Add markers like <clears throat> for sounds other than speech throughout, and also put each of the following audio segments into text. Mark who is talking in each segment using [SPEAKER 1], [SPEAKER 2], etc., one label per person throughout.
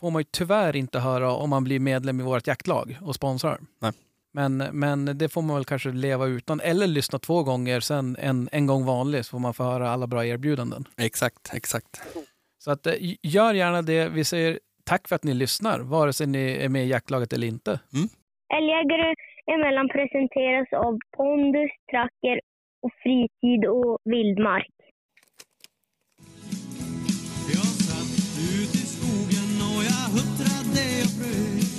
[SPEAKER 1] får man ju tyvärr inte höra om man blir medlem i vårt jaktlag och sponsrar.
[SPEAKER 2] Nej.
[SPEAKER 1] Men, men det får man väl kanske leva utan eller lyssna två gånger, sen en, en gång vanlig så får man få höra alla bra erbjudanden.
[SPEAKER 2] Exakt, exakt.
[SPEAKER 1] Så att, eh, gör gärna det. Vi säger tack för att ni lyssnar, vare sig ni är med i jaktlaget eller inte.
[SPEAKER 3] Älgjägare emellan presenteras av pondus, tracker och fritid och vildmark.
[SPEAKER 4] Jag satt ut i skogen och jag huttrade och frös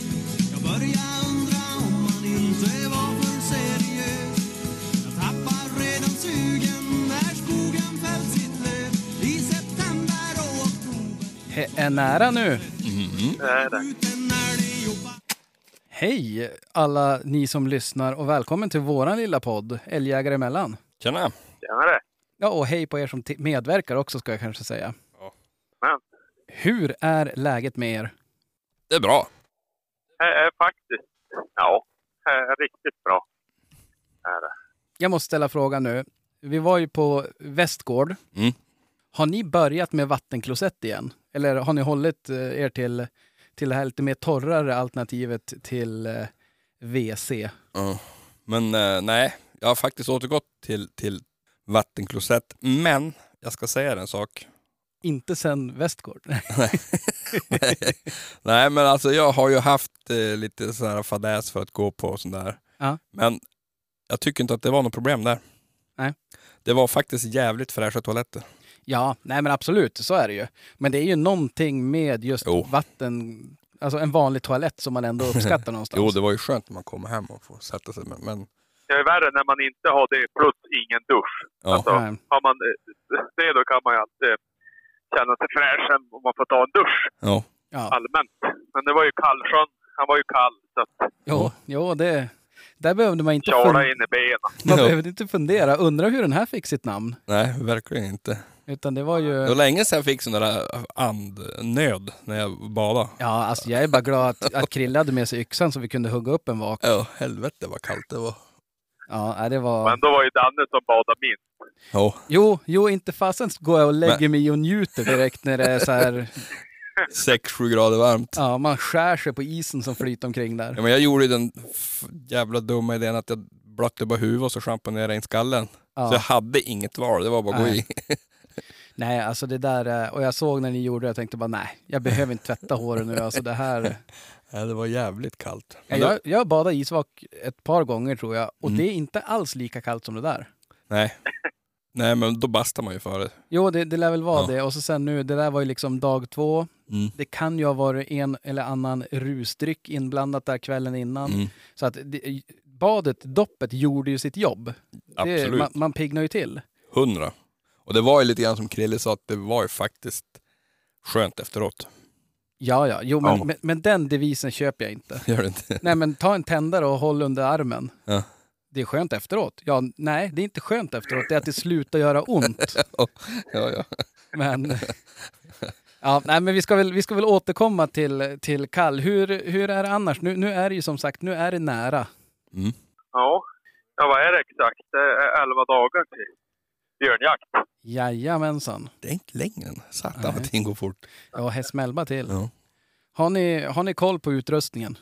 [SPEAKER 4] Jag började undra om man inte var för seriös Jag tappar redan sugen när skogen fällt sitt löv I september och oktober
[SPEAKER 1] He- är nära nu.
[SPEAKER 5] Det
[SPEAKER 2] Mm.
[SPEAKER 5] är det.
[SPEAKER 4] Ut en älg och back
[SPEAKER 1] Hej alla ni som lyssnar och välkommen till våran lilla podd Älgjägare emellan.
[SPEAKER 2] Tjena.
[SPEAKER 5] Tjenare!
[SPEAKER 1] Ja, och hej på er som ti- medverkar också ska jag kanske säga.
[SPEAKER 2] Ja.
[SPEAKER 5] Ja.
[SPEAKER 1] Hur är läget med er?
[SPEAKER 2] Det är bra.
[SPEAKER 5] Det är Eh, faktiskt... Ja, det är riktigt bra. Det är det.
[SPEAKER 1] Jag måste ställa frågan nu. Vi var ju på Västgård.
[SPEAKER 2] Mm.
[SPEAKER 1] Har ni börjat med vattenklosett igen? Eller har ni hållit eh, er till, till det här lite mer torrare alternativet till eh, WC?
[SPEAKER 2] Ja. Men eh, nej, jag har faktiskt återgått till, till vattenklosett. Men jag ska säga er en sak.
[SPEAKER 1] Inte sen
[SPEAKER 2] <laughs>
[SPEAKER 1] Västgård.
[SPEAKER 2] nej, men alltså jag har ju haft eh, lite sån här fadäs för att gå på och sånt där.
[SPEAKER 1] Ja.
[SPEAKER 2] Men jag tycker inte att det var något problem där.
[SPEAKER 1] Nej.
[SPEAKER 2] Det var faktiskt jävligt fräscha toaletter.
[SPEAKER 1] Ja, nej men absolut, så är det ju. Men det är ju någonting med just
[SPEAKER 2] Jo.
[SPEAKER 1] vatten, alltså en vanlig toalett som man ändå
[SPEAKER 2] <laughs>
[SPEAKER 1] uppskattar någonstans.
[SPEAKER 2] Jo, det var ju skönt när man kommer hem och får sätta sig. Men, men
[SPEAKER 5] Det är värre när man inte har det plus ingen dusch.
[SPEAKER 2] Ja.
[SPEAKER 5] Alltså,
[SPEAKER 1] Nej.
[SPEAKER 5] har man eh, det då kan man ju alltid känna sig fräsch om man får ta en dusch
[SPEAKER 2] ja.
[SPEAKER 1] Ja.
[SPEAKER 5] allmänt. Men det var ju kallsjön. Han var ju kall så att
[SPEAKER 1] Jo, jo det, där behövde man inte,
[SPEAKER 5] tjala
[SPEAKER 1] fun-
[SPEAKER 5] in i benen.
[SPEAKER 1] man
[SPEAKER 2] Ja.
[SPEAKER 1] behövde inte fundera. Undra hur den här fick sitt namn.
[SPEAKER 2] Nej, verkligen inte.
[SPEAKER 1] Utan det var
[SPEAKER 2] Det var
[SPEAKER 1] ju...
[SPEAKER 2] länge sedan jag fick sån där äh, andnöd när jag badade.
[SPEAKER 1] Ja, alltså jag är bara glad att, att Krille hade med sig yxan så vi kunde hugga upp en vak.
[SPEAKER 2] Ja, helvete vad kallt det var.
[SPEAKER 1] Ja, nej, det var...
[SPEAKER 5] Men då var ju Danne som badade minst.
[SPEAKER 2] Ja,
[SPEAKER 1] Jo, jo, inte fasen går jag och lägger mig och njuter direkt när det är så här...
[SPEAKER 2] 6-7 grader varmt.
[SPEAKER 1] Ja, man skär sig på isen som flyter omkring där.
[SPEAKER 2] Ja, men jag gjorde ju den f- jävla dumma idén att jag blötte bara huvudet och så schamponerade in skallen.
[SPEAKER 1] Ja.
[SPEAKER 2] Så jag hade inget val, det var bara att gå
[SPEAKER 1] Nej.
[SPEAKER 2] i.
[SPEAKER 1] Nej, alltså det där, eh, och jag såg när ni gjorde det, jag tänkte bara nej, jag behöver inte tvätta håret nu. Alltså det
[SPEAKER 2] <laughs>
[SPEAKER 1] här.
[SPEAKER 2] Nej, det var jävligt kallt.
[SPEAKER 1] Ja, Jag, jag badade isvak ett par gånger tror jag,
[SPEAKER 2] Mm.
[SPEAKER 1] och det är inte alls lika kallt som det där.
[SPEAKER 2] Nej. Nej, men då bastar man ju för det.
[SPEAKER 1] Jo, det, det lär väl vara
[SPEAKER 2] Ja.
[SPEAKER 1] det. Och så sen nu, det där var ju liksom dag två.
[SPEAKER 2] Mm.
[SPEAKER 1] Det kan ju ha varit en eller annan rusdryck inblandat där kvällen innan.
[SPEAKER 2] Mm.
[SPEAKER 1] Så att det, badet, doppet, gjorde ju sitt jobb. Det,
[SPEAKER 2] Absolut.
[SPEAKER 1] man, man piggnar ju till.
[SPEAKER 2] Hundra. Och det var ju lite grann som Krille sa, att det var ju faktiskt skönt efteråt.
[SPEAKER 1] Ja, ja, jo, men,
[SPEAKER 2] Ja.
[SPEAKER 1] Men, men den devisen köper jag inte.
[SPEAKER 2] <laughs> Gör det inte?
[SPEAKER 1] Nej, men ta en tändare och håll under armen.
[SPEAKER 2] Ja.
[SPEAKER 1] Det är skönt efteråt. Ja, nej, det är inte skönt efteråt. Det är att det slutar göra ont.
[SPEAKER 2] <laughs> Ja, ja.
[SPEAKER 1] Men, ja, nej, men vi, ska väl, vi ska väl återkomma till, till kall. Hur, hur är det annars? Nu, nu är det ju som sagt, nu är det nära.
[SPEAKER 5] Ja. ja, vad är det exakt? Det är 11 dagar till björnjakt.
[SPEAKER 1] Jajamensan.
[SPEAKER 2] Det är inte längre än satan
[SPEAKER 1] Nej.
[SPEAKER 2] vad tiden går fort.
[SPEAKER 1] Ja, hästmälba till.
[SPEAKER 2] Ja.
[SPEAKER 1] Har ni, har ni koll på utrustningen?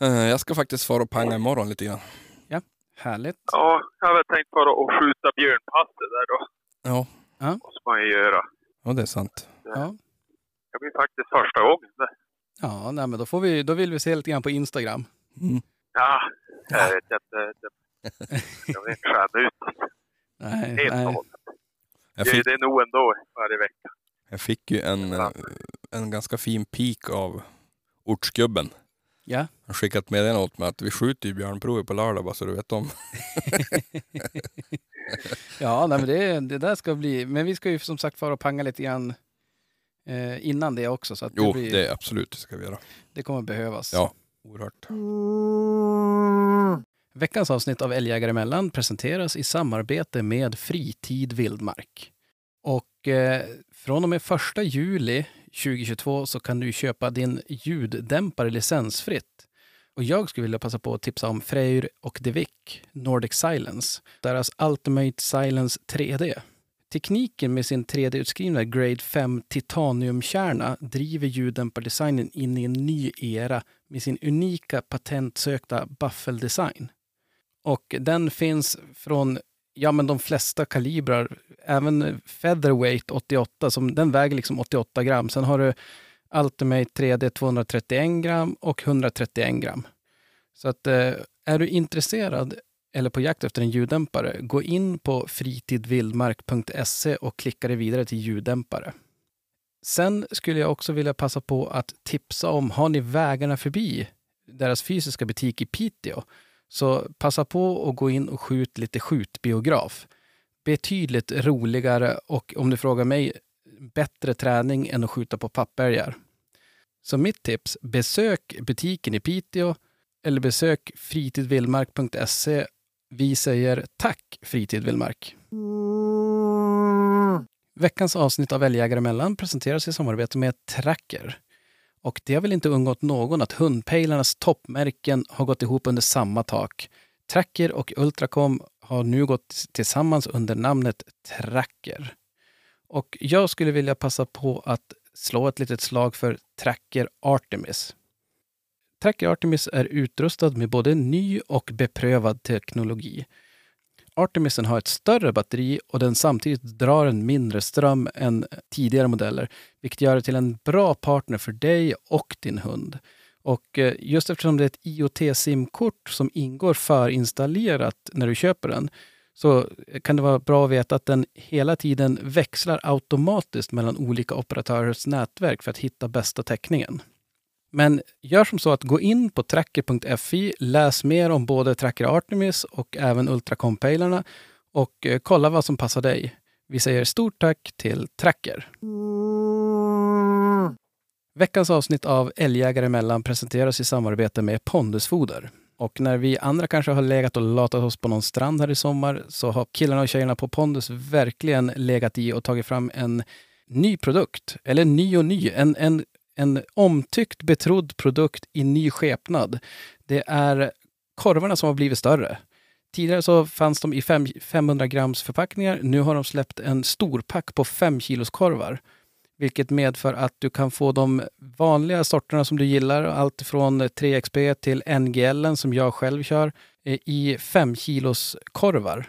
[SPEAKER 2] Eh, Jag ska faktiskt fara och panga imorgon lite grann.
[SPEAKER 1] Härligt.
[SPEAKER 5] Ja, jag hade tänkt bara att skjuta björnpasset där då.
[SPEAKER 2] Ja,
[SPEAKER 5] måste man ju göra.
[SPEAKER 2] ja det är sant.
[SPEAKER 1] Ja.
[SPEAKER 5] Det blir faktiskt första gången. det.
[SPEAKER 1] Ja, nej, men då, får vi, då vill vi se lite grann på Instagram.
[SPEAKER 2] Mm.
[SPEAKER 5] Ja, jag vet inte. det- Jag vill inte skära ut
[SPEAKER 1] Nej,
[SPEAKER 5] helt och
[SPEAKER 1] nej.
[SPEAKER 5] hållet.
[SPEAKER 2] Jag
[SPEAKER 5] Det,
[SPEAKER 2] fick,
[SPEAKER 5] det är nog ändå varje vecka.
[SPEAKER 2] jag fick ju en, eh, en ganska fin pik av ortsgubben.
[SPEAKER 1] Ja.
[SPEAKER 2] Han skickat med den åt mig att vi skjuter ju björnprovet på lördag bara så du
[SPEAKER 1] <laughs>
[SPEAKER 2] vet om.
[SPEAKER 1] Ja, nej, men det, det där ska bli... Men vi ska ju som sagt fara och panga lite grann eh, innan det också. Så att
[SPEAKER 2] Jo,
[SPEAKER 1] det, blir,
[SPEAKER 2] det är absolut det ska vi göra.
[SPEAKER 1] det kommer behövas.
[SPEAKER 2] Ja. Oerhört.
[SPEAKER 1] Veckans avsnitt av Älgjägare emellan presenteras i samarbete med Fritid Vildmark. Och eh, från och med 1 juli 2022 så kan du köpa din ljuddämpare licensfritt. Och jag skulle vilja passa på att tipsa om Freyr och Devik, Nordic Silence, deras Ultimate Silence 3D. Tekniken med sin 3D-utskrivna Grade 5 titaniumkärna driver ljuddämpardesignen in i en ny era med sin unika patentsökta buffeldesign. Och den finns från ja, men de flesta kalibrar, även featherweight 88, som, den väger liksom 88 gram. Sen har du Ultimate 3D 231 gram och 131 gram. Så att eh, är du intresserad eller på jakt efter en ljuddämpare, gå in på fritidvildmark.se och klicka dig vidare till ljuddämpare. Sen skulle jag också vilja passa på att tipsa om, har ni vägarna förbi deras fysiska butik i Piteå, så passa på och gå in och skjut lite skjutbiograf. Betydligt roligare och om du frågar mig, bättre träning än att skjuta på pappälgar. Så mitt tips, besök butiken i Piteå eller besök fritidvildmark.se. Vi säger tack Fritid Vildmark. Veckans avsnitt av Älgjägare emellan presenteras i samarbete med Tracker. Och det har väl inte undgått någon att hundpejlarnas toppmärken har gått ihop under samma tak. Tracker och Ultracom har nu gått tillsammans under namnet Tracker. Och jag skulle vilja passa på att slå ett litet slag för Tracker Artemis. Tracker Artemis är utrustad med både ny och beprövad teknologi. Artemisen har ett större batteri och den samtidigt drar en mindre ström än tidigare modeller, vilket gör det till en bra partner för dig och din hund. Och eh, just eftersom det är ett IoT-simkort som ingår förinstallerat när du köper den, så eh, kan det vara bra att veta att den hela tiden växlar automatiskt mellan olika operatörers nätverk för att hitta bästa täckningen. Men gör som så att gå in på tracker.fi, läs mer om både Tracker Artemis och även Ultracompailerna och eh, kolla vad som passar dig. Vi säger stort tack till Tracker. Veckans avsnitt av Älgjägare emellan presenteras i samarbete med Pondusfoder. Och när vi andra kanske har legat och latat oss på någon strand här i sommar så har killarna och tjejerna på Pondus verkligen legat i och tagit fram en ny produkt. Eller ny och ny, en, en, en omtyckt betrodd produkt i ny skepnad. Det är korvarna som har blivit större. Tidigare så fanns de i fem- 500 grams förpackningar. Nu har de släppt en storpack på 5 kilos korvar vilket medför att du kan få de vanliga sorterna som du gillar, allt från 3XP till NGL som jag själv kör, eh, i 5 kilos korvar.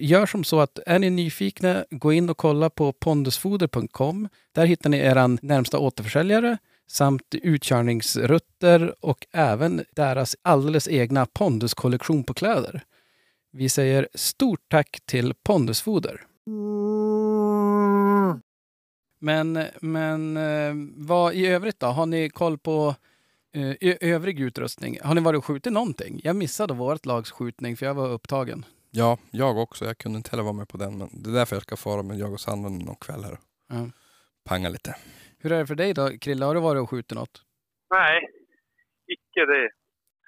[SPEAKER 1] Gör som så att är ni nyfikna, gå in och kolla på pondusfoder.com. Där hittar ni er närmsta återförsäljare samt utkörningsrutter och även deras alldeles egna ponduskollektion på kläder. Vi säger stort tack till Pondusfoder. Men, men eh, vad i övrigt då? Har ni koll på eh, ö- övrig utrustning? Har ni varit och skjutit någonting? Jag missade vårt lags skjutning för jag var upptagen.
[SPEAKER 2] Ja, jag också. Jag kunde inte heller vara med på den. Men det är därför jag ska fara med jag och Sandra någon kväll här.
[SPEAKER 1] Ja.
[SPEAKER 2] Panga lite.
[SPEAKER 1] Hur är det för dig då, Krille? Har du varit och skjutit något?
[SPEAKER 5] Nej, icke det.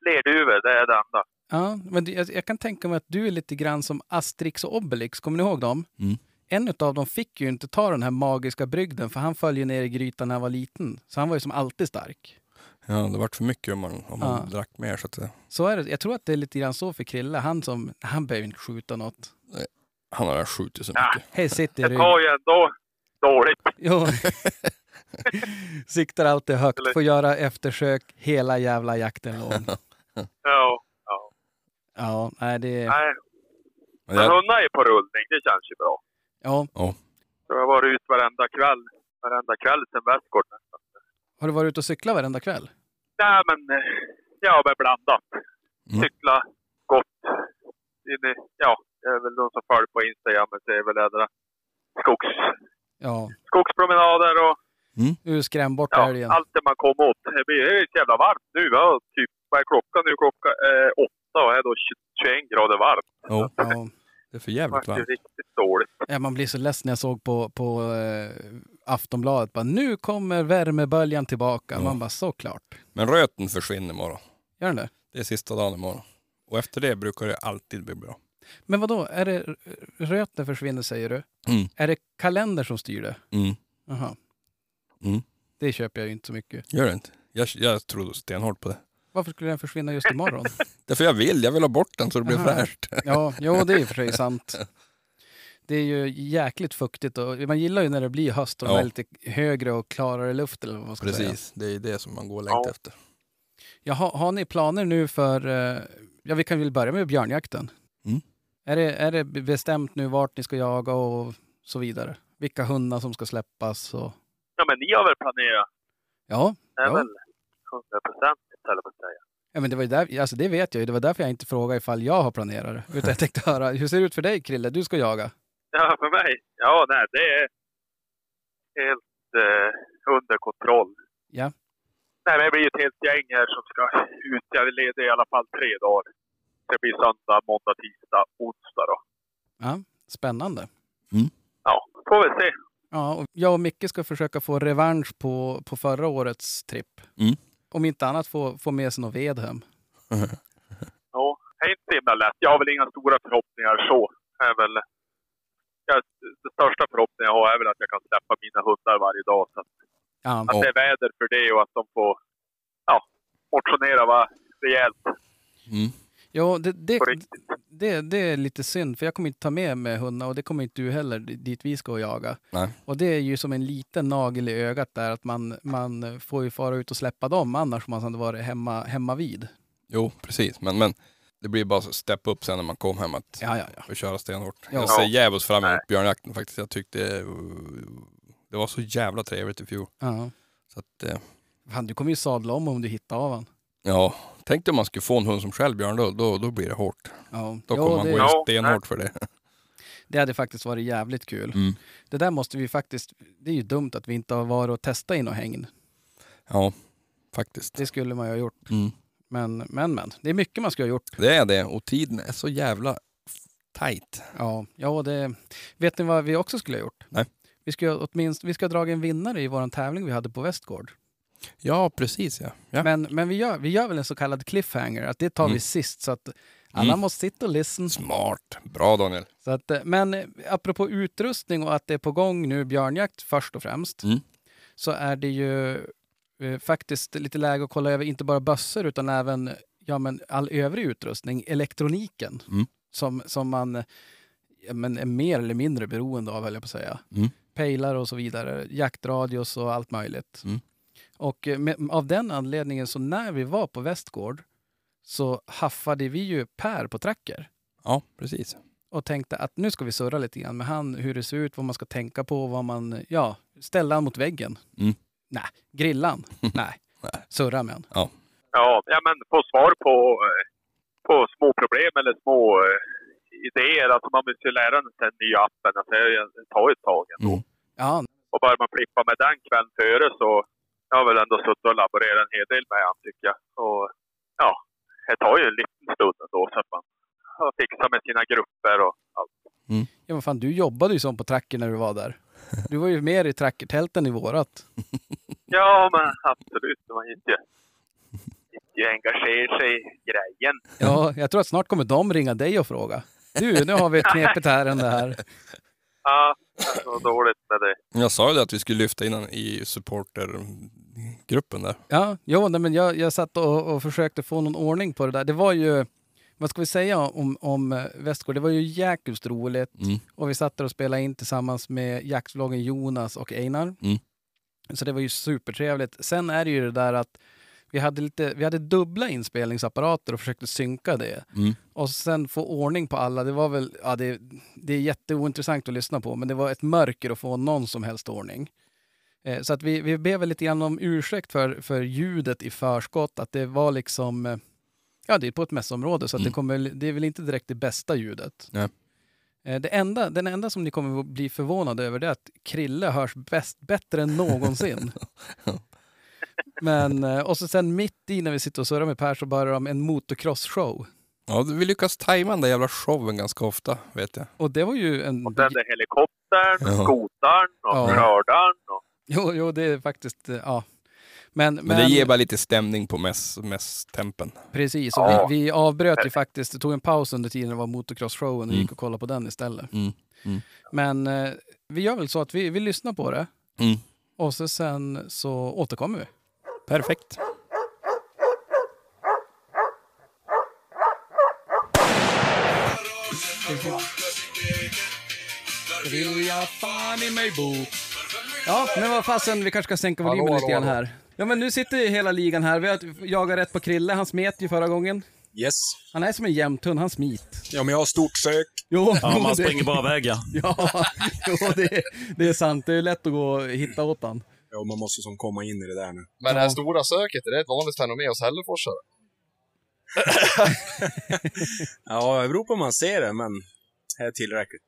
[SPEAKER 5] Flerduvor, det är det enda.
[SPEAKER 1] Ja, men det- jag, jag kan tänka mig att du är lite grann som Asterix och Obelix. Kommer ni ihåg dem?
[SPEAKER 2] Mm.
[SPEAKER 1] En av dem fick ju inte ta den här magiska brygden för han föll ju ner i grytan när han var liten. Så han var ju som alltid stark.
[SPEAKER 2] Ja, det vart för mycket om man, om man
[SPEAKER 1] Ja.
[SPEAKER 2] drack mer. Så att det,
[SPEAKER 1] Så är det. Jag tror att det är lite grann så för Krille. Han som, han behöver inte skjuta något.
[SPEAKER 2] han har redan skjutit så
[SPEAKER 5] Ja.
[SPEAKER 2] mycket.
[SPEAKER 1] Hej, sitt i
[SPEAKER 5] Det
[SPEAKER 1] ryggen.
[SPEAKER 5] tar ju ändå dåligt. <laughs>
[SPEAKER 1] Jo. Siktar alltid högt,
[SPEAKER 5] Eller-
[SPEAKER 1] får göra eftersök hela jävla jakten
[SPEAKER 2] <laughs>
[SPEAKER 1] lång.
[SPEAKER 5] Ja.
[SPEAKER 1] Ja, nej det är...
[SPEAKER 5] Nej,
[SPEAKER 2] Men
[SPEAKER 5] men
[SPEAKER 2] jag,
[SPEAKER 5] hundarna är på rullning, det känns ju bra.
[SPEAKER 1] Ja,
[SPEAKER 5] Jag har varit ut varenda kväll, varenda kväll sen Västgård.
[SPEAKER 1] Har du varit ute och cyklat varenda kväll?
[SPEAKER 5] Nej, men eh, ja, men blandat.
[SPEAKER 2] Mm.
[SPEAKER 5] Cykla gott. In i, ja, det är väl de som följer på Instagram ser väl ädra skogs,
[SPEAKER 1] Ja.
[SPEAKER 5] skogspromenader och
[SPEAKER 2] Mm.
[SPEAKER 1] Du skräm bort
[SPEAKER 5] ja,
[SPEAKER 1] älgen.
[SPEAKER 5] allt det man kom åt. Det blir ju så jävla varmt nu. Va? Typ, vad är klockan nu? Klockan är åtta och är då 21 grader varmt.
[SPEAKER 2] Jo,
[SPEAKER 1] Ja.
[SPEAKER 2] det är för
[SPEAKER 5] Det
[SPEAKER 2] jävligt
[SPEAKER 5] vart ju
[SPEAKER 2] varmt.
[SPEAKER 5] riktigt dåligt.
[SPEAKER 1] Ja, man blir så less när jag såg på, på eh, Aftonbladet. Bara, nu kommer värmeböljan tillbaka.
[SPEAKER 2] Ja.
[SPEAKER 1] Man bara, såklart.
[SPEAKER 2] Men röten försvinner imorgon.
[SPEAKER 1] Gör den det?
[SPEAKER 2] Det är sista dagen imorgon. Och efter det brukar det alltid bli bra.
[SPEAKER 1] Men vad då? är det r- röten försvinner säger du?
[SPEAKER 2] Mm.
[SPEAKER 1] Är det kalender som styr det?
[SPEAKER 2] Mm.
[SPEAKER 1] Jaha.
[SPEAKER 2] Mm.
[SPEAKER 1] Det köper jag ju inte så mycket.
[SPEAKER 2] Gör det inte? Jag, jag tror stenhårt på det.
[SPEAKER 1] Varför skulle den försvinna just imorgon?
[SPEAKER 2] Därför jag vill, jag vill ha bort den så <laughs> det blir
[SPEAKER 1] Aha.
[SPEAKER 2] fräscht.
[SPEAKER 1] Ja, jo, det är i och för
[SPEAKER 2] <laughs>
[SPEAKER 1] sig sant. Det är ju jäkligt fuktigt och man gillar ju när det blir höst och
[SPEAKER 2] Ja.
[SPEAKER 1] det är lite högre och klarare luft eller vad man ska säga.
[SPEAKER 2] Precis, det är det som man går och längtar
[SPEAKER 5] Ja.
[SPEAKER 2] efter.
[SPEAKER 1] Jaha, har ni planer nu för, eh, ja vi kan väl börja med björnjakten.
[SPEAKER 2] Mm.
[SPEAKER 1] Är, det, är det bestämt nu vart ni ska jaga och så vidare? Vilka hundar som ska släppas och,
[SPEAKER 5] Ja, men ni har väl planerat?
[SPEAKER 1] ja.
[SPEAKER 5] Det är
[SPEAKER 1] Ja.
[SPEAKER 5] väl 100 procent, höll jag på att säga.
[SPEAKER 1] Ja, men det, var ju där, alltså det vet jag ju, det var därför jag inte frågade ifall jag har planerat det. Utan jag tänkte höra, hur ser det ut för dig Krille, du ska jaga?
[SPEAKER 5] Ja, för mig? Ja, nej, det är helt eh, under kontroll.
[SPEAKER 1] Ja.
[SPEAKER 5] Nej, men det blir ett helt gäng här som ska ut. Jag leder i alla fall tre dagar. Det blir söndag, måndag, tisdag, onsdag då.
[SPEAKER 1] Ja, spännande.
[SPEAKER 5] Ja, får vi se.
[SPEAKER 1] Ja, och jag och Micke ska försöka få revansch på, på förra årets tripp.
[SPEAKER 2] Mm.
[SPEAKER 1] Om inte annat få, få med sig något ved hem.
[SPEAKER 5] Ja, det är inte himla lätt. Jag har väl inga stora förhoppningar så. Det Är väl, jag, det största förhoppningen jag har är väl att jag kan släppa mina hundar varje dag. Så att,
[SPEAKER 1] Ja,
[SPEAKER 5] att det är väder för det och att de får ja, motionera va, rejält
[SPEAKER 2] Mm.
[SPEAKER 1] ja det, det,
[SPEAKER 5] på riktigt.
[SPEAKER 1] det, det är lite synd för jag kommer inte ta med mig hundarna och det kommer inte du heller di- dit vi ska och jaga.
[SPEAKER 2] Nej.
[SPEAKER 1] Och det är ju som en liten nagel i ögat där att man, man får ju fara ut och släppa dem annars om man hade varit hemma, hemma vid.
[SPEAKER 2] Jo, precis. Men, men det blir bara så step upp sen när man kom hem att
[SPEAKER 1] Ja, ja, ja.
[SPEAKER 2] och köra stenhårt.
[SPEAKER 1] Ja.
[SPEAKER 2] Jag ser jävligt fram emot björnjakten faktiskt. Jag tyckte eh, det var så jävla trevligt i fjol.
[SPEAKER 1] ja.
[SPEAKER 2] Så att, eh,
[SPEAKER 1] Fan, du kommer ju sadla om om du hittar av han.
[SPEAKER 2] ja, tänk dig om man skulle få en hund som självbjörn, då, då, då blir det hårt.
[SPEAKER 1] Ja.
[SPEAKER 2] Då
[SPEAKER 1] Jo,
[SPEAKER 2] kommer man
[SPEAKER 1] det,
[SPEAKER 2] gå in
[SPEAKER 5] Ja,
[SPEAKER 2] stenhårt för det.
[SPEAKER 1] det hade faktiskt varit jävligt kul.
[SPEAKER 2] Mm.
[SPEAKER 1] Det där måste vi faktiskt, det är ju dumt att vi inte har varit och testat in och hängn.
[SPEAKER 2] Ja, faktiskt.
[SPEAKER 1] Det skulle man ju ha gjort.
[SPEAKER 2] Mm.
[SPEAKER 1] Men, men, men. Det är mycket man skulle ha gjort.
[SPEAKER 2] Det är det och tiden är så jävla f- tight.
[SPEAKER 1] Ja, ja det... Vet ni vad vi också skulle ha gjort?
[SPEAKER 2] Nej.
[SPEAKER 1] Vi skulle ha åtminstone, vi ska ha dragit en vinnare i vår tävling vi hade på Västgård.
[SPEAKER 2] Ja, precis ja. ja.
[SPEAKER 1] Men, men vi, gör, vi gör väl en så kallad cliffhanger, att det tar vi
[SPEAKER 2] Mm.
[SPEAKER 1] sist. Så att alla
[SPEAKER 2] Mm.
[SPEAKER 1] måste sitta och listen.
[SPEAKER 2] Smart. Bra Daniel.
[SPEAKER 1] Så att, eh, men eh, apropå utrustning och att det är på gång nu, björnjakt först och främst,
[SPEAKER 2] Mm.
[SPEAKER 1] så är det ju eh, faktiskt lite läge att kolla över inte bara bössor utan även ja, men all övrig utrustning, elektroniken,
[SPEAKER 2] Mm.
[SPEAKER 1] som, som man eh, ja, men är mer eller mindre beroende av, höll jag på att säga.
[SPEAKER 2] Mm.
[SPEAKER 1] Pejlar och så vidare, jaktradios och allt möjligt.
[SPEAKER 2] Mm.
[SPEAKER 1] Och eh, med, av den anledningen, så när vi var på Västgård så haffade vi ju Per på tracker
[SPEAKER 2] Ja, precis.
[SPEAKER 1] och tänkte att nu ska vi surra lite grann med han, hur det ser ut, vad man ska tänka på, vad man, ja, ställa han mot väggen.
[SPEAKER 2] Mm.
[SPEAKER 1] Nej, grilla han. Nej, surra med han.
[SPEAKER 5] Ja, ja men få svar på, eh, på små problem eller små eh, idéer. Alltså man måste ju lära sig den nya appen. Alltså det tar ju ett tag ändå.
[SPEAKER 2] Mm.
[SPEAKER 1] Ja,
[SPEAKER 5] Och börjar man flippa med den kvällen före så jag har väl ändå suttit och laborerat en hel del med han tycker jag. Och ja, det tar ju en liten stund ändå så att man har fixat med sina grupper och allt.
[SPEAKER 1] ja men fan, du jobbade ju som på tracker när du var där. Du var ju mer i trackertälten i vårat.
[SPEAKER 5] Ja, men absolut. Man inte, inte engagerar sig i grejen.
[SPEAKER 1] Ja, jag tror att snart kommer de ringa dig och fråga. Du, nu har vi ett knepigt ärende här.
[SPEAKER 5] Ja, det är så dåligt med det.
[SPEAKER 2] Jag sa ju det att vi skulle lyfta in honom i supportergruppen där.
[SPEAKER 1] Ja, jo, nej, men jag, jag satt och, och försökte få någon ordning på det där. Det var ju, vad ska vi säga om, om eh, Västgård? Det var ju jäkligt roligt.
[SPEAKER 2] Mm.
[SPEAKER 1] Och vi satt där och spelade in tillsammans med jaktvloggen Jonas och Einar.
[SPEAKER 2] Mm.
[SPEAKER 1] Så det var ju supertrevligt. Sen är det ju det där att vi hade, lite, vi hade dubbla inspelningsapparater och försökte synka det.
[SPEAKER 2] Mm.
[SPEAKER 1] Och sen få ordning på alla. Det var väl, ja det, det är jätteointressant att lyssna på, men det var ett mörker att få någon som helst ordning. Eh, Så att vi, vi ber väl lite grann om ursäkt för, för ljudet i förskott, att det var liksom, eh, ja det är på ett mässområde så att det,
[SPEAKER 2] Mm.
[SPEAKER 1] kommer, det är väl inte direkt det bästa ljudet.
[SPEAKER 2] Nej.
[SPEAKER 1] Eh, Det enda, den enda som ni kommer att bli förvånade över det är att Krille hörs bäst, bättre än
[SPEAKER 2] <laughs>
[SPEAKER 1] någonsin. Men, eh, och så sen mitt i när vi sitter och surrar med Per så börjar de en motocross-show.
[SPEAKER 2] Ja, vi lyckas tajma den där jävla showen ganska ofta, vet jag.
[SPEAKER 1] Och det var ju en...
[SPEAKER 5] Och sen är helikoptern,
[SPEAKER 2] Ja.
[SPEAKER 5] skotaren och
[SPEAKER 1] Ja.
[SPEAKER 2] Mm.
[SPEAKER 5] skördaren. Och,
[SPEAKER 1] Jo, jo, det är faktiskt, eh, ja. Men,
[SPEAKER 2] Men, det ger bara lite stämning på mäss, mässtempen.
[SPEAKER 1] Precis, och
[SPEAKER 5] Ja.
[SPEAKER 1] vi, vi avbröt ju faktiskt, det tog en paus under tiden det var motocross-showen och
[SPEAKER 2] Mm.
[SPEAKER 1] gick och kollade på den istället.
[SPEAKER 2] Mm. Mm.
[SPEAKER 1] Men eh, vi gör väl så att vi, vi lyssnar på det
[SPEAKER 2] Mm.
[SPEAKER 1] och så sen så återkommer vi.
[SPEAKER 2] Perfekt.
[SPEAKER 1] Ja, men vad fasen, vi kanske ska sänka volymen
[SPEAKER 6] Hallå,
[SPEAKER 1] lite grann
[SPEAKER 6] hallå,
[SPEAKER 1] här. Ja, men nu sitter ju hela ligan här. Vi har jagat rätt på Krille, han smet ju förra gången.
[SPEAKER 6] Yes.
[SPEAKER 1] Han är som en jämthund, han smit.
[SPEAKER 6] Ja, men jag har stort sök.
[SPEAKER 1] Jo,
[SPEAKER 7] Ja, man
[SPEAKER 1] <laughs> det-
[SPEAKER 7] springer bara vägar.
[SPEAKER 1] Ja, jo, det, <laughs> det är sant. Det är lätt att gå och hitta åt han.
[SPEAKER 6] Ja, man måste som komma in i det där nu.
[SPEAKER 8] Men det här stora söket, är det ett vanligt fenomen hos hälleforsare?
[SPEAKER 6] Ja, det beror på om man ser det, men det är tillräckligt.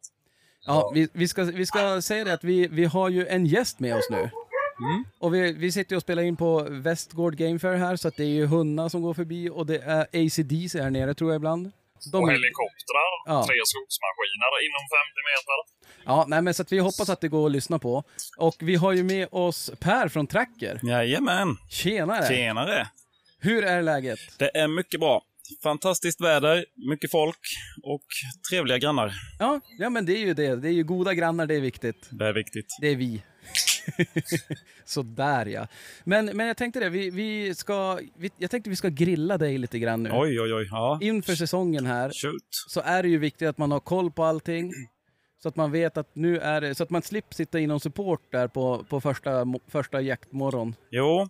[SPEAKER 1] Ja, vi, vi, ska, vi ska säga det att vi, vi har ju en gäst med oss nu.
[SPEAKER 6] Mm.
[SPEAKER 1] Och vi, vi sitter ju och spelar in på Västgård Game Fair här, så att det är ju hundar som går förbi och det är ACDC här nere tror jag ibland. Så de-
[SPEAKER 9] helikoptrar,
[SPEAKER 1] Ja.
[SPEAKER 9] tre skogsmaskiner inom 50 meter.
[SPEAKER 1] ja, nej, men så att vi hoppas att det går att lyssna på. Och vi har ju med oss Per från Tracker.
[SPEAKER 7] Jajamän.
[SPEAKER 1] Tjenare!
[SPEAKER 7] Tjenare.
[SPEAKER 1] Hur är läget?
[SPEAKER 7] Det är mycket bra. Fantastiskt väder, mycket folk och trevliga grannar.
[SPEAKER 1] Ja, ja, men det är ju det. Det är ju goda grannar, det är viktigt.
[SPEAKER 7] Det är viktigt.
[SPEAKER 1] Det är vi. <laughs> Sådär ja. Men, men jag tänkte det, vi, vi ska, vi, jag tänkte vi ska grilla dig lite grann nu.
[SPEAKER 7] Oj, oj, oj. Ja.
[SPEAKER 1] Inför säsongen här
[SPEAKER 7] Shoot.
[SPEAKER 1] så är det ju viktigt att man har koll på allting. Så att man vet att nu är det, så att man slipper sitta inom support där på, på första, mo- första jaktmorgon.
[SPEAKER 7] Jo.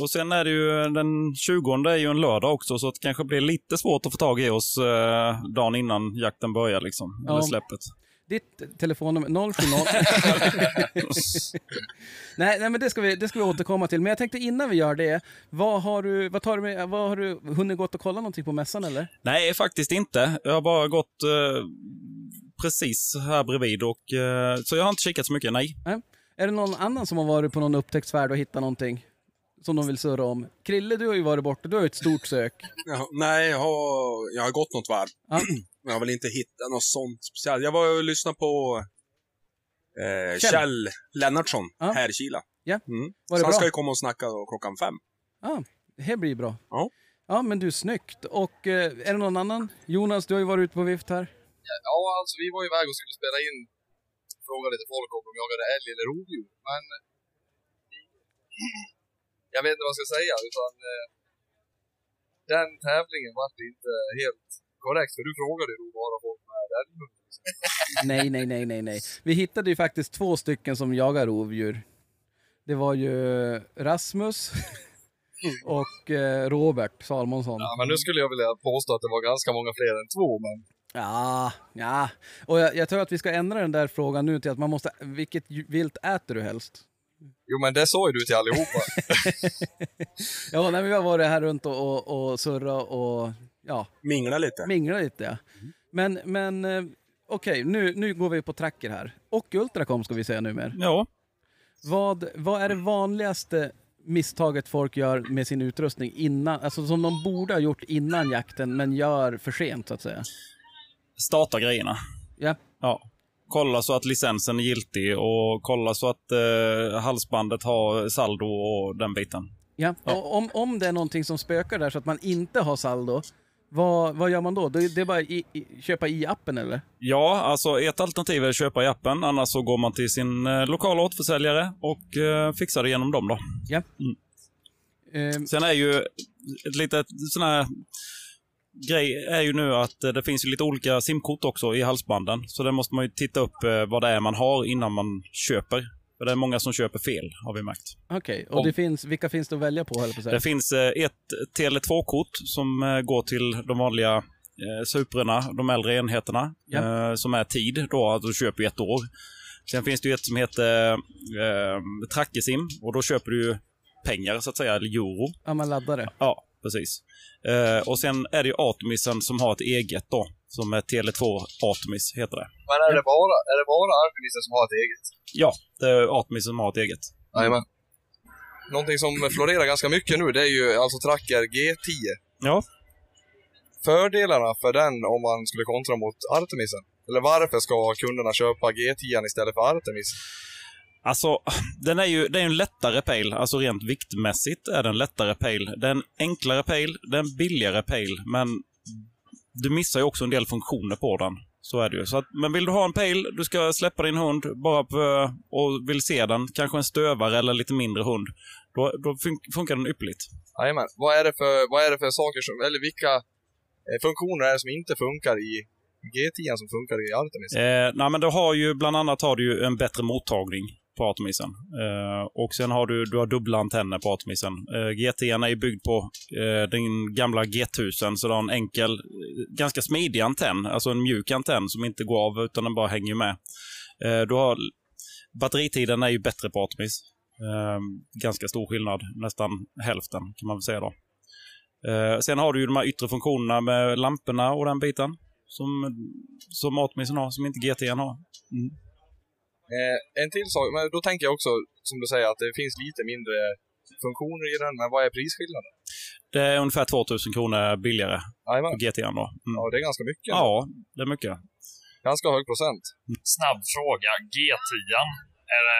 [SPEAKER 7] Och sen är det ju den 20 är ju en lördag också, så det kanske blir lite svårt att få tag i oss eh, dagen innan jakten börjar liksom.
[SPEAKER 1] Ja.
[SPEAKER 7] Eller släppet.
[SPEAKER 1] Ditt telefonnummer 070. nej, nej, men det ska, vi, det ska vi återkomma till. Men jag tänkte innan vi gör det, vad har du, vad tar du med, vad har du hunnit gått och kolla någonting på mässan eller?
[SPEAKER 7] Nej, faktiskt inte. Jag har bara gått eh, precis här bredvid och eh, så jag har inte kikat så mycket, nej.
[SPEAKER 1] Är det någon annan som har varit på någon upptäcktsfärd och hittat någonting? Som de vill surra om. Krille, du har ju varit borta. Du har ju ett stort sök.
[SPEAKER 6] Ja, nej, jag har, jag har gått något varv.
[SPEAKER 1] Ja.
[SPEAKER 6] Men <clears throat> jag har väl inte hittat något sånt speciellt. Jag var och lyssnade på eh,
[SPEAKER 1] Kjell.
[SPEAKER 6] Kjell. Lennartsson
[SPEAKER 1] Ja.
[SPEAKER 6] här i Kila.
[SPEAKER 1] Ja.
[SPEAKER 6] Mm.
[SPEAKER 1] Var
[SPEAKER 6] Så
[SPEAKER 1] det
[SPEAKER 6] han
[SPEAKER 1] bra?
[SPEAKER 6] ska ju komma och snacka då klockan fem.
[SPEAKER 1] Det här blir bra.
[SPEAKER 6] Ja.
[SPEAKER 1] Ja, men du, snyggt. Och eh, är det någon annan? Jonas, du har ju varit ute på vift här.
[SPEAKER 8] Ja, alltså vi var ju iväg och skulle spela in, fråga lite folk om de jagade älg eller rovdjur, men jag vet inte vad jag ska säga, utan eh, den tävlingen var inte helt korrekt, för du frågade ju då bara folk med älghund.
[SPEAKER 1] Nej, nej, nej, nej, nej. Vi hittade ju faktiskt två stycken som jagar rovdjur. Det var ju Rasmus och eh, Robert Salmonsson.
[SPEAKER 8] Mm. Ja, men nu skulle jag vilja påstå att det var ganska många fler än två, men
[SPEAKER 1] Ja, ja. Och jag, jag tror att vi ska ändra den där frågan nu till att man måste... Vilket ju- vilt äter du helst?
[SPEAKER 8] jo, men det sa ju du till allihopa.
[SPEAKER 1] Ja, när vi har varit här runt och, och, och surra och ja,
[SPEAKER 6] Mingla lite.
[SPEAKER 1] mingla lite. Ja. Men, men eh, okej, nu, nu går vi på tracker här. Och Ultracom ska vi säga numera.
[SPEAKER 7] Ja.
[SPEAKER 1] Vad, vad är det vanligaste misstaget folk gör med sin utrustning innan, alltså som de borde ha gjort innan jakten men gör för sent så att säga?
[SPEAKER 7] Starta grejerna.
[SPEAKER 1] Ja.
[SPEAKER 7] Ja. Kolla så att licensen är giltig och kolla så att eh, halsbandet har saldo och den biten.
[SPEAKER 1] ja. Och om, om det är någonting som spökar där så att man inte har saldo, vad, vad gör man då? Det, det är bara i, i, köpa i appen eller?
[SPEAKER 7] Ja, alltså ett alternativ är att köpa i appen. Annars så går man till sin eh, lokala återförsäljare och eh, fixar det genom dem då.
[SPEAKER 1] Ehm,
[SPEAKER 7] Sen är ju ett litet sån här grej är ju nu att eh, det finns ju lite olika simkort också i halsbanden. Så där måste man ju titta upp eh, vad det är man har innan man köper. För det är många som köper fel har vi märkt.
[SPEAKER 1] Okej, och det finns, vilka finns det att välja på höll jag på att säga?
[SPEAKER 7] Det finns eh, ett Tele2-kort som eh, går till de vanliga eh, Suprorna, de äldre enheterna,
[SPEAKER 1] Ja.
[SPEAKER 7] eh, som är tid då, att du köper i ett år. Sen finns det ju ett som heter eh, Trackesim och då köper du ju pengar så att säga, eller euro.
[SPEAKER 1] Ja, man laddar det.
[SPEAKER 7] Ja, precis. Eh, och sen är det ju Atomisen som har ett eget då, som är Tele2 Atomis heter det.
[SPEAKER 8] <laughs> Men är det bara, är det bara alpinister som har ett eget?
[SPEAKER 7] Ja, det är Atomis som har ett eget.
[SPEAKER 8] Jajamän. Någonting som florerar ganska mycket nu, det är ju alltså Tracker G10.
[SPEAKER 7] Ja.
[SPEAKER 8] Fördelarna för den om man skulle kontra mot Artemisen? Eller varför ska kunderna köpa G10 istället för Artemis?
[SPEAKER 7] Alltså, <laughs> den är ju det är ju en lättare pale. Alltså rent viktmässigt är den lättare pale. Det är en enklare pale, det är en billigare pale, men du missar ju också en del funktioner på den. Så är det ju. Så att, men vill du ha en pale, du ska släppa din hund bara på, och vill se den, kanske en stövare eller lite mindre hund, då, då fun- funkar den ypperligt.
[SPEAKER 8] Jajamän. Vad är det för, vad är det för saker som, eller vilka eh, funktioner är det som inte funkar i G10 som funkar i Artemis?
[SPEAKER 7] Eh, nej, men du har ju, bland annat har du ju en bättre mottagning på Atomisen. Eh, och sen har du, du har dubbla antenner på Atomisen. Eh, GT är ju byggd på eh, den gamla G1000, så du har en enkel, eh, ganska smidig antenn. Alltså en mjuk antenn som inte går av utan den bara hänger med. Eh, du har, batteritiden är ju bättre på Atomis. Eh, ganska stor skillnad, nästan hälften kan man väl säga då. Eh, sen har du ju de här yttre funktionerna med lamporna och den biten som, som Atomisen har, som inte GT har.
[SPEAKER 8] Eh, en till sak, men då tänker jag också, som du säger, att det finns lite mindre funktioner i den, men vad är prisskillnaden?
[SPEAKER 7] Det är ungefär 2000 kronor billigare
[SPEAKER 8] Jajamän.
[SPEAKER 7] på GT då. Mm.
[SPEAKER 8] Ja, det är ganska mycket.
[SPEAKER 7] Ja, Mm. det är mycket.
[SPEAKER 8] Ganska hög procent.
[SPEAKER 9] Snabb fråga. G10, är det,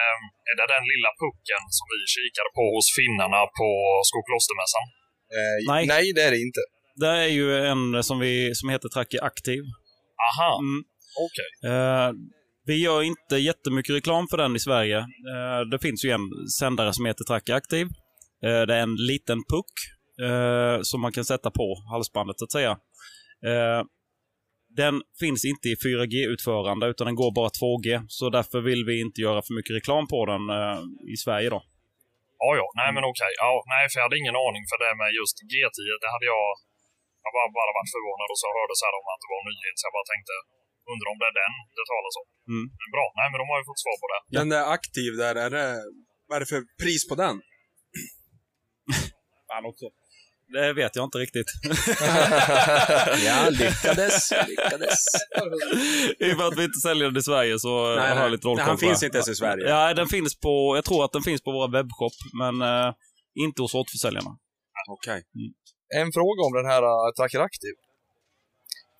[SPEAKER 9] är det den lilla pucken som vi kikade på hos finnarna på Skoklostermässan?
[SPEAKER 8] Eh,
[SPEAKER 7] Nej.
[SPEAKER 8] nej. det är det inte.
[SPEAKER 7] Det är ju en som, vi, som heter Tracker Aktiv.
[SPEAKER 9] Aha,
[SPEAKER 7] Mm.
[SPEAKER 9] okej.
[SPEAKER 7] Eh, vi gör inte jättemycket reklam för den i Sverige. Eh, det finns ju en sändare som heter Tracker Aktiv. Eh, det är en liten puck eh, som man kan sätta på halsbandet så att säga. Eh, den finns inte i 4G-utförande utan den går bara 2G. Så därför vill vi inte göra för mycket reklam på den eh, i Sverige då.
[SPEAKER 9] Ja, ja. Nej, men okej. Ja, nej, för jag hade ingen aning för det med just G10. Det hade jag... Jag bara, bara varit förvånad och så hörde så här om att det var en nyhet, så jag bara tänkte undrar om det är den det talas om.
[SPEAKER 7] Mm.
[SPEAKER 9] Men bra. Nej, men de har ju fått svar på det.
[SPEAKER 7] Ja.
[SPEAKER 6] Den där aktiv där, är det, vad är det för pris på den?
[SPEAKER 7] Fan också. Det vet jag inte riktigt.
[SPEAKER 8] <laughs>
[SPEAKER 7] <laughs>
[SPEAKER 2] Ja, lyckades, lyckades.
[SPEAKER 7] I och med att vi inte säljer den i Sverige så eh,
[SPEAKER 6] Nej,
[SPEAKER 7] har jag
[SPEAKER 6] nej.
[SPEAKER 7] lite rollkoll
[SPEAKER 6] Nej, han
[SPEAKER 7] på det.
[SPEAKER 6] finns inte ens i Sverige.
[SPEAKER 7] Ja, den finns på, jag tror att den finns på våra webbshop, men eh, inte hos återförsäljarna.
[SPEAKER 6] Okej.
[SPEAKER 8] Mm. En fråga om den här uh, Tracker Active.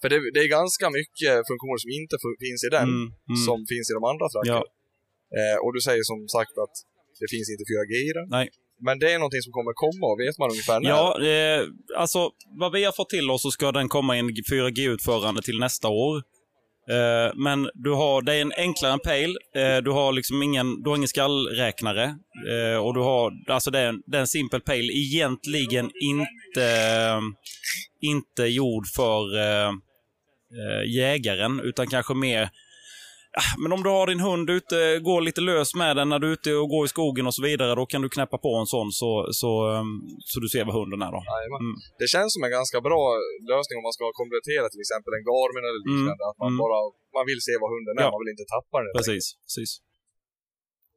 [SPEAKER 8] För det, det är ganska mycket funktioner som inte fu- finns i den,
[SPEAKER 7] Mm, mm.
[SPEAKER 8] som finns i de andra trackerna. Eh, och du säger som sagt att det finns inte 4G i den.
[SPEAKER 7] Nej.
[SPEAKER 8] Men det är någonting som kommer komma och vet man ungefär när?
[SPEAKER 7] Ja, eh, alltså vad vi har fått till oss så ska den komma i en 4G-utförande till nästa år. Eh, men du har, det är en enklare pale. Eh, du har liksom ingen, du har ingen skallräknare. Eh, och du har, alltså det är, en, det är en simpel pale. Egentligen inte, eh, inte gjord för eh, eh, jägaren, utan kanske mer Ah, men om du har din hund ute, går lite lös med den när du är ute och går i skogen och så vidare, då kan du knäppa på en sån så, så, eh, så du ser vad hunden är. Då.
[SPEAKER 8] Jajamän.
[SPEAKER 7] Mm.
[SPEAKER 8] Det känns som en ganska bra lösning om man ska konvertera till exempel en Garmin eller liknande. Att man
[SPEAKER 7] mm.
[SPEAKER 8] bara man vill se vad hunden är,
[SPEAKER 7] Ja.
[SPEAKER 8] man vill inte tappa den.
[SPEAKER 7] Precis, precis.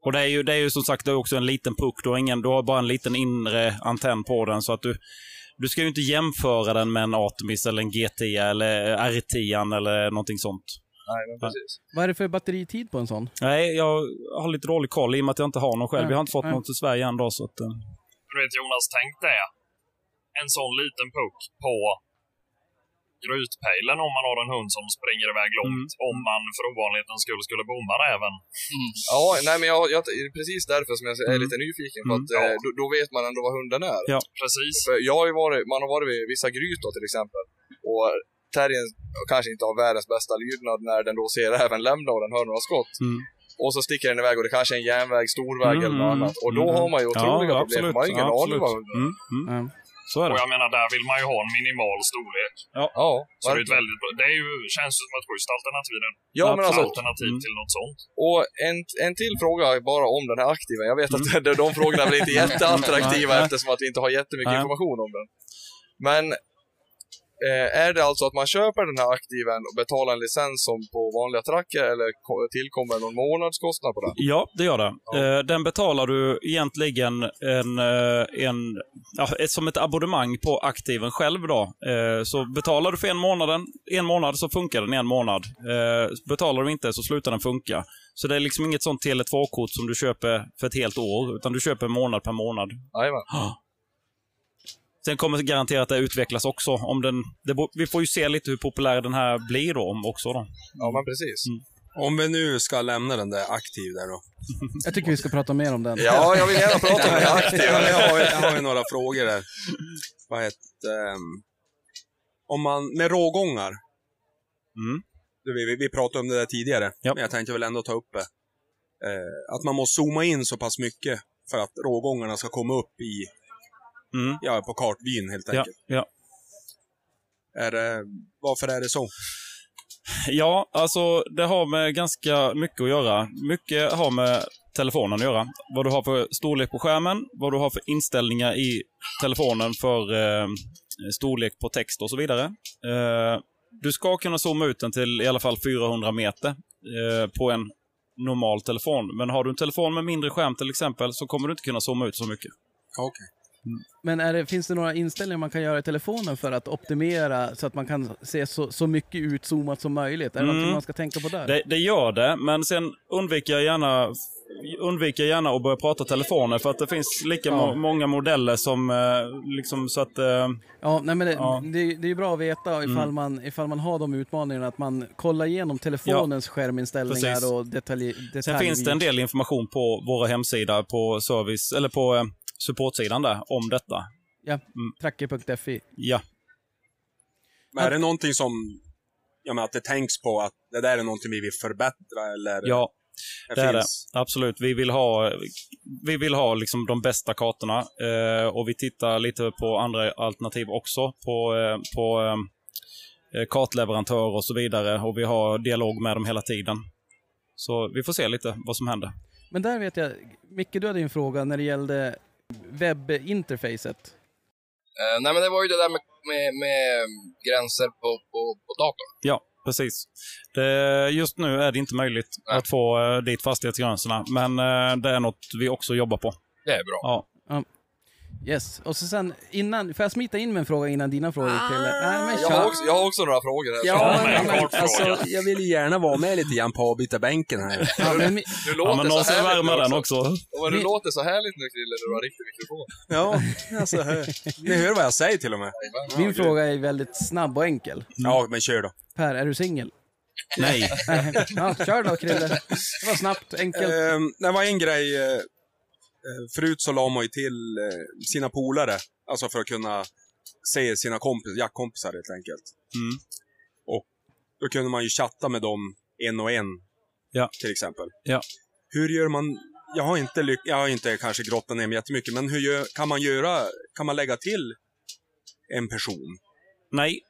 [SPEAKER 7] Och det är ju, det är ju som sagt det är också en liten puck. Du har, ingen, du har bara en liten inre antenn på den. Så att du, du ska ju inte jämföra den med en Atomis eller en GT eller R10 eller någonting sånt.
[SPEAKER 8] Nej, men precis.
[SPEAKER 1] Vad är det för batteritid på en sån?
[SPEAKER 7] Nej, jag har lite dålig koll i och med att jag inte har någon själv.
[SPEAKER 1] Nej,
[SPEAKER 7] Vi har inte fått
[SPEAKER 1] nej.
[SPEAKER 7] något till Sverige än då, så att, eh,
[SPEAKER 9] Du vet Jonas, tänk det. En sån liten puck på grytpejlen om man har en hund som springer iväg långt.
[SPEAKER 7] Mm.
[SPEAKER 9] Om man för ovanlighetens skull skulle bomma det även.
[SPEAKER 6] Mm.
[SPEAKER 8] Ja, nej, men jag, jag, det är precis därför som jag är
[SPEAKER 7] Mm.
[SPEAKER 8] lite nyfiken.
[SPEAKER 7] Mm.
[SPEAKER 8] För att eh, då, då vet man ändå vad hunden är.
[SPEAKER 9] Precis.
[SPEAKER 8] För jag har ju varit, man har varit vid vissa gryt då till exempel. Och terriern kanske inte har världens bästa lydnad när den då ser även lämna och den hör några skott.
[SPEAKER 7] Mm.
[SPEAKER 8] Och så sticker den iväg och det kanske är en järnväg, storväg
[SPEAKER 7] Mm,
[SPEAKER 8] eller något
[SPEAKER 7] mm,
[SPEAKER 8] annat. Och då
[SPEAKER 7] mm.
[SPEAKER 8] har man ju otroliga
[SPEAKER 7] ja,
[SPEAKER 8] problem.
[SPEAKER 7] absolut.
[SPEAKER 8] Man har ju ingen
[SPEAKER 7] ja,
[SPEAKER 8] aning
[SPEAKER 7] absolut.
[SPEAKER 8] vad hunden är.
[SPEAKER 7] Mm, mm.
[SPEAKER 1] Mm.
[SPEAKER 7] Så är det.
[SPEAKER 9] Och jag menar, där vill man ju ha en minimal storlek.
[SPEAKER 8] Ja,
[SPEAKER 9] Så det, är ett
[SPEAKER 8] verkligen.
[SPEAKER 9] väldigt, bra- det är ju, känns ju som ett schysst alternativ. Ett
[SPEAKER 8] ja men alltså,
[SPEAKER 9] alternativ
[SPEAKER 7] Mm.
[SPEAKER 9] till något sånt.
[SPEAKER 8] och en, en till fråga bara om den här aktiva. Jag vet att <laughs> de- de frågorna blir
[SPEAKER 7] <laughs>
[SPEAKER 8] inte jätteattraktiva
[SPEAKER 7] Mm. Nej, nej.
[SPEAKER 8] eftersom att vi inte har jättemycket
[SPEAKER 7] Nej.
[SPEAKER 8] information om den. Men Eh, är det alltså att man köper den här aktiven och betalar en licens som på vanliga tracker eller ko- tillkommer någon månadskostnad på den?
[SPEAKER 7] Ja, det gör det. Eh, Den betalar du egentligen en, eh, en, ja, ett- som ett abonnemang på aktiven själv. Då. Eh, Så betalar du för en månad, en månad så funkar den i en månad. Eh, Betalar du inte så slutar den funka. Så det är liksom inget sånt Tele2-kort som du köper för ett helt år, utan du köper månad per månad. <gasps>
[SPEAKER 8] Jajamän.
[SPEAKER 7] Sen kommer det garanterat att utvecklas också. Om den, det, bo- vi får ju se lite hur populär den här blir då om också. Då. Mm.
[SPEAKER 8] Ja, men precis.
[SPEAKER 6] Om vi nu ska lämna den där aktiv där då.
[SPEAKER 1] Jag tycker vi ska prata mer om den.
[SPEAKER 6] Ja, jag vill gärna
[SPEAKER 7] <laughs>
[SPEAKER 6] prata med den aktiva. Jag har, jag har ju några frågor där. Vad heter ehm, Om man, med rågångar.
[SPEAKER 7] Mm.
[SPEAKER 6] Du, Vi, vi- vi pratade om det där tidigare,
[SPEAKER 7] Ja.
[SPEAKER 6] men jag tänkte väl ändå ta upp det. Eh, att man måste zooma in så pass mycket för att rågångarna ska komma upp i,
[SPEAKER 7] Mm.
[SPEAKER 6] ja, på kartvyn helt
[SPEAKER 7] Ja,
[SPEAKER 6] enkelt.
[SPEAKER 7] ja.
[SPEAKER 6] Är det, varför är det så?
[SPEAKER 7] Ja, alltså det har med ganska mycket att göra. Mycket har med telefonen att göra. Vad du har för storlek på skärmen, vad du har för inställningar i telefonen för eh, storlek på text och så vidare. Eh, du ska kunna zooma ut den till i alla fall 400 meter eh, på en normal telefon. Men har du en telefon med mindre skärm till exempel så kommer du inte kunna zooma ut så mycket. Mm.
[SPEAKER 1] Men är det, finns det några inställningar man kan göra i telefonen för att optimera så att man kan se så, så mycket utzoomat som möjligt? Är det
[SPEAKER 7] Mm.
[SPEAKER 1] någonting man ska tänka på där?
[SPEAKER 7] Det, det gör det, men sen undviker jag gärna undviker gärna att börja prata telefoner för att det finns lika
[SPEAKER 1] Ja.
[SPEAKER 7] mo- många modeller som eh, liksom så att... Eh,
[SPEAKER 1] Ja, nej men det,
[SPEAKER 7] Ja.
[SPEAKER 1] det, det är ju bra att veta ifall,
[SPEAKER 7] Mm.
[SPEAKER 1] man, ifall man har de utmaningarna att man kollar igenom telefonens skärminställningar
[SPEAKER 7] Precis.
[SPEAKER 1] och detalj, detalj.
[SPEAKER 7] sen finns det en del information på våra hemsida på service, eller på eh, supportsidan där, om detta. Mm.
[SPEAKER 1] Tracker.fi.
[SPEAKER 7] Ja.
[SPEAKER 6] Men är det någonting som, ja men att det tänks på att det där är någonting vi vill förbättra eller?
[SPEAKER 7] ja.
[SPEAKER 6] det,
[SPEAKER 7] det är
[SPEAKER 6] finns,
[SPEAKER 7] Absolut. Vi vill ha, vi vill ha liksom de bästa kartorna. Eh, och vi tittar lite på andra alternativ också. På, eh, på eh, kartleverantörer och så vidare. Och vi har dialog med dem hela tiden. Så vi får se lite vad som händer.
[SPEAKER 1] Men där vet jag, Micke du hade ju en fråga när det gällde webbinterfacet.
[SPEAKER 10] Eh, nej, men det var ju det där med, med, med gränser på, på, på datorn.
[SPEAKER 7] Ja, precis. Det, just nu är det inte möjligt
[SPEAKER 10] Nej.
[SPEAKER 7] att få eh, dit fastighetsgränserna. Men eh, det är något vi också jobbar på.
[SPEAKER 10] Det är bra.
[SPEAKER 7] Ja.
[SPEAKER 1] Yes, och så sen innan, får jag smita in med en fråga innan dina frågor Krille? Nej men
[SPEAKER 8] Jag har, också, jag har också några frågor här.
[SPEAKER 6] Ja,
[SPEAKER 9] men-
[SPEAKER 6] men,
[SPEAKER 9] men-
[SPEAKER 6] men, alltså, jag vill ju gärna vara med lite grann på avbytarbänken här.
[SPEAKER 1] Ja, men, mi-
[SPEAKER 8] Du
[SPEAKER 7] Ja,
[SPEAKER 8] låter
[SPEAKER 7] men
[SPEAKER 8] så
[SPEAKER 7] någon ska
[SPEAKER 8] härligt
[SPEAKER 7] värma
[SPEAKER 8] nu
[SPEAKER 7] den också.
[SPEAKER 8] Ja, men Du
[SPEAKER 1] Ni-
[SPEAKER 8] låter så härligt nu Krille när du har riktig
[SPEAKER 7] <laughs>
[SPEAKER 8] mikrofon.
[SPEAKER 6] Ja, alltså, ni hör vad jag säger till och med.
[SPEAKER 1] min fråga är väldigt snabb och enkel.
[SPEAKER 6] Ja, men kör då.
[SPEAKER 1] Per, är du singel?
[SPEAKER 7] Nej.
[SPEAKER 1] <laughs> Nej. ja, kör då Krille. Det var snabbt, enkelt.
[SPEAKER 6] Ehm, det var en grej, eh, eh, förut så la man ju till eh, sina polare, alltså för att kunna se sina kompis, jackkompisar helt enkelt.
[SPEAKER 7] Mm.
[SPEAKER 6] Och då kunde man ju chatta med dem en och en,
[SPEAKER 7] Ja.
[SPEAKER 6] till exempel.
[SPEAKER 7] Ja.
[SPEAKER 6] Hur gör man, jag har inte, lyck- jag har inte kanske grottat ner mig jättemycket, men hur gör, kan man göra, kan man lägga till en person?
[SPEAKER 7] Nej.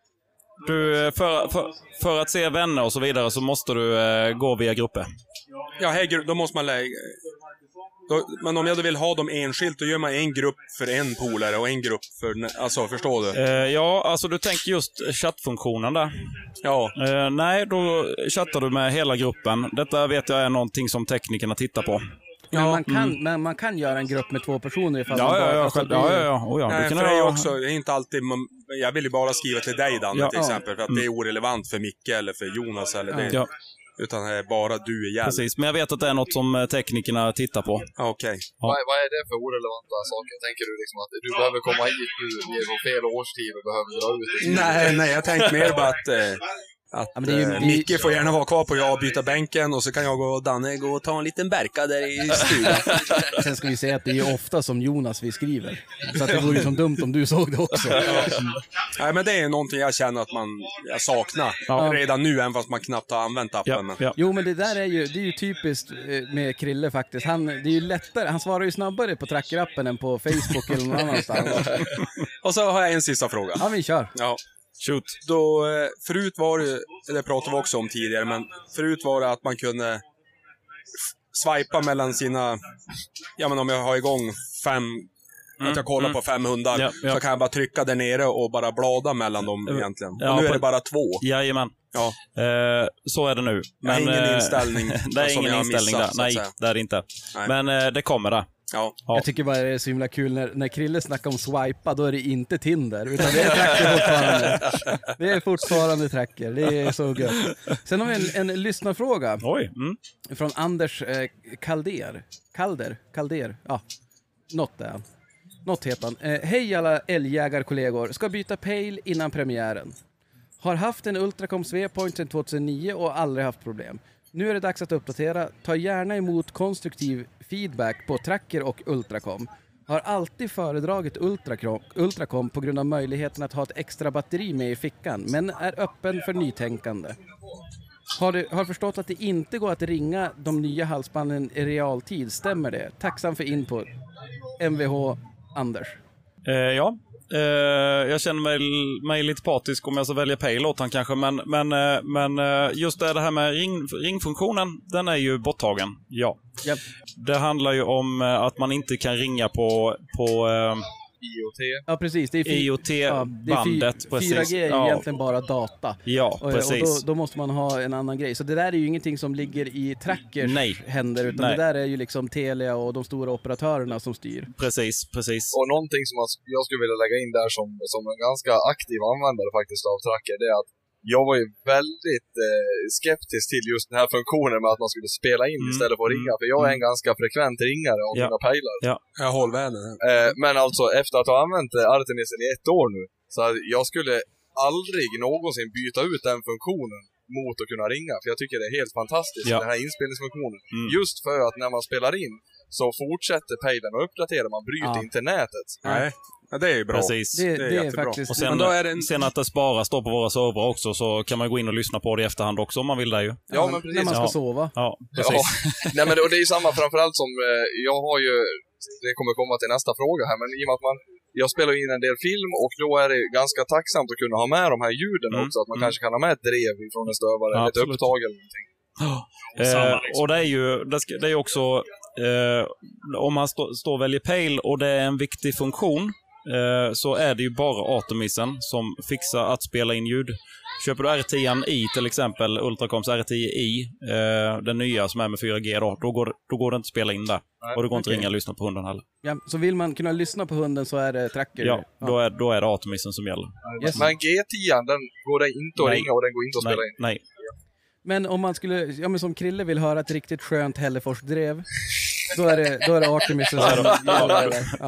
[SPEAKER 7] Du, eh, för, för, för att se vänner och så vidare så måste du eh, gå via grupper.
[SPEAKER 6] Ja, här, gru- då måste man lägga... Då, men om jag då vill ha dem enskilt, då gör man en grupp för en polare och en grupp för... nä- Alltså, förstår du?
[SPEAKER 7] Eh, ja, alltså du tänker just chattfunktionen där.
[SPEAKER 6] Ja.
[SPEAKER 7] Eh, nej, då chattar du med hela gruppen. Detta vet jag är någonting som teknikerna tittar på.
[SPEAKER 1] Men, man kan, men man kan göra en grupp med två personer ifall man
[SPEAKER 7] Mm. Ja, ja, ja.
[SPEAKER 1] alltså,
[SPEAKER 7] själv-
[SPEAKER 1] det är
[SPEAKER 7] ja,
[SPEAKER 1] ju-
[SPEAKER 7] ja, ja. Oh, ja.
[SPEAKER 6] Nej,
[SPEAKER 7] Du kan
[SPEAKER 6] Eh, för det är ju
[SPEAKER 7] ha-
[SPEAKER 6] också, det är inte alltid... Man, jag vill ju bara skriva till dig, Danne,
[SPEAKER 7] Ja. Mm.
[SPEAKER 6] till exempel. För att det är orelevant för Micke eller för Jonas eller det.
[SPEAKER 7] Ja,
[SPEAKER 6] Utan det är bara du igen.
[SPEAKER 7] precis. Men jag vet att det är något som eh, teknikerna tittar på.
[SPEAKER 6] Ja, Okej.
[SPEAKER 7] Ja.
[SPEAKER 8] Vad, vad är det för orelevanta saker? Tänker du liksom att du behöver komma hit nu vi är på fel årstid och behöver dra ut det?
[SPEAKER 6] Nej, nej, jag tänkte mer bara att... Eh, att
[SPEAKER 1] men det är ju-
[SPEAKER 6] eh,
[SPEAKER 1] det är ju-
[SPEAKER 6] Micke får gärna vara kvar på jag byta bänken och så kan jag gå och Danne gå och ta en liten berka där i stugan.
[SPEAKER 1] Sen ska vi säga att det är ju ofta som Jonas vi skriver. Så att det vore ju som dumt om du såg <laughs> det också.
[SPEAKER 6] Nej, men det är någonting jag känner att man jag saknar
[SPEAKER 1] Ja.
[SPEAKER 6] redan nu, även fast man knappt har använt appen.
[SPEAKER 7] Ja,
[SPEAKER 6] men,
[SPEAKER 7] ja.
[SPEAKER 1] Jo, men det där är ju, det är ju typiskt eh, med Krille faktiskt. Han, det är ju lättare, han svarar ju snabbare på trackerappen än på Facebook eller någon annanstans.
[SPEAKER 6] <laughs> Och så har jag en sista fråga.
[SPEAKER 1] Ja, vi kör.
[SPEAKER 6] Ja.
[SPEAKER 7] Shoot.
[SPEAKER 6] Då, eh, förut var det, det pratade vi också om tidigare, men förut var det att man kunde f- swipa mellan sina, ja men om jag har igång fem att jag kollar på fem hundar,
[SPEAKER 7] Mm, Ja, ja.
[SPEAKER 6] så kan jag bara trycka där nere och bara blada mellan dem egentligen.
[SPEAKER 7] Ja,
[SPEAKER 6] och nu är
[SPEAKER 7] på-
[SPEAKER 6] det bara två.
[SPEAKER 7] Jajamän.
[SPEAKER 6] Ja.
[SPEAKER 7] Eh, så är det nu.
[SPEAKER 6] Jag har ingen
[SPEAKER 7] eh,
[SPEAKER 6] inställning
[SPEAKER 7] <laughs> det är
[SPEAKER 6] som
[SPEAKER 7] ingen
[SPEAKER 6] jag har
[SPEAKER 7] inställning
[SPEAKER 6] missat, så
[SPEAKER 7] där.
[SPEAKER 6] att
[SPEAKER 7] Nej,
[SPEAKER 6] säga.
[SPEAKER 7] det är det inte.
[SPEAKER 6] Nej.
[SPEAKER 7] Men eh, det kommer där.
[SPEAKER 6] Ja.
[SPEAKER 1] Jag tycker bara det är så himla kul när, när Krille snackar om swipa, då är det inte Tinder, utan det är tracker fortfarande. Det är fortfarande tracker, det är så gött. Sen har vi en, en lyssnarfråga. Från Anders eh, Kalder. Kalder? Kalder? Ja, något är han. Något heter han. Eh, Hej alla älgjägarkollegor, ska byta pale innan premiären. Har haft en Ultracom V-point sedan 2009 och aldrig haft problem. Nu är det dags att uppdatera. Ta gärna emot konstruktiv feedback på Tracker och Ultracom. Har alltid föredragit Ultracom, Ultracom på grund av möjligheten att ha ett extra batteri med i fickan, men är öppen för nytänkande. Har, du, har förstått att det inte går att ringa de nya halsbanden i realtid, stämmer det? Tacksam för input. Mvh Anders.
[SPEAKER 7] Eh, ja, eh, jag känner mig, mig lite partisk om jag ska välja Pale åt han kanske. Men, men, eh, men eh, just det det här med ring, ringfunktionen, den är ju borttagen. Ja. Det handlar ju om eh, att man inte kan ringa på, på eh,
[SPEAKER 8] IoT.
[SPEAKER 1] Ja, precis. Det är fy- ja, det är fy-
[SPEAKER 7] IoT-bandet. precis.
[SPEAKER 1] 4G är ju
[SPEAKER 7] Ja.
[SPEAKER 1] egentligen bara data.
[SPEAKER 7] Ja,
[SPEAKER 1] Och, och då,
[SPEAKER 7] precis.
[SPEAKER 1] då måste man ha en annan grej. Så det där är ju ingenting som ligger i trackers
[SPEAKER 7] Nej.
[SPEAKER 1] händer, utan
[SPEAKER 7] Nej.
[SPEAKER 1] det där är ju liksom Telia och de stora operatörerna som styr.
[SPEAKER 7] Precis, precis.
[SPEAKER 8] Och någonting som jag- jag skulle vilja lägga in där som, som en ganska aktiv användare faktiskt av Tracker, det är att jag var ju väldigt eh, skeptisk till just den här funktionen med att man skulle spela in istället för att ringa, för jag är en ganska frekvent ringare av
[SPEAKER 6] Ja.
[SPEAKER 8] mina pejlar.
[SPEAKER 7] Mm. Ja.
[SPEAKER 6] Jag håller med dig.
[SPEAKER 8] Eh, men alltså, efter att ha använt eh, Artemisen i ett år nu, så här, jag skulle aldrig någonsin byta ut den funktionen mot att kunna ringa, för jag tycker det är helt fantastiskt,
[SPEAKER 7] Ja.
[SPEAKER 8] den här inspelningsfunktionen.
[SPEAKER 7] Mm.
[SPEAKER 8] Just för att när man spelar in så fortsätter pejlen att uppdatera, man bryter
[SPEAKER 7] Ja.
[SPEAKER 8] inte nätet.
[SPEAKER 6] Nej. Ja, det är ju bra.
[SPEAKER 7] Precis. Och sen,
[SPEAKER 6] Men då är det en...
[SPEAKER 7] sen att det sparas då på våra servrar också, så kan man gå in och lyssna på det i efterhand också om man vill det ju.
[SPEAKER 8] Ja, men precis. När man ska
[SPEAKER 7] Ja.
[SPEAKER 1] sova.
[SPEAKER 7] Ja, precis.
[SPEAKER 8] <laughs> Nej, men det- och det är ju samma framförallt som, eh, jag har ju, det kommer komma till nästa fråga här, men i och med att man, jag spelar in en del film och då är det ganska tacksamt att kunna ha med de här ljuden
[SPEAKER 7] Mm,
[SPEAKER 8] också, att man
[SPEAKER 7] mm.
[SPEAKER 8] kanske kan ha med ett drev från en stövare
[SPEAKER 7] Ja,
[SPEAKER 8] eller ett
[SPEAKER 7] absolut.
[SPEAKER 8] upptag eller någonting.
[SPEAKER 7] Eh,
[SPEAKER 8] liksom.
[SPEAKER 7] och det är ju det ska, det är också, eh, om man stå- står och väljer Pale och det är en viktig funktion, eh, så är det ju bara Atomisen som fixar att spela in ljud. Köper du R10i till exempel, Ultracoms R10i, eh, den nya som är med 4G, då, då, går, då går det inte att spela in där.
[SPEAKER 1] Nej,
[SPEAKER 7] och det går inte att
[SPEAKER 1] okej.
[SPEAKER 7] ringa och lyssna på hunden heller.
[SPEAKER 1] Ja, så vill man kunna lyssna på hunden så är det tracker.
[SPEAKER 7] Ja, då är, då är det Atomisen som gäller.
[SPEAKER 1] Yes.
[SPEAKER 8] Men G10, den går det inte att
[SPEAKER 7] Nej.
[SPEAKER 8] ringa och den går inte att
[SPEAKER 7] Nej,
[SPEAKER 8] spela in.
[SPEAKER 7] nej.
[SPEAKER 1] Men om man skulle, ja men som Krille vill höra ett riktigt skönt Hälleforsdrev, då är det, då är det Artemis som gäller där. Ja.
[SPEAKER 7] då är det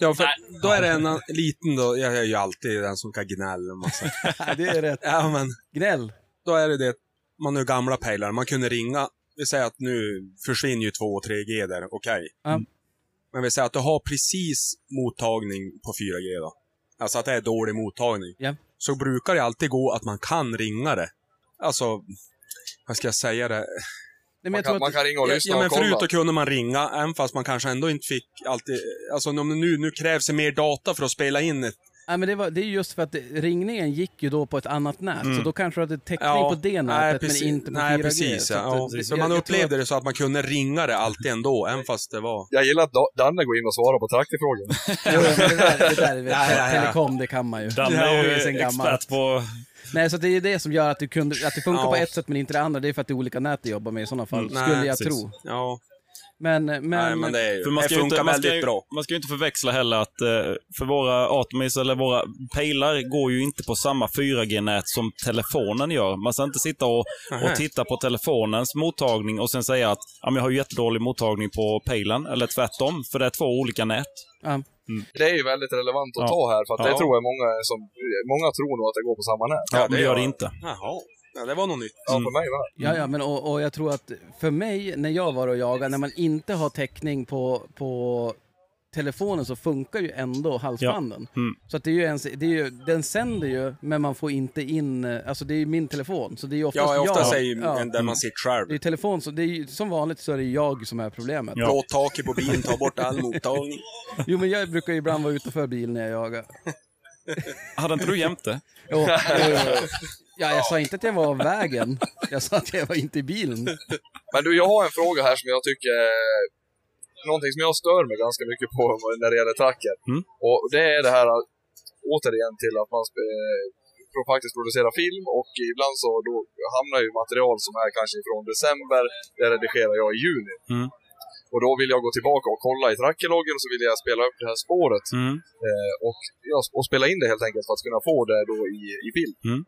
[SPEAKER 6] Ja, för då är det en an- liten då. Jag är ju alltid den som kan gnälla en massa.
[SPEAKER 1] <laughs> det är rätt.
[SPEAKER 6] Ja, men,
[SPEAKER 1] Gnäll.
[SPEAKER 6] Då är det det. Man har ju gamla pejlare. Man kunde ringa. Vi säger att nu försvinner ju 2 och 3G där. Okej.
[SPEAKER 1] Ja.
[SPEAKER 6] Men vi säger att du har precis mottagning på 4G då. Alltså att det är dålig mottagning.
[SPEAKER 1] Ja.
[SPEAKER 6] Så brukar det alltid gå att man kan ringa det. Alltså, vad ska jag säga det?
[SPEAKER 1] Nej, men
[SPEAKER 8] Man,
[SPEAKER 1] jag
[SPEAKER 8] kan,
[SPEAKER 1] tror att-
[SPEAKER 8] man kan ringa och lyssna
[SPEAKER 6] ja, men
[SPEAKER 8] och kolla.
[SPEAKER 6] förut då kunde man ringa, även fast man kanske ändå inte fick alltid... Alltså om nu, nu krävs det mer data för att spela in ett...
[SPEAKER 1] Ja, men det, var, det är just för att ringningen gick ju då på ett annat nät,
[SPEAKER 6] Mm.
[SPEAKER 1] så då kanske du hade täckning
[SPEAKER 6] Ja,
[SPEAKER 1] på det
[SPEAKER 6] nej,
[SPEAKER 1] nätet
[SPEAKER 6] precis,
[SPEAKER 1] men inte på 4G.
[SPEAKER 6] Nej, precis.
[SPEAKER 1] Så att
[SPEAKER 6] Ja,
[SPEAKER 1] det-
[SPEAKER 6] ja,
[SPEAKER 1] det-
[SPEAKER 6] så
[SPEAKER 1] jag-
[SPEAKER 6] man
[SPEAKER 1] jag tror
[SPEAKER 6] upplevde det så att man kunde ringa det alltid
[SPEAKER 1] <laughs>
[SPEAKER 6] ändå, även fast det var...
[SPEAKER 8] Jag gillar att Da- Danne går in och svarar
[SPEAKER 7] <laughs>
[SPEAKER 8] på traktifrågan.
[SPEAKER 1] Jo, men det där, det där är väl
[SPEAKER 6] Ja, ja, ja.
[SPEAKER 1] telekom, det kan man ju.
[SPEAKER 7] Danne
[SPEAKER 1] Det
[SPEAKER 7] är
[SPEAKER 1] ju
[SPEAKER 7] ju
[SPEAKER 1] sen gammalt.
[SPEAKER 7] expert på...
[SPEAKER 1] Nej, så det är ju det som gör att, du kunde, att det funkar
[SPEAKER 6] Ja.
[SPEAKER 1] på ett sätt men inte det andra. Det är för att det är olika nät du jobbar med i sådana fall,
[SPEAKER 6] Nej,
[SPEAKER 1] skulle jag
[SPEAKER 6] precis.
[SPEAKER 1] tro.
[SPEAKER 6] Ja.
[SPEAKER 1] Men, men,
[SPEAKER 6] Nej, men det är ju...
[SPEAKER 7] För man
[SPEAKER 6] det
[SPEAKER 7] ska ju
[SPEAKER 6] funkar
[SPEAKER 7] inte, man
[SPEAKER 6] väldigt
[SPEAKER 7] ska ju,
[SPEAKER 6] bra.
[SPEAKER 7] man ska ju inte förväxla heller att eh, för våra Atomis eller våra pejlar går ju inte på samma 4G-nät som telefonen gör. Man ska inte sitta och,
[SPEAKER 6] Nähä.
[SPEAKER 7] och titta på telefonens mottagning och sen säga att ja, men jag har ju jättedålig mottagning på pejlen, eller tvärtom, för det är två olika nät. Mm.
[SPEAKER 1] Ja.
[SPEAKER 8] Det är ju väldigt relevant att
[SPEAKER 7] Ja.
[SPEAKER 8] ta här, för att det
[SPEAKER 7] Ja.
[SPEAKER 8] tror jag många som, många tror nog att det går på samma nät.
[SPEAKER 7] Ja, men det gör det inte.
[SPEAKER 6] Jaha. Ja, det var nog nytt.
[SPEAKER 8] Ja, för mig va?
[SPEAKER 1] Ja, ja, men och, och jag tror att för mig, när jag var och jagade, när man inte har täckning på, på telefonen så funkar ju ändå halsbanden.
[SPEAKER 7] Mm.
[SPEAKER 1] Så att det är ju ens, det är ju, den sänder ju, men man får inte in, eh, alltså det är ju min telefon. Så det är ju oftast
[SPEAKER 6] Ja, jag ofta
[SPEAKER 1] jag.
[SPEAKER 6] säger ju
[SPEAKER 1] ja.
[SPEAKER 6] en där man sitter själv.
[SPEAKER 1] Det är ju telefon, så det är ju, som vanligt så är det jag som är problemet.
[SPEAKER 7] Ja.
[SPEAKER 6] Blåt taket på bilen, ta bort all mottagning.
[SPEAKER 1] <laughs> Jo, men jag brukar ju ibland vara utanför bil när jag jagar.
[SPEAKER 7] <laughs> Hade inte du jämt det?
[SPEAKER 1] Jo, jo, jo. Ja, jag sa inte att jag var av vägen. Jag sa att jag var inte i bilen.
[SPEAKER 8] Men du, jag har en fråga här som jag tycker eh, någonting som jag stör mig ganska mycket på <laughs> när det gäller tracker. Och det är det här, att- återigen till att man sp- eh, pro- faktiskt producerar film och ibland så då hamnar ju material som är kanske från december, det redigerar jag i juni. Och då vill jag gå tillbaka och kolla i trackerloggen och så vill jag spela upp det här spåret.
[SPEAKER 7] Mm.
[SPEAKER 8] Eh, och, ja, och spela in det helt enkelt för att kunna få det då i, i bild.
[SPEAKER 7] Mm.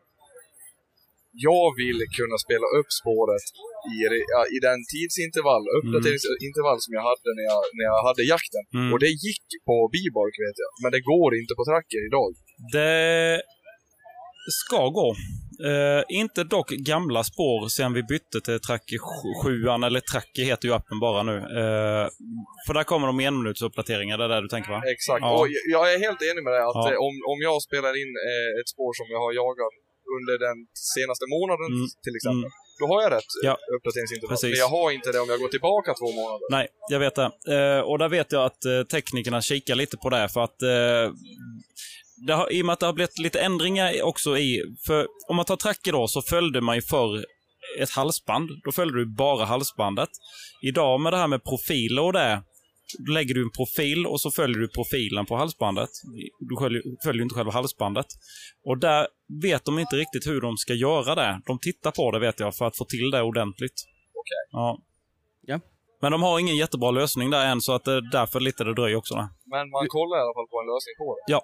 [SPEAKER 8] Jag vill kunna spela upp spåret i, re- ja, i den tidsintervall, uppdateringsintervall som jag hade när jag, när jag hade jakten.
[SPEAKER 7] Mm.
[SPEAKER 8] Och det gick på Bibark vet jag, men det går inte på tracker idag.
[SPEAKER 7] Det ska gå. Eh, inte dock gamla spår sen vi bytte till Tracker 7, eller Tracker heter ju appen bara nu. Eh, för där kommer de enminutsuppdateringar, det är där du tänker va?
[SPEAKER 8] Exakt.
[SPEAKER 7] Ja.
[SPEAKER 8] Och jag- jag är helt enig med dig att
[SPEAKER 7] Ja.
[SPEAKER 8] eh, om, om jag spelar in eh, ett spår som jag har jagat under den senaste månaden
[SPEAKER 7] Mm.
[SPEAKER 8] till exempel, då har jag rätt
[SPEAKER 7] Ja.
[SPEAKER 8] ja. uppdateringsintervall.
[SPEAKER 7] Precis.
[SPEAKER 8] Men jag har inte det om jag går tillbaka två månader.
[SPEAKER 7] Nej, jag vet det. Eh, och där vet jag att eh, teknikerna kikar lite på det för att eh, det har, i och med att det har blivit lite ändringar i- också i... För om man tar tracker då så följde man ju förr ett halsband. Då följde du bara halsbandet. Idag med det här med profiler och det. Då lägger du en profil och så följer du profilen på halsbandet. Du sköljer- följer inte själva halsbandet. Och där vet de inte riktigt hur de ska göra det. De tittar på det vet jag för att få till det ordentligt. Ja.
[SPEAKER 11] Ja.
[SPEAKER 7] Men de har ingen jättebra lösning där än så att det är därför lite det dröjer också. där.
[SPEAKER 8] Men man kollar i alla fall på en lösning på det.
[SPEAKER 7] Ja,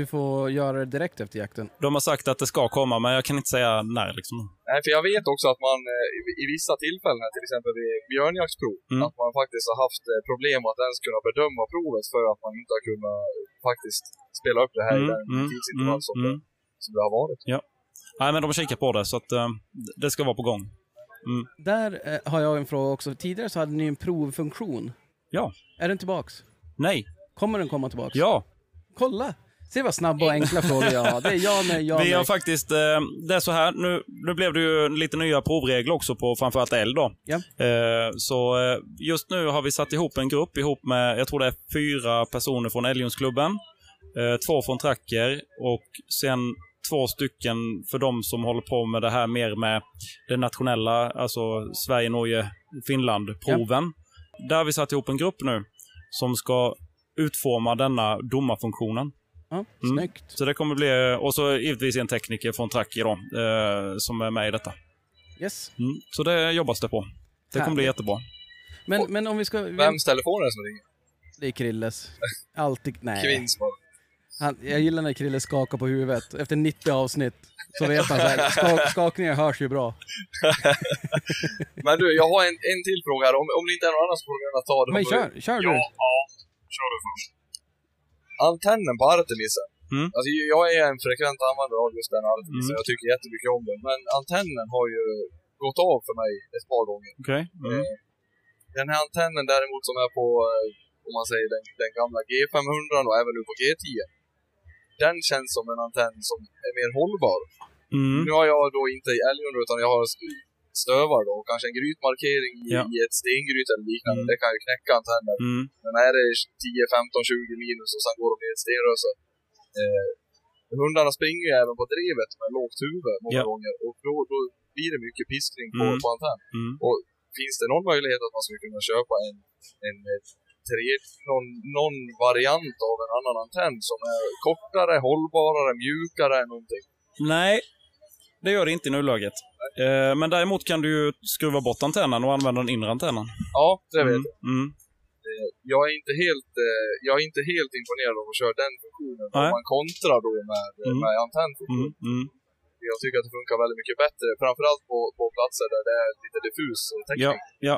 [SPEAKER 11] Du får göra det direkt efter jakten.
[SPEAKER 7] de har sagt att det ska komma men jag kan inte säga när liksom.
[SPEAKER 8] Nej, för jag vet också att man eh, i- i vissa tillfällen, här, till exempel vid björnjaktsprov,
[SPEAKER 7] Mm.
[SPEAKER 8] att man faktiskt har haft eh, problem att ens kunna bedöma provet för att man inte har kunnat eh, faktiskt spela upp det här i
[SPEAKER 7] Mm,
[SPEAKER 8] den
[SPEAKER 7] mm,
[SPEAKER 8] tidsintervall
[SPEAKER 7] mm,
[SPEAKER 8] som,
[SPEAKER 7] mm.
[SPEAKER 8] som det har varit.
[SPEAKER 7] Ja. Nej men de kikar på det så att eh, det ska vara på gång. Mm.
[SPEAKER 11] Där eh, har jag en fråga också. Tidigare så hade ni en provfunktion.
[SPEAKER 7] Ja.
[SPEAKER 11] Är den tillbaks?
[SPEAKER 7] Nej.
[SPEAKER 11] Kommer den komma tillbaks?
[SPEAKER 7] Ja.
[SPEAKER 11] Kolla! Se vad snabba och enkla frågor jag har. Det är ja, nej, ja,
[SPEAKER 7] Vi
[SPEAKER 11] nej.
[SPEAKER 7] har faktiskt, eh, det är så här, nu, nu blev det ju lite nya provregler också på framförallt eld då.
[SPEAKER 11] Ja.
[SPEAKER 7] Eh, så eh, just nu har vi satt ihop en grupp ihop med, jag tror det är fyra personer från Älgjonsklubben, eh, två från Tracker och sen två stycken för de som håller på med det här mer med det nationella, alltså Sverige, Norge, Finland-proven. Där har vi satt ihop en grupp nu som ska utforma denna domarfunktionen.
[SPEAKER 11] Ja,
[SPEAKER 7] Mm.
[SPEAKER 11] snyggt.
[SPEAKER 7] Så det kommer bli, eh, och så givetvis en tekniker från Tracker då, eh, som är med i detta.
[SPEAKER 11] Yes.
[SPEAKER 7] Mm, så det jobbas det på. Det kommer bli
[SPEAKER 11] Härligt.
[SPEAKER 7] jättebra.
[SPEAKER 11] Men, men om vi ska...
[SPEAKER 8] Vems telefon är det som ringer?
[SPEAKER 11] Det är Krilles. Alltid... Nej.
[SPEAKER 8] Kvinsman.
[SPEAKER 11] Han, jag gillar när Krille skakar på huvudet. Efter 90 avsnitt så vet han så här,
[SPEAKER 8] <laughs>
[SPEAKER 11] skak, skakningar hörs ju bra.
[SPEAKER 8] Men du, jag har en, en till fråga här. Om, om det inte är någon annan så får du gärna ta den.
[SPEAKER 11] Men kör, kör du. Ja,
[SPEAKER 8] ja. Kör du först. Antennen på Artemisen.
[SPEAKER 7] Mm.
[SPEAKER 8] Alltså, jag är en frekvent användare av just den Artemisen.
[SPEAKER 7] Mm.
[SPEAKER 8] Jag tycker jättemycket om den. Men antennen har ju gått av för mig ett par gånger.
[SPEAKER 7] Okej. Mm.
[SPEAKER 8] Den här antennen däremot som är på, eh, om man säger den, den gamla G500 och även nu på G10. Den känns som en antenn som är mer hållbar.
[SPEAKER 7] Mm. <laughs>
[SPEAKER 8] Nu har jag då inte älgen utan jag har stövar då, och kanske en grytmarkering i-
[SPEAKER 7] Ja.
[SPEAKER 8] i ett stengryt eller liknande. Det kan ju knäcka antenner.
[SPEAKER 7] Mm.
[SPEAKER 8] Men är det 10, 15, 20 minus och sen går de i ett stenröse. Eh, hundarna springer ju även på drevet med lågt huvud många
[SPEAKER 7] Ja.
[SPEAKER 8] gånger och då, då blir det mycket piskning på,
[SPEAKER 7] Mm.
[SPEAKER 8] på antenn.
[SPEAKER 7] Mm.
[SPEAKER 8] Och finns det någon möjlighet att man skulle kunna köpa en, en eh, tre, någon, någon variant av en annan antenn som är kortare, hållbarare, mjukare, någonting?
[SPEAKER 7] Nej, det gör det inte i nuläget. Eh, men däremot kan du ju skruva bort antennen och använda den inre antennen.
[SPEAKER 8] Ja, det vet
[SPEAKER 7] Mm. Mm.
[SPEAKER 8] Eh, jag är inte helt, eh, jag är inte helt imponerad av att köra den funktionen. Om
[SPEAKER 7] Nej.
[SPEAKER 8] man kontrar då med, eh,
[SPEAKER 7] Mm.
[SPEAKER 8] med antenn.
[SPEAKER 7] Mm. Mm.
[SPEAKER 8] Jag tycker att det funkar väldigt mycket bättre, framförallt på, på platser där det är lite diffus täckning.
[SPEAKER 7] Ja, ja.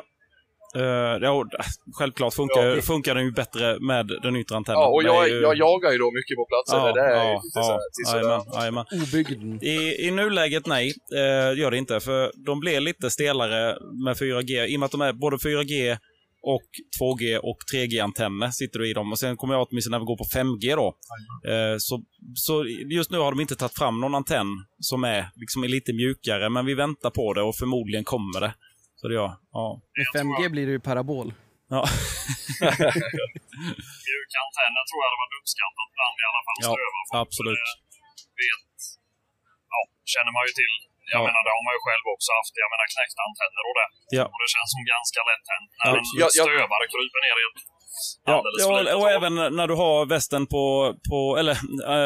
[SPEAKER 7] Eh, ja, och, äh, självklart funkar,
[SPEAKER 8] Ja.
[SPEAKER 7] funkar den ju bättre med den yttre antennen.
[SPEAKER 8] Ja, och
[SPEAKER 7] Det
[SPEAKER 8] jag,
[SPEAKER 7] är ju-
[SPEAKER 8] jag jagar ju då mycket på platser där det är lite så här, till sådär.
[SPEAKER 7] jajamän, jajamän. I, I nuläget nej, eh, gör det inte. För de blir lite stelare med 4G. I och med att de är både 4G och 2G och 3G-antenner sitter du i dem. Och sen kommer jag åtminstone när vi går på 5G då. Eh, så, så just nu har de inte tagit fram någon antenn som är, liksom, är lite mjukare. Men vi väntar på det och förmodligen kommer det. Så det gör, ja.
[SPEAKER 8] <laughs>
[SPEAKER 11] Med 5G blir det ju parabol.
[SPEAKER 7] Ja.
[SPEAKER 9] Mjuka antenner tror jag hade varit uppskattat bland i alla fall
[SPEAKER 7] Ja,
[SPEAKER 9] strövar.
[SPEAKER 7] absolut.
[SPEAKER 9] Vet, ja, eh, känner man ju till i Jag menar, det har man ju själv också haft. Jag menar knäckta antenner och det.
[SPEAKER 7] Ja.
[SPEAKER 9] Och det känns som ganska lätt hänt när
[SPEAKER 7] Ja,
[SPEAKER 9] en
[SPEAKER 7] jag- jag-
[SPEAKER 9] stövare kryper ner i ett
[SPEAKER 7] Ja,
[SPEAKER 9] alldeles för
[SPEAKER 7] ja,
[SPEAKER 9] litet
[SPEAKER 7] och även när du har västen på, på eller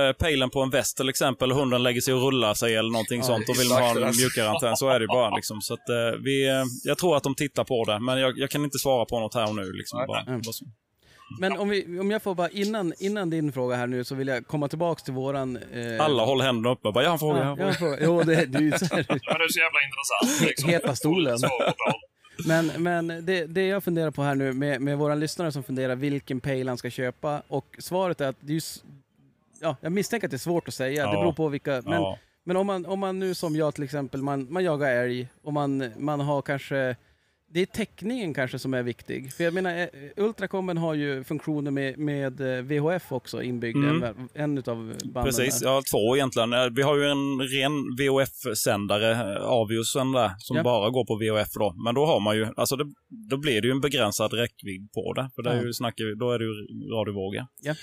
[SPEAKER 7] äh, pejlen på en väst till exempel, och hunden lägger sig och rullar sig eller någonting
[SPEAKER 1] Ja,
[SPEAKER 7] sånt och vill man ha en
[SPEAKER 1] exakt.
[SPEAKER 7] mjukare antenn, så är det ju bara liksom. Så att, eh, vi, eh, jag tror att de tittar på det, men jag, jag kan inte svara på något här och nu liksom.
[SPEAKER 1] Nej,
[SPEAKER 7] Bara,
[SPEAKER 1] nej.
[SPEAKER 7] bara så.
[SPEAKER 1] <laughs> Men om, vi, om jag får bara, innan, innan din fråga här nu, så vill jag komma tillbaks till våran... Eh...
[SPEAKER 7] Alla håller händerna uppe, bara jag har en fråga.
[SPEAKER 1] Ja, jag har en fråga. Jo, det, det är ju
[SPEAKER 9] <laughs>
[SPEAKER 1] så här.
[SPEAKER 9] Men det är så jävla intressant. Liksom.
[SPEAKER 11] <laughs>
[SPEAKER 1] Heta stolen.
[SPEAKER 9] Så,
[SPEAKER 1] Men, men det, det jag funderar på här nu med, med våra lyssnare som funderar vilken pejl han ska köpa och svaret är att det är ju, s- ja, jag misstänker att det är svårt att säga. Det
[SPEAKER 7] Ja.
[SPEAKER 1] beror på vilka. Men,
[SPEAKER 7] Ja.
[SPEAKER 1] men om, man, om man nu som jag till exempel, man, man jagar älg och man, man har kanske det är täckningen kanske som är viktig. För jag menar, eh, Ultracomben har ju funktioner med, med eh, VHF också inbyggd,
[SPEAKER 7] Mm.
[SPEAKER 1] en, en utav banden.
[SPEAKER 7] Precis,
[SPEAKER 1] där.
[SPEAKER 7] ja, två egentligen. Eh, Vi har ju en ren VHF-sändare, eh, Aviosen där, som
[SPEAKER 1] Ja.
[SPEAKER 7] bara går på VHF då. Men då har man ju, alltså det, då blir det ju en begränsad räckvidd på det. För det är
[SPEAKER 1] Ja.
[SPEAKER 7] ju, snackar, vi- då är det ju radiovågor.
[SPEAKER 1] Ja.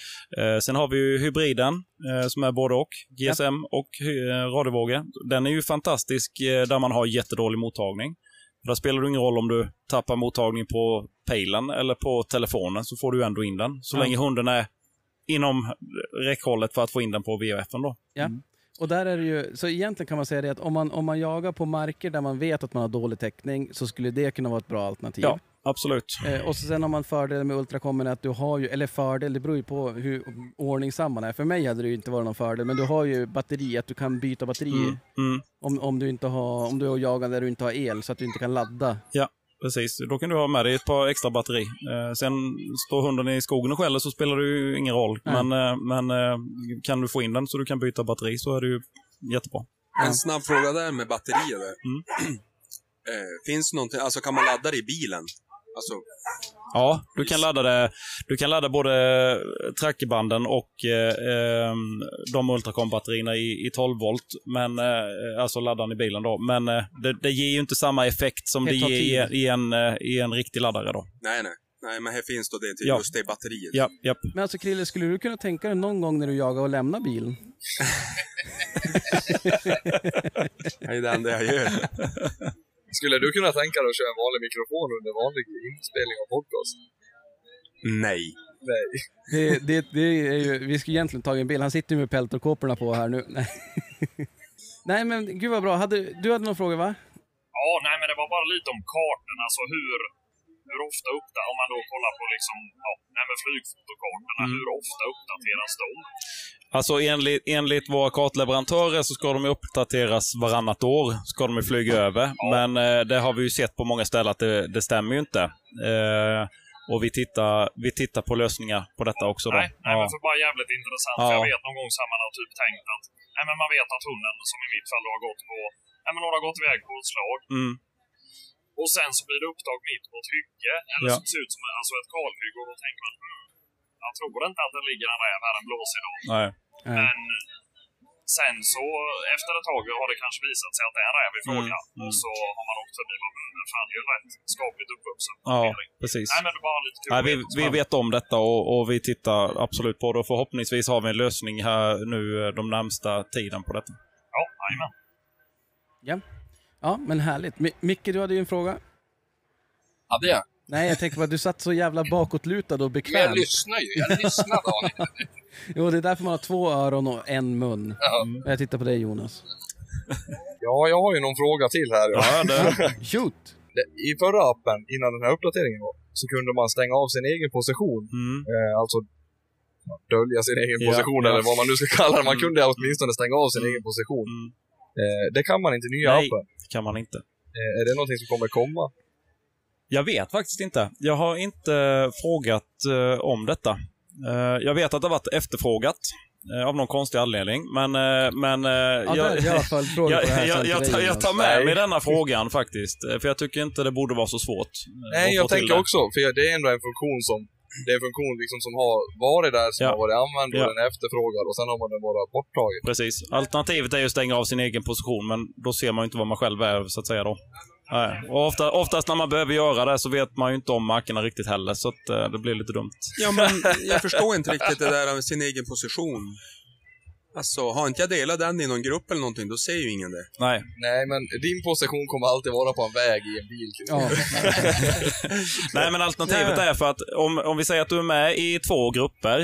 [SPEAKER 7] Eh, sen har vi ju hybriden eh, som är både och, GSM och hy- eh, radiovågor. Den är ju fantastisk eh, där man har jättedålig mottagning. För Där spelar det ingen roll om du tappar mottagning på pejlen eller på telefonen så får du ju ändå in den. Så
[SPEAKER 1] Ja.
[SPEAKER 7] länge hunden är inom räckhållet för att få in den på VHF då.
[SPEAKER 1] Ja. Och där är det ju, så egentligen kan man säga det att om man, om man jagar på marker där man vet att man har dålig täckning så skulle det kunna vara ett bra alternativ.
[SPEAKER 7] Ja, absolut.
[SPEAKER 1] Eh, och så sen har man fördelen med ultrakommen att du har ju, eller fördel, det beror ju på hur ordningsam man är. För mig hade det ju inte varit någon fördel, men du har ju batteri, att du kan byta batteri
[SPEAKER 7] Mm, mm.
[SPEAKER 1] Om, om du inte har, om du är jagad där du inte har el så att du inte kan ladda.
[SPEAKER 7] Ja, precis. Då kan du ha med dig ett par extra batteri. Eh, sen står hunden i skogen och skäller så spelar det ju ingen roll.
[SPEAKER 1] Nej.
[SPEAKER 7] Men, eh, men eh, kan du få in den så du kan byta batteri så är det ju jättebra.
[SPEAKER 6] En snabb fråga där med batterier. där.
[SPEAKER 7] Mm.
[SPEAKER 6] <clears throat> eh, finns det någonting, alltså kan man ladda det i bilen? Alltså,
[SPEAKER 7] Ja, du kan ladda, det, du kan ladda både trackerbanden och eh, eh, de Ultracom-batterierna i, i 12 volt. Men, eh, alltså laddaren i bilen då. Men eh, det, det ger ju inte samma effekt som
[SPEAKER 6] Det
[SPEAKER 7] det
[SPEAKER 6] tar
[SPEAKER 7] ger i,
[SPEAKER 6] tid.
[SPEAKER 7] i, en, eh, i en riktig laddare då.
[SPEAKER 6] nej, nej. Nej, men här finns då det till
[SPEAKER 7] Ja.
[SPEAKER 6] just det batteriet.
[SPEAKER 7] Ja, ja.
[SPEAKER 1] Men alltså Krille, skulle du kunna tänka dig någon gång när du jagar och lämna
[SPEAKER 7] <laughs>
[SPEAKER 1] bilen?
[SPEAKER 6] Det är det enda jag gör.
[SPEAKER 8] <laughs>
[SPEAKER 7] <laughs>
[SPEAKER 8] Skulle du kunna tänka dig att köra en vanlig mikrofon under vanlig inspelning av podcast?
[SPEAKER 6] Nej.
[SPEAKER 8] Nej.
[SPEAKER 1] Det, det, det är ju, vi skulle egentligen tagit en bild. Han sitter ju med peltorkåporna på här nu. <laughs> Nej. Nej men gud vad bra. Hade, du hade någon fråga va?
[SPEAKER 9] ja, nej, men det var bara lite om kartorna. Alltså hur, hur ofta uppdateras, om man då kollar på liksom, ja, nej, men flygfotokartorna,
[SPEAKER 7] Mm.
[SPEAKER 9] hur ofta uppdateras de?
[SPEAKER 7] Alltså enligt, enligt våra kartleverantörer så ska de ju uppdateras varannat år. Ska de ju flyga över. Men eh, det har vi ju sett på många ställen att det, det stämmer ju inte. Eh, och vi tittar, vi tittar på lösningar på detta också. Då.
[SPEAKER 9] Nej, nej
[SPEAKER 7] Ja.
[SPEAKER 9] men för bara jävligt intressant. För
[SPEAKER 7] Ja.
[SPEAKER 9] jag vet någon gång så här man har typ tänkt att nej, men man vet att hunden, som i mitt fall, då har gått på nej, men hon har gått iväg på ett slag.
[SPEAKER 7] Mm.
[SPEAKER 9] Och sen så blir det upptag mitt på ett hygge, eller
[SPEAKER 7] Ja.
[SPEAKER 9] som ser ut som alltså ett kalhygge. Och då tänker man, "Mm, jag tror inte att det ligger en räv här, en blåsig dag.
[SPEAKER 7] Nej.
[SPEAKER 6] Eh,
[SPEAKER 9] Men sen så, efter ett tag, har det kanske visat sig att det är en räv i fråga.
[SPEAKER 7] Mm, mm.
[SPEAKER 9] Och så har man åkt förbi, bara, "Mm, men fan det är ju rätt skapligt uppvuxen.
[SPEAKER 7] Ja, precis.
[SPEAKER 9] Nej, men det var lite kul
[SPEAKER 7] Nej,
[SPEAKER 9] att
[SPEAKER 7] vi,
[SPEAKER 9] veta så
[SPEAKER 7] vi
[SPEAKER 9] här.
[SPEAKER 7] vet om detta och, och vi tittar absolut på det. Och förhoppningsvis har vi en lösning här nu eh, de närmsta tiden på detta.
[SPEAKER 9] Ja, jajamän.
[SPEAKER 1] Ja. Ja men härligt. Mi- Micke du hade ju en fråga.
[SPEAKER 12] Hade jag?
[SPEAKER 1] Nej jag tänker på att du satt så jävla bakåtlutad och
[SPEAKER 12] Men
[SPEAKER 1] bekvämt.
[SPEAKER 12] jag lyssnar ju. Jag lyssnar Daniel.
[SPEAKER 1] <laughs> Jo det är därför man har två öron och en mun. Mm.
[SPEAKER 8] Ja.
[SPEAKER 1] Jag tittar på dig Jonas.
[SPEAKER 8] Ja, jag har ju någon fråga till här.
[SPEAKER 7] Ja,
[SPEAKER 8] <laughs>
[SPEAKER 1] Shoot!
[SPEAKER 8] I förra appen, innan den här uppdateringen var, så kunde man stänga av sin egen position. Eh, alltså dölja sin egen
[SPEAKER 6] Ja,
[SPEAKER 8] position
[SPEAKER 6] ja.
[SPEAKER 8] eller vad man nu ska kalla det. Man
[SPEAKER 6] Mm.
[SPEAKER 8] kunde åtminstone stänga av sin egen position. Eh, det kan man inte i nya
[SPEAKER 7] Nej,
[SPEAKER 8] appen.
[SPEAKER 7] det kan man inte.
[SPEAKER 8] Eh, är det någonting som kommer komma?
[SPEAKER 7] Jag vet faktiskt inte. Jag har inte eh, frågat eh, om detta. Eh, jag vet att det har varit efterfrågat eh, av någon konstig anledning. Men, eh, men eh,
[SPEAKER 1] där är i alla fall
[SPEAKER 7] <laughs>
[SPEAKER 1] frågor på
[SPEAKER 7] jag,
[SPEAKER 1] det här
[SPEAKER 7] jag,
[SPEAKER 1] sen
[SPEAKER 7] jag,
[SPEAKER 1] till
[SPEAKER 7] tar-
[SPEAKER 1] dig,
[SPEAKER 7] jag tar
[SPEAKER 1] Jonas.
[SPEAKER 7] med
[SPEAKER 1] Nej.
[SPEAKER 7] mig denna frågan faktiskt. eh, För jag tycker inte det borde vara så svårt. eh,
[SPEAKER 8] Nej,
[SPEAKER 7] att
[SPEAKER 8] jag
[SPEAKER 7] få till
[SPEAKER 8] tänker
[SPEAKER 7] det.
[SPEAKER 8] också, för det är ändå en funktion som det är en funktion liksom som har varit där, som
[SPEAKER 7] Ja.
[SPEAKER 8] har varit använd och
[SPEAKER 7] Ja.
[SPEAKER 8] den är efterfrågad och sen har man den bara borttagen.
[SPEAKER 7] Precis. Alternativet är ju att stänga av sin egen position, men då ser man ju inte vad man själv är, så att säga. Då. Nej. Och ofta, oftast när man behöver göra det så vet man ju inte om markerna riktigt heller, så att, eh, det blir lite dumt.
[SPEAKER 6] Ja, men jag förstår inte riktigt det där med sin egen position. Alltså, har inte jag delat den i någon grupp eller någonting, då ser ju ingen det.
[SPEAKER 7] Nej.
[SPEAKER 8] Nej, men din position kommer alltid vara på en väg i en bil. Chris.
[SPEAKER 11] Ja.
[SPEAKER 7] Nej, men alternativet
[SPEAKER 8] Nej.
[SPEAKER 7] är för att om, om vi säger att du är med i två grupper,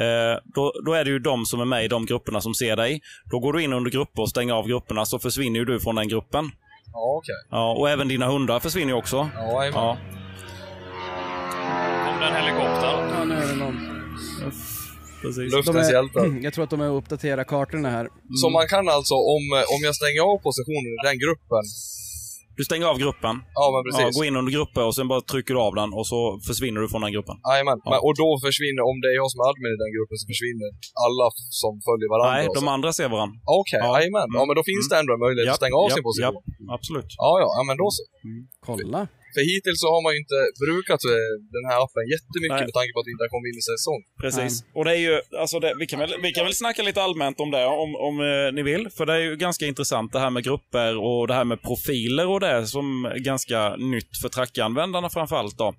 [SPEAKER 7] eh, då, då är det ju de som är med i de grupperna som ser dig. Då går du in under grupper och stänger av grupperna, så försvinner ju du från den gruppen.
[SPEAKER 8] Ja, okej.
[SPEAKER 7] Ja, och även dina hundar försvinner ju också.
[SPEAKER 8] Ja,
[SPEAKER 7] ja.
[SPEAKER 9] Om det är en helikopter.
[SPEAKER 11] Ja, nu är det någon.
[SPEAKER 8] <laughs>
[SPEAKER 7] Precis.
[SPEAKER 8] Luftens hjältar.
[SPEAKER 1] <clears throat>
[SPEAKER 11] Jag tror att de är och uppdaterar kartorna här.
[SPEAKER 8] Så
[SPEAKER 7] Mm.
[SPEAKER 8] man kan alltså, om, om jag stänger av positionen i den gruppen,
[SPEAKER 7] Du stänger av gruppen.
[SPEAKER 8] Ja, men precis.
[SPEAKER 7] gå in under grupper och sen bara trycker du av den och så försvinner du från den gruppen.
[SPEAKER 8] Jajamän, men- och då försvinner, om det är jag som är admin i den gruppen, så försvinner alla som följer varandra. alltså.
[SPEAKER 7] Nej,
[SPEAKER 8] och
[SPEAKER 7] de
[SPEAKER 8] så.
[SPEAKER 7] andra ser Mm. varandra.
[SPEAKER 8] Okej, jajamän. Ja, men då finns det ändå en möjlighet att stänga av sin position.
[SPEAKER 7] Ja, absolut. Mm.
[SPEAKER 8] Ja, ja, ja, men då så.
[SPEAKER 11] Kolla.
[SPEAKER 8] För hittills så har man ju inte brukat eh, den här appen jättemycket
[SPEAKER 7] Nej.
[SPEAKER 8] med tanke på att det inte har kommit in i säsong.
[SPEAKER 7] Precis. Och det är ju, alltså det, vi, kan väl, vi kan väl snacka lite allmänt om det om, om eh, ni vill. För det är ju ganska intressant det här med grupper och det här med profiler och det som är ganska nytt för trackanvändarna framförallt då.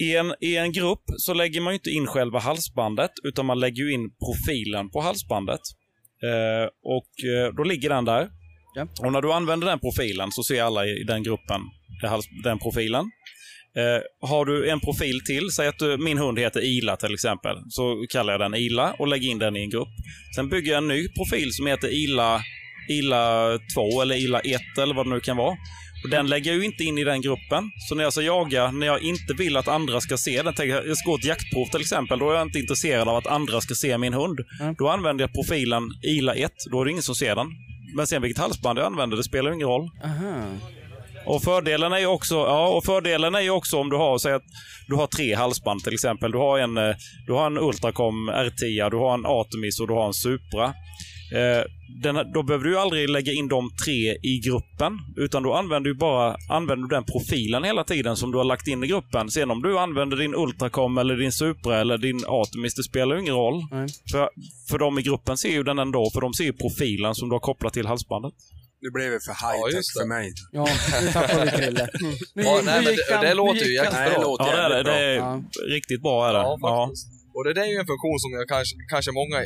[SPEAKER 7] I en, I en grupp så lägger man ju inte in själva halsbandet utan man lägger ju in profilen på halsbandet. Eh, och eh, då ligger den där.
[SPEAKER 11] Ja.
[SPEAKER 7] Och när du använder den profilen så ser alla i i den gruppen det hals- den profilen. Eh, har du en profil till, säg att du, min hund heter Ila till exempel, så kallar jag den Ila och lägger in den i en grupp. Sen bygger jag en ny profil som heter Ila, Ila 2 eller Ila 1 eller vad det nu kan vara. Och den lägger jag ju inte in i den gruppen. Så när jag ska jaga, när jag inte vill att andra ska se den, tänker jag jag ska gå ett jaktprov till exempel, då är jag inte intresserad av att andra ska se min hund. Då använder jag profilen Ila 1, då är det ingen som ser den. Men sen vilket halsband jag använder, det spelar ju ingen roll.
[SPEAKER 11] Aha.
[SPEAKER 7] Och fördelen är ju också, ja, och fördelen är ju också om du har, säg att du har tre halsband till exempel. Du har en, eh, du har en Ultracom R10, du har en Artemis och du har en Supra. Eh, Den, här- då behöver du ju aldrig lägga in de tre i gruppen. Utan då använder du bara använder du den profilen hela tiden som du har lagt in i gruppen. Sen om du använder din Ultracom eller din Supra eller din Artemis, det spelar ju ingen roll. För, för de i gruppen ser ju den ändå, för de ser ju profilen som du har kopplat till halsbandet.
[SPEAKER 6] Nu blev det för high-tech för mig. Mm.
[SPEAKER 11] Ja, nu tappade vi Krille. Nu
[SPEAKER 8] Ja,
[SPEAKER 11] gick-
[SPEAKER 8] nej,
[SPEAKER 11] nu
[SPEAKER 8] men
[SPEAKER 11] gick
[SPEAKER 8] det-
[SPEAKER 11] han-
[SPEAKER 8] det
[SPEAKER 11] nu
[SPEAKER 8] låter ju
[SPEAKER 11] gick han-
[SPEAKER 8] jättebra. Nej, det låter
[SPEAKER 7] Ja, det är det. Det är
[SPEAKER 11] Ja.
[SPEAKER 7] riktigt bra. Är det.
[SPEAKER 8] Ja,
[SPEAKER 7] Ja.
[SPEAKER 8] faktiskt. Och det där är ju en funktion som jag kanske, kanske många,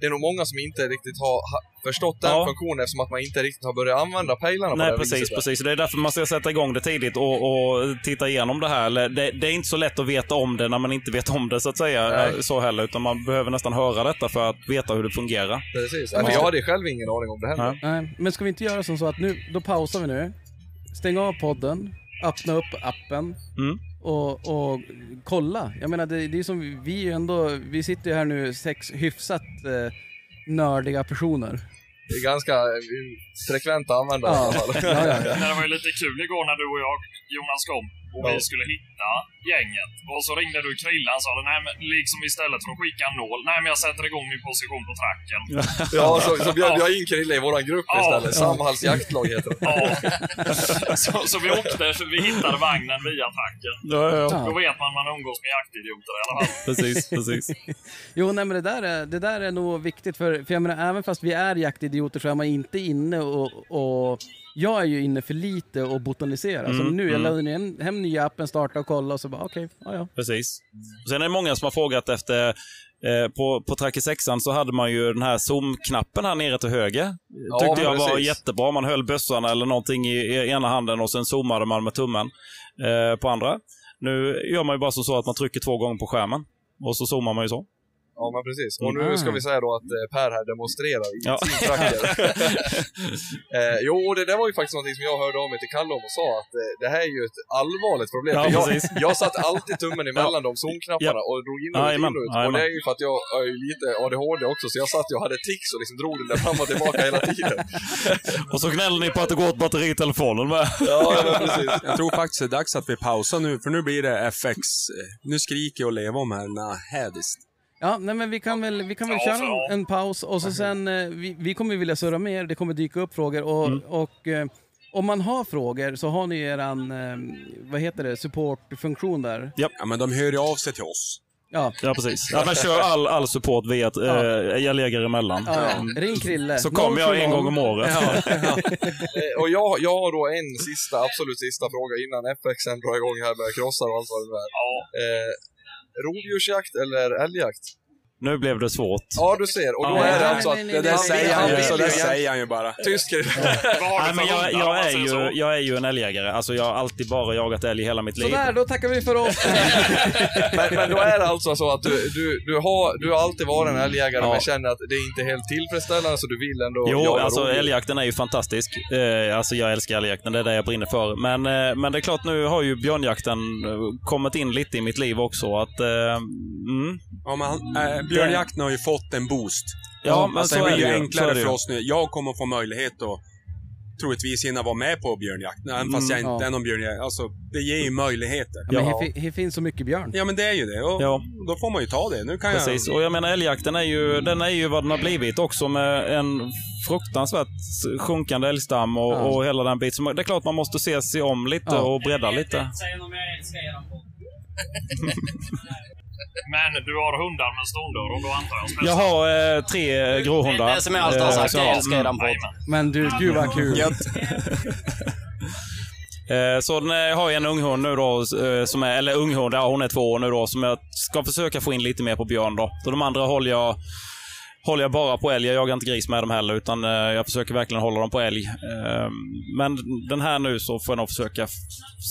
[SPEAKER 8] det är nog många som inte riktigt har ha, förstått den funktionen eftersom att man inte riktigt har börjat använda pejlarna på
[SPEAKER 7] Nej,
[SPEAKER 8] det här
[SPEAKER 7] precis,
[SPEAKER 8] viset.
[SPEAKER 7] precis. Det är därför man ska sätta igång det tidigt och, och titta igenom det här. Eller, Det, det är inte så lätt att veta om det när man inte vet om det, så att säga.
[SPEAKER 8] Nej.
[SPEAKER 7] eh, Så heller, utan man behöver nästan höra detta för att veta hur det fungerar.
[SPEAKER 8] Precis. Nej, men jag hade själv ingen aning om det heller.
[SPEAKER 11] Nej, men ska vi inte göra som så att nu, då pausar vi nu. Stäng av podden, öppna upp appen
[SPEAKER 7] Mm.
[SPEAKER 11] och, och kolla. Jag menar, det, det är som vi- vi är ju ändå, vi sitter ju här nu sex hyfsat eh, nördiga personer.
[SPEAKER 8] Det är ganska eh, frekvent användare i
[SPEAKER 11] Ja.
[SPEAKER 8] alla fall.
[SPEAKER 11] Ja, ja,
[SPEAKER 9] Men det var ju lite kul igår när du och jag, Jonas, kom och vi
[SPEAKER 8] Ja.
[SPEAKER 9] skulle hitta gänget. Och så ringde du Krillan och sa nej, men liksom istället för att skicka en nål, nej men jag sätter igång min position på tracken.
[SPEAKER 8] Ja, så, så bjöd jag in Krille i vår grupp
[SPEAKER 9] Ja.
[SPEAKER 8] istället.
[SPEAKER 9] Ja.
[SPEAKER 8] Samhalls jaktlag heter det.
[SPEAKER 9] Så, så vi åkte, så vi hittade vagnen via tracken.
[SPEAKER 7] Ja, ja, ja.
[SPEAKER 9] Då vet man man umgås med jaktidioter i alla fall.
[SPEAKER 7] Precis, precis.
[SPEAKER 11] <laughs> Jo, nej, men det där, är, det där är nog viktigt för, för jag menar, även fast vi är jaktidioter så är man inte inne och, och jag är ju inne för lite och botaniserar.
[SPEAKER 7] Mm,
[SPEAKER 11] Som nu, jag
[SPEAKER 7] mm.
[SPEAKER 11] laddade hem, hem nya appen, startade och kollade och så bara okej, ja, ja.
[SPEAKER 7] Precis. Och sen är det många som har frågat efter eh, på, på Tracker 6 så hade man ju den här zoom-knappen här nere till höger.
[SPEAKER 8] Ja,
[SPEAKER 7] Tyckte jag var
[SPEAKER 8] precis.
[SPEAKER 7] jättebra. Man höll bössan eller någonting i, i ena handen och sen zoomade man med tummen eh, på andra. Nu gör man ju bara som så att man trycker två gånger på skärmen. Och så zoomar man ju så.
[SPEAKER 8] Ja, men precis. Och nu ska vi säga då att eh, Per här demonstrerar i
[SPEAKER 7] Ah. Ja.
[SPEAKER 8] sin
[SPEAKER 7] <laughs>
[SPEAKER 8] tracker. eh, jo, och det där var ju faktiskt någonting som jag hörde av mig till Kalle om och sa att eh, det här är ju ett allvarligt problem.
[SPEAKER 7] Ja,
[SPEAKER 8] För jag,
[SPEAKER 7] precis.
[SPEAKER 8] jag satte alltid tummen emellan de zonknapparna
[SPEAKER 7] Ja.
[SPEAKER 8] och drog in
[SPEAKER 7] Ja,
[SPEAKER 8] och in
[SPEAKER 7] jajamän.
[SPEAKER 8] och ut. Och
[SPEAKER 7] Jajamän.
[SPEAKER 8] det är ju för att jag är ju lite ADHD också, så jag satt ju och hade tics och liksom drog den där fram och tillbaka hela tiden.
[SPEAKER 7] Och så gnäller ni på att det går åt batteri i telefonen med.
[SPEAKER 6] Jag tror faktiskt det är dags att vi pausar nu, för nu blir det FX. eh, Nu skriker jag och lever om här, nahädiskt.
[SPEAKER 11] Ja, nej, men vi kan väl, vi kan väl
[SPEAKER 6] Ja,
[SPEAKER 11] köra en, en paus och så sen, eh, vi, vi kommer vilja surra med er, det kommer dyka upp frågor och, och eh, om man har frågor så har ni eran, eh, vad heter det, supportfunktion där.
[SPEAKER 6] Ja, men de hör ju av sig till oss.
[SPEAKER 11] Ja,
[SPEAKER 7] Ja, precis. Ja, men kör all, all support via att eh, jag lägger emellan.
[SPEAKER 11] Ja, ja. Ring Krille.
[SPEAKER 7] Så kommer jag en gång om året. <laughs>
[SPEAKER 8] Eh, och jag, jag har då en sista, absolut sista fråga innan FXen drar igång här med krossar och allt vad det är. Eh, rovdjursjakt eller älgjakt?
[SPEAKER 7] Nu blev det svårt.
[SPEAKER 8] Ja, du ser. Och då
[SPEAKER 7] Ja.
[SPEAKER 8] är det
[SPEAKER 7] Nej,
[SPEAKER 8] alltså att...
[SPEAKER 7] nej, nej,
[SPEAKER 8] det där
[SPEAKER 7] nej,
[SPEAKER 8] säger
[SPEAKER 7] nej,
[SPEAKER 8] han ju,
[SPEAKER 7] nej,
[SPEAKER 8] så
[SPEAKER 7] nej,
[SPEAKER 8] det
[SPEAKER 7] nej.
[SPEAKER 8] säger han ju bara. Tyst Krille.
[SPEAKER 7] Nej, men jag, jag, är ju, jag är ju en älgjägare. Alltså, jag har alltid bara jagat älg hela mitt liv.
[SPEAKER 1] Sådär,
[SPEAKER 7] <laughs>
[SPEAKER 1] då tackar vi för oss.
[SPEAKER 8] men, men då är det alltså så att du, du, du, har, du har alltid varit en älgjägare
[SPEAKER 7] Ja.
[SPEAKER 8] men känner att det är inte är helt tillfredsställande så du vill ändå
[SPEAKER 7] Jo,
[SPEAKER 8] jaga
[SPEAKER 7] alltså
[SPEAKER 8] rovdjur.
[SPEAKER 7] älgjakten är ju fantastisk. Eh, alltså jag älskar älgjakten, det är det jag brinner för. Men, eh, men det är klart, nu har ju björnjakten eh, kommit in lite i mitt liv också. Att, eh, mm.
[SPEAKER 6] <laughs> Ja, men han, eh, björnjakten har ju fått en boost.
[SPEAKER 7] Ja, men
[SPEAKER 6] alltså,
[SPEAKER 7] så
[SPEAKER 6] det
[SPEAKER 7] är
[SPEAKER 6] blir
[SPEAKER 7] det
[SPEAKER 6] ju
[SPEAKER 7] ju. Så är
[SPEAKER 6] enklare
[SPEAKER 7] det
[SPEAKER 6] för
[SPEAKER 7] ju.
[SPEAKER 6] oss nu. Jag kommer få möjlighet att troligtvis hinna vara med på björnjakt, även
[SPEAKER 1] Mm,
[SPEAKER 6] fast jag inte
[SPEAKER 1] ja.
[SPEAKER 6] är någon björnjägare. Alltså, det ger ju möjligheter.
[SPEAKER 1] Ja, men här fi- Här finns så mycket björn.
[SPEAKER 6] Ja, men det är ju det. Och
[SPEAKER 7] Ja.
[SPEAKER 6] Då får man ju ta det. Nu kan
[SPEAKER 7] Precis,
[SPEAKER 6] jag...
[SPEAKER 7] och jag menar älgjakten är ju, den är ju vad den har blivit också med en fruktansvärt sjunkande älgstam och,
[SPEAKER 1] Ja.
[SPEAKER 7] och hela den biten. Så Det är klart man måste se sig om lite
[SPEAKER 1] Ja.
[SPEAKER 7] och bredda lite.
[SPEAKER 9] <laughs> Men du har hundar med ståndörrar då antar jag?
[SPEAKER 7] Jag har eh, tre gråhundar.
[SPEAKER 9] Det är som jag alltid har
[SPEAKER 7] eh,
[SPEAKER 9] sagt,
[SPEAKER 7] så
[SPEAKER 9] jag
[SPEAKER 7] har-
[SPEAKER 9] älskar er
[SPEAKER 7] Mm.
[SPEAKER 9] podd.
[SPEAKER 1] Men du, gud vad kul.
[SPEAKER 7] Eh, Så den, eh, har jag en unghund nu då, eh, som är, eller unghund, ja, hon är två år nu då, som jag ska försöka få in lite mer på björn då. Så de andra håller jag, håller jag bara på älg. Jag jagar inte gris med dem heller, utan eh, jag försöker verkligen hålla dem på älg. Eh, Men den här nu så får jag nog försöka f-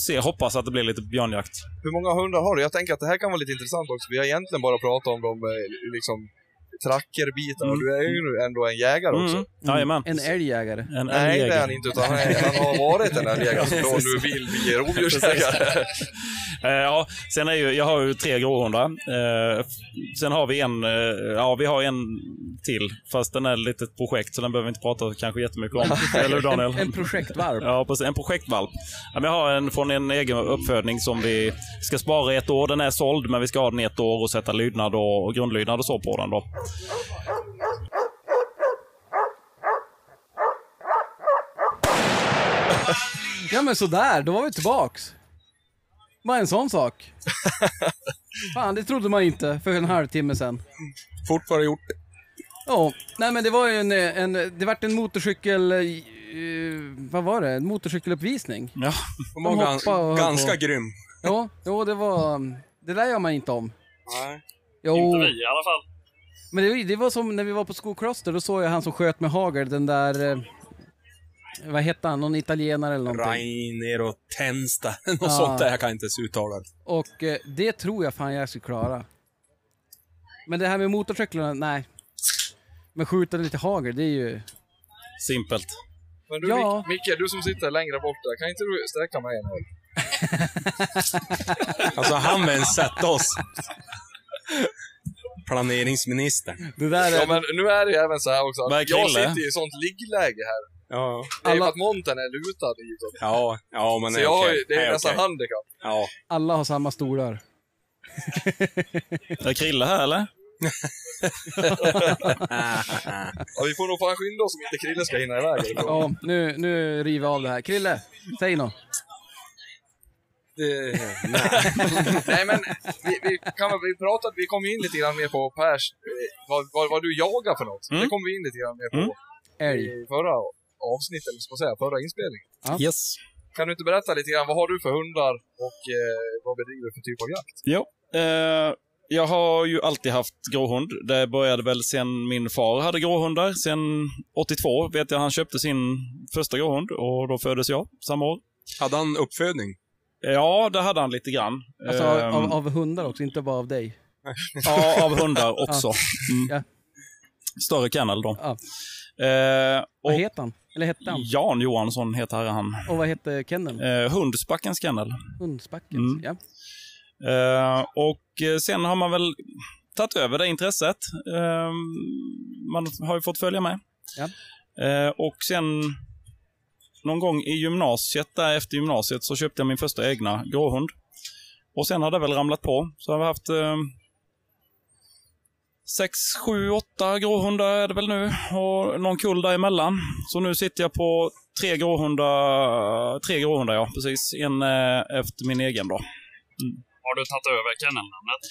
[SPEAKER 7] se, hoppas att det blir lite björnjakt.
[SPEAKER 8] Hur många hundar har du? Jag tänker att det här kan vara lite intressant också. Vi har egentligen bara pratat om de eh, liksom trackerbitarna.
[SPEAKER 7] Mm.
[SPEAKER 8] Du är ju ändå en jägare också.
[SPEAKER 7] Mm. Jajamän.
[SPEAKER 1] En älgjägare.
[SPEAKER 7] En
[SPEAKER 8] Nej, det är han
[SPEAKER 7] älgjägare.
[SPEAKER 8] inte. Utan han, är- han har varit
[SPEAKER 7] <laughs>
[SPEAKER 8] en älgjägare som då nu vill bli rovdjursjägare.
[SPEAKER 7] Precis.
[SPEAKER 8] <laughs>
[SPEAKER 7] Eh, ja, sen är ju, jag har ju tre gråhundar. Eh, f- sen har vi en, eh, ja vi har en till. Fast den är ett litet projekt så den behöver vi inte prata kanske jättemycket
[SPEAKER 8] <laughs>
[SPEAKER 7] om. Eller hur Daniel?
[SPEAKER 1] En, en projektvalp.
[SPEAKER 7] Ja, precis. En projektvalp. Ja, men jag har en från en egen uppfödning som vi ska spara i ett år. Den är såld, men vi ska ha den i ett år och sätta lydnad och, och grundlydnad och så på den. Då.
[SPEAKER 1] Ja men sådär, då var vi tillbaks. Bara en sån sak. Fan, det trodde man inte för en halvtimme sen.
[SPEAKER 6] Fort var det gjort.
[SPEAKER 1] Ja, nej men det var ju en, en det vart en motorcykel, eh, vad var det? En motorcykeluppvisning.
[SPEAKER 7] Ja.
[SPEAKER 1] De
[SPEAKER 6] Man
[SPEAKER 1] hoppade och höll
[SPEAKER 6] gans, ganska
[SPEAKER 1] på.
[SPEAKER 6] grym.
[SPEAKER 1] Ja, jo, det var, det där gör man inte om.
[SPEAKER 6] Nej.
[SPEAKER 1] Jo.
[SPEAKER 9] Inte vi i alla fall.
[SPEAKER 1] Men det, det var som när vi var på Skokloster, då såg jag han som sköt med hagel, den där... Eh, vad hette han? Någon italienare eller någonting?
[SPEAKER 6] Reinero Tensta. <laughs> Något
[SPEAKER 7] Ah.
[SPEAKER 1] Ja.
[SPEAKER 6] sånt där. Jag kan inte ens uttala det.
[SPEAKER 1] Och eh, det tror jag fan jag skulle klara. Men det här med motorcyklarna, nej. Men skjuta lite hagel, det är ju...
[SPEAKER 7] Simpelt.
[SPEAKER 8] Men du
[SPEAKER 1] Ja.
[SPEAKER 8] Mic- Micke, du som sitter längre bort där, kan inte du sträcka mig en hand?
[SPEAKER 6] Alltså, han vill
[SPEAKER 7] <laughs>
[SPEAKER 6] sätta oss. Planeringsministern.
[SPEAKER 1] Det där
[SPEAKER 8] Ja, men nu är det ju även så här också.
[SPEAKER 6] Vad är
[SPEAKER 8] att Jag
[SPEAKER 6] Krille?
[SPEAKER 8] sitter i ett sånt liggläge här.
[SPEAKER 6] Ja.
[SPEAKER 8] Det är ju för att montern är lutad hitåt.
[SPEAKER 6] Ja, ja men
[SPEAKER 8] Så
[SPEAKER 6] är
[SPEAKER 8] jag har
[SPEAKER 6] okej.
[SPEAKER 8] ju- det är ju
[SPEAKER 6] Nej,
[SPEAKER 8] nästan
[SPEAKER 6] okej. <laughs>
[SPEAKER 8] handikapp.
[SPEAKER 6] Ja.
[SPEAKER 1] Alla har samma
[SPEAKER 7] <laughs>
[SPEAKER 1] stolar.
[SPEAKER 7] Är Krille här eller?
[SPEAKER 8] ja, vi får nog fan skynda oss om inte Krille ska hinna iväg.
[SPEAKER 1] <laughs> Ja, nu, nu river jag av det här. Krille, säg något.
[SPEAKER 8] Det, nej. nej men vi, vi, kan, väl- vi, pratade, vi kom in lite grann mer på Pers, eh, vad, vad, vad du jagar för
[SPEAKER 6] Mm.
[SPEAKER 8] något. Det kom vi in lite grann mer på
[SPEAKER 1] Älg.
[SPEAKER 8] i förra avsnittet, eller ska man säga, förra inspelningen.
[SPEAKER 7] Yes.
[SPEAKER 8] Kan du inte berätta lite grann, vad har du för hundar och eh, vad bedriver du för typ av jakt?
[SPEAKER 7] Jo. Eh, jag har ju alltid haft gråhund. Det började väl sen min far hade gråhundar. Sen 82 vet jag han köpte sin första gråhund och då föddes jag samma år.
[SPEAKER 6] Hade han uppfödning?
[SPEAKER 7] Ja, det hade han lite grann.
[SPEAKER 1] Alltså av,
[SPEAKER 7] Ehm,
[SPEAKER 1] av, av hundar också, inte bara av dig.
[SPEAKER 7] Ja, av hundar också. Mm.
[SPEAKER 1] <laughs> Ja.
[SPEAKER 7] Större kennel då.
[SPEAKER 1] Ja.
[SPEAKER 7] Eh, och
[SPEAKER 1] Vad heter han? Eller hette han?
[SPEAKER 7] Jan Johansson heter han.
[SPEAKER 1] Och vad hette kenneln?
[SPEAKER 7] Eh, Hundsbackens kennel.
[SPEAKER 1] Hundsbacken?
[SPEAKER 7] Mm.
[SPEAKER 1] Ja.
[SPEAKER 7] Eh, och eh, sen har man väl tagit över det intresset. Eh, man har ju fått följa med.
[SPEAKER 1] Ja.
[SPEAKER 7] Eh, och sen någon gång i gymnasiet, där efter gymnasiet, så köpte jag min första egna gråhund. Och sen har det väl ramlat på. Så har vi haft eh, sex, sju, åtta gråhundar är det väl nu och någon kull däremellan. Så nu sitter jag på tre gråhundar, tre gråhundar ja, precis. En eh, efter min egen då. Mm.
[SPEAKER 9] Har du tagit över kennelnamnet?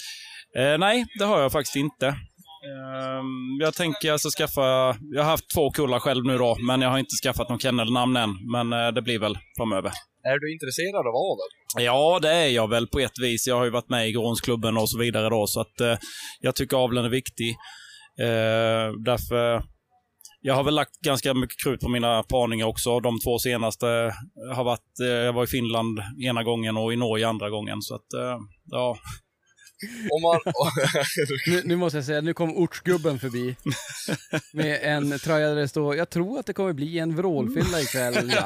[SPEAKER 7] Eh, nej, det har jag faktiskt inte. Ehm, jag tänker jag ska skaffa... Jag har haft två kullar själv nu då, men jag har inte skaffat någon kennelnamn än. Men eh, det blir väl framöver.
[SPEAKER 8] Är du intresserad av avel?
[SPEAKER 7] Ja, det är jag väl på ett vis. Jag har ju varit med i Gronsklubben och så vidare då, så att eh, jag tycker aveln är viktig. Eh, därför... Jag har väl lagt ganska mycket krut på mina parningar också. De två senaste har varit... Eh, jag var i Finland ena gången och i Norge andra gången, så att... Eh, ja.
[SPEAKER 11] <laughs>
[SPEAKER 8] Om man... <laughs>
[SPEAKER 11] nu, nu måste jag säga, nu kom ortsgubben förbi med en tröja där det står “Jag tror att det kommer bli en vrålfylla ikväll”.
[SPEAKER 8] <laughs>
[SPEAKER 11] Ja.